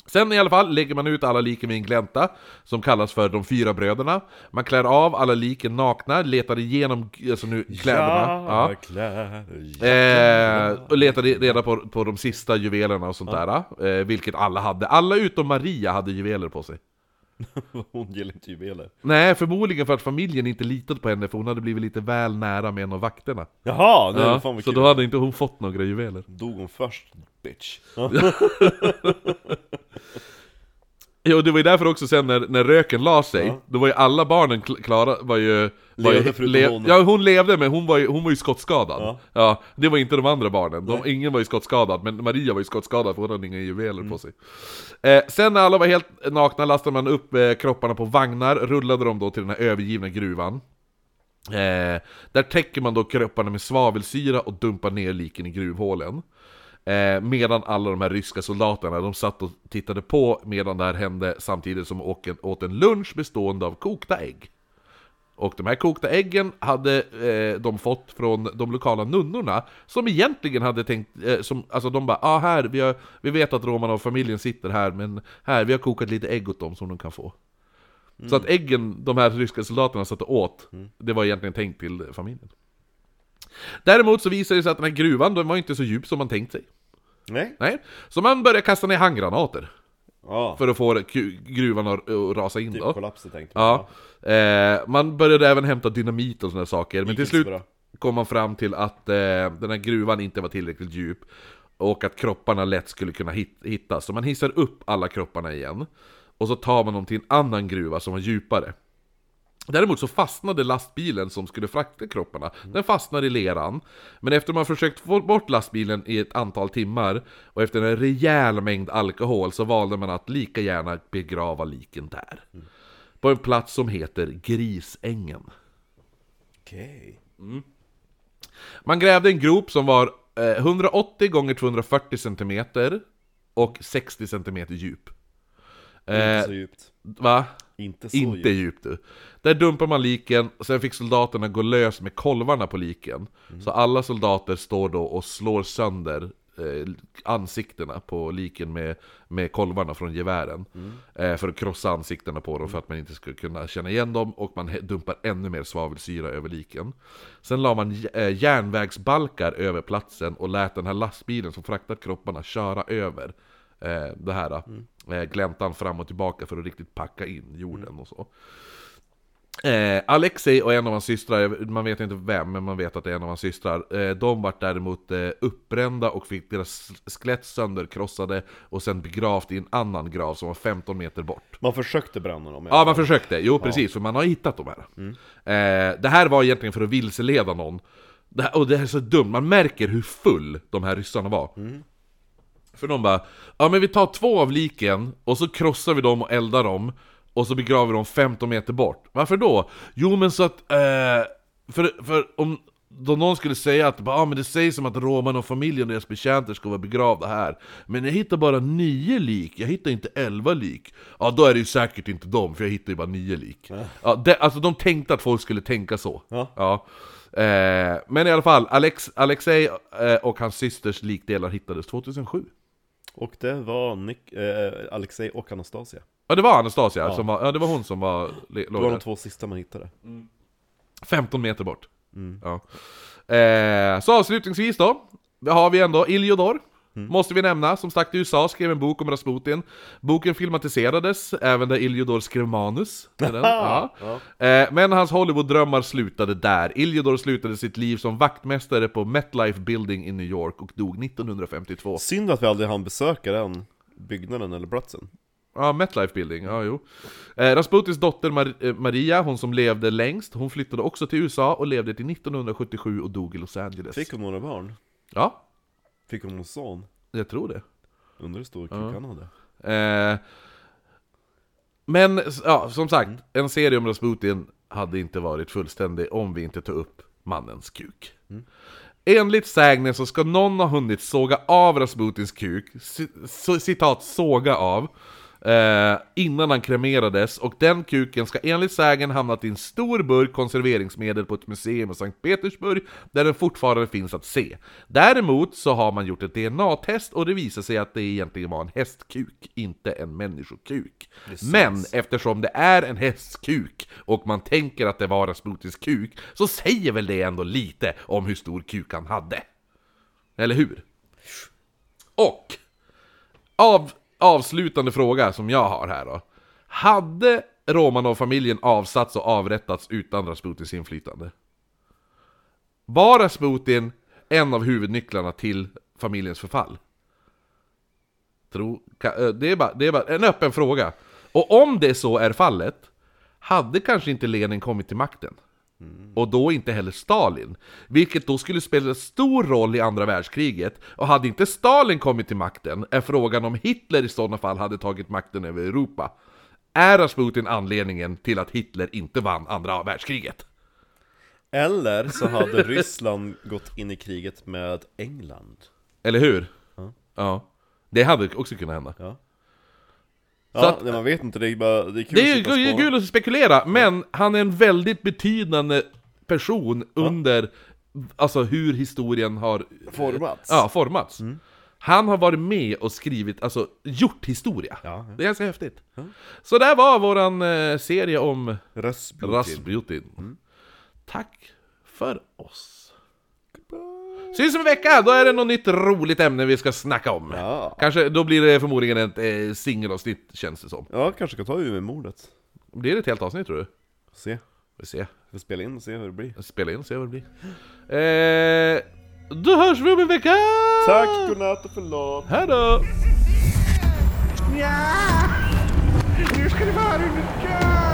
Sen i alla fall lägger man ut alla liken vid en glänta, som kallas för de fyra bröderna. Man klär av alla liken nakna, letar igenom alltså nu, kläderna. Ja. kläder. Eh, och letade reda på, på de sista juvelerna och sånt där. Eh, vilket alla hade. Alla utom Maria hade juveler på sig. Hon gillar inte juveler. Nej, förmodligen för att familjen inte litade på henne, för hon hade blivit lite väl nära med en av vakterna. Jaha, nu Ja, fan vad så kul. då hade inte hon fått några juveler. Dog hon först, bitch. Ja, och det var ju därför också sen när, när röken la sig, då var ju alla barnen kl- klara, var ju... Var Levde ju, förutom hon. Ja, hon levde men hon var ju, hon var ju skottskadad. Ja. Ja. det var inte de andra barnen. De, ingen var ju skottskadad, men Maria var ju skottskadad för hon hade inga juveler Mm. på sig. Eh, sen när alla var helt nakna lastade man upp eh, kropparna på vagnar, rullade dem då till den här övergivna gruvan. Eh, där täcker man då kropparna med svavelsyra och dumpar ner liken i gruvhålen. Eh, medan alla de här ryska soldaterna, de satt och tittade på medan det här hände samtidigt som åt en, åt en lunch bestående av kokta ägg. Och de här kokta äggen hade eh, de fått från de lokala nunnorna Som egentligen hade tänkt, eh, som, alltså de bara ah, här, vi, har, vi vet att Romanov-familjen sitter här men här, vi har kokat lite ägg åt dem som de kan få Så att äggen de här ryska soldaterna satt och åt, det var egentligen tänkt till familjen Däremot så visade det sig att den här gruvan, den var inte så djup som man tänkt sig Nej? Nej, så man började kasta ner handgranater Ja, För att få ku- gruvan att eh, att rasa in typ då kollapset tänkte jag. Ja. Eh, man började även hämta dynamit och sådana saker, men Gick till inte slut så bra. kom man fram till att eh, den här gruvan inte var tillräckligt djup och att kropparna lätt skulle kunna hit- hittas. Så man hissar upp alla kropparna igen och så tar man dem till en annan gruva som var djupare. Däremot så fastnade lastbilen som skulle frakta kropparna, den fastnade i leran. Men efter man försökt få bort lastbilen i ett antal timmar och efter en rejäl mängd alkohol så valde man att lika gärna begrava liken där. På en plats som heter Grisängen. Okej. Man grävde en grop som var eh, 180 gånger 240 cm och 60 cm djup. Inte Eh, så djupt. va? Inte så Inte djupt. djupt du. Där dumpar man liken, och sen fick soldaterna gå lös med kolvarna på liken. Så alla soldater står då och slår sönder eh, ansiktena på liken med, med kolvarna från gevären. Eh, för att krossa ansiktena på dem för att man inte ska kunna känna igen dem. Och man he- dumpar ännu mer svavelsyra över liken. Sen la man j- eh, järnvägsbalkar över platsen och lät den här lastbilen som fraktat kropparna köra över eh, det här eh, gläntan fram och tillbaka för att riktigt packa in jorden och så. Eh, Alexei och en av hans systrar, man vet inte vem, men man vet att det är en av hans systrar. Eh, de vart däremot eh, uppbrända och fick deras skelett sönderkrossade och sen begravt i en annan grav som var 15 meter bort. Man försökte bränna dem i Ja, alla man fall. försökte. Jo, precis, för man har hittat de här. Eh, det här var egentligen för att vilseleda någon. Det här, och det här är så dumt, man märker hur full de här ryssarna var. För de bara, ja men vi tar två av liken och så krossar vi dem och eldar dem och så begraver vi dem 15 meter bort. Varför då? Jo men så att, eh, för, för om då någon skulle säga att bara, ah, men det sägs som att roman och familjen och deras betjänter ska vara begravda här Men jag hittar bara nio lik, jag hittar inte elva lik Ja då är det ju säkert inte dem, för jag hittar ju bara nio lik ja, det, Alltså de tänkte att folk skulle tänka så Ja. Ja. Eh, men i alla fall, Alex, Alexei eh, och hans systers likdelar hittades 2007 Och det var Nick, eh, Alexej och Anastasia. Ja det var Anastasia, som var, ja det var hon som var, le- Det låg var de där. två sista man hittade. 15 meter bort Mm. ja. eh, Så avslutningsvis då, där har vi ändå Iljodor Mm. Måste vi nämna, som stack till USA, skrev en bok om Rasputin Boken filmatiserades, även där Iljodor skrev manus till den. Ja. Eh, Men hans Hollywood-drömmar slutade där Iljodor slutade sitt liv som vaktmästare på MetLife Building i New York och dog 1952 Synd att vi aldrig hann besöka den byggnaden eller platsen. Ja, MetLife Building, ja jo. Eh, Rasputins dotter Mar eh, Maria, hon som levde längst, hon flyttade också till USA och levde till 1977 och dog i Los Angeles. Fick hon några barn? Ja, Fick hon någon son? jag tror det. Undrar hur stor kuk han hade. Eh, men s- ja, som sagt, en serie om Rasputin hade inte varit fullständig om vi inte tog upp mannens kuk. Enligt sägnen så ska någon ha hunnit såga av Rasputins kuk, ci- så- citat såga av, eh, innan han kremerades och den kuken ska enligt sägen hamnat i en stor burk konserveringsmedel på ett museum i Sankt Petersburg där den fortfarande finns att se. Däremot så har man gjort ett DNA-test och det visar sig att det egentligen var en hästkuk, inte en människokuk. Men eftersom det är en hästkuk och man tänker att det var Rasputins kuk så säger väl det ändå lite om hur stor kuk han hade. Eller hur? Och av, avslutande fråga som jag har här då. Hade Romanov-familjen avsatts och avrättats utan Rasputins inflytande? Var Rasputin en av huvudnycklarna till familjens förfall? Tro, ka, ö, det, är bara, det är bara en öppen fråga. Och om det så är fallet, hade kanske inte Lenin kommit till makten? Och då inte heller Stalin, vilket då skulle spela stor roll i andra världskriget. Och hade inte Stalin kommit till makten är frågan om Hitler i sådana fall hade tagit makten över Europa. Är Rasputin anledningen till att Hitler inte vann andra världskriget? Eller så hade Ryssland gått in i kriget med England. Eller hur? Ja. Det hade också kunnat hända. Ja, Så att- nej, man vet inte, det är bara, det är kul Det är att ju sitta och det är spåna. kul att spekulera, men han är en väldigt betydande person under alltså hur historien har Formats. Mm. Ja, formats. Han har varit med och skrivit, alltså gjort historia. Det är ganska häftigt. Så där var våran eh, serie om Rasputin. Rasputin. Mm. Tack för oss. Syns om en vecka, då är det något nytt roligt ämne vi ska snacka om. Ja. Kanske, då blir det förmodligen ett eh, singelavsnitt känns det som. Ja, kanske kan ta Umeå-mordet. Blir det ett helt avsnitt tror du? Se. Vi får se. Vi spelar in och se hur det blir. Jag spelar in och ser vad det blir. Eh, då hörs vi om en vecka! Tack, godnatt och förlåt. Hejdå! Ja! Nu ska det vara en skål!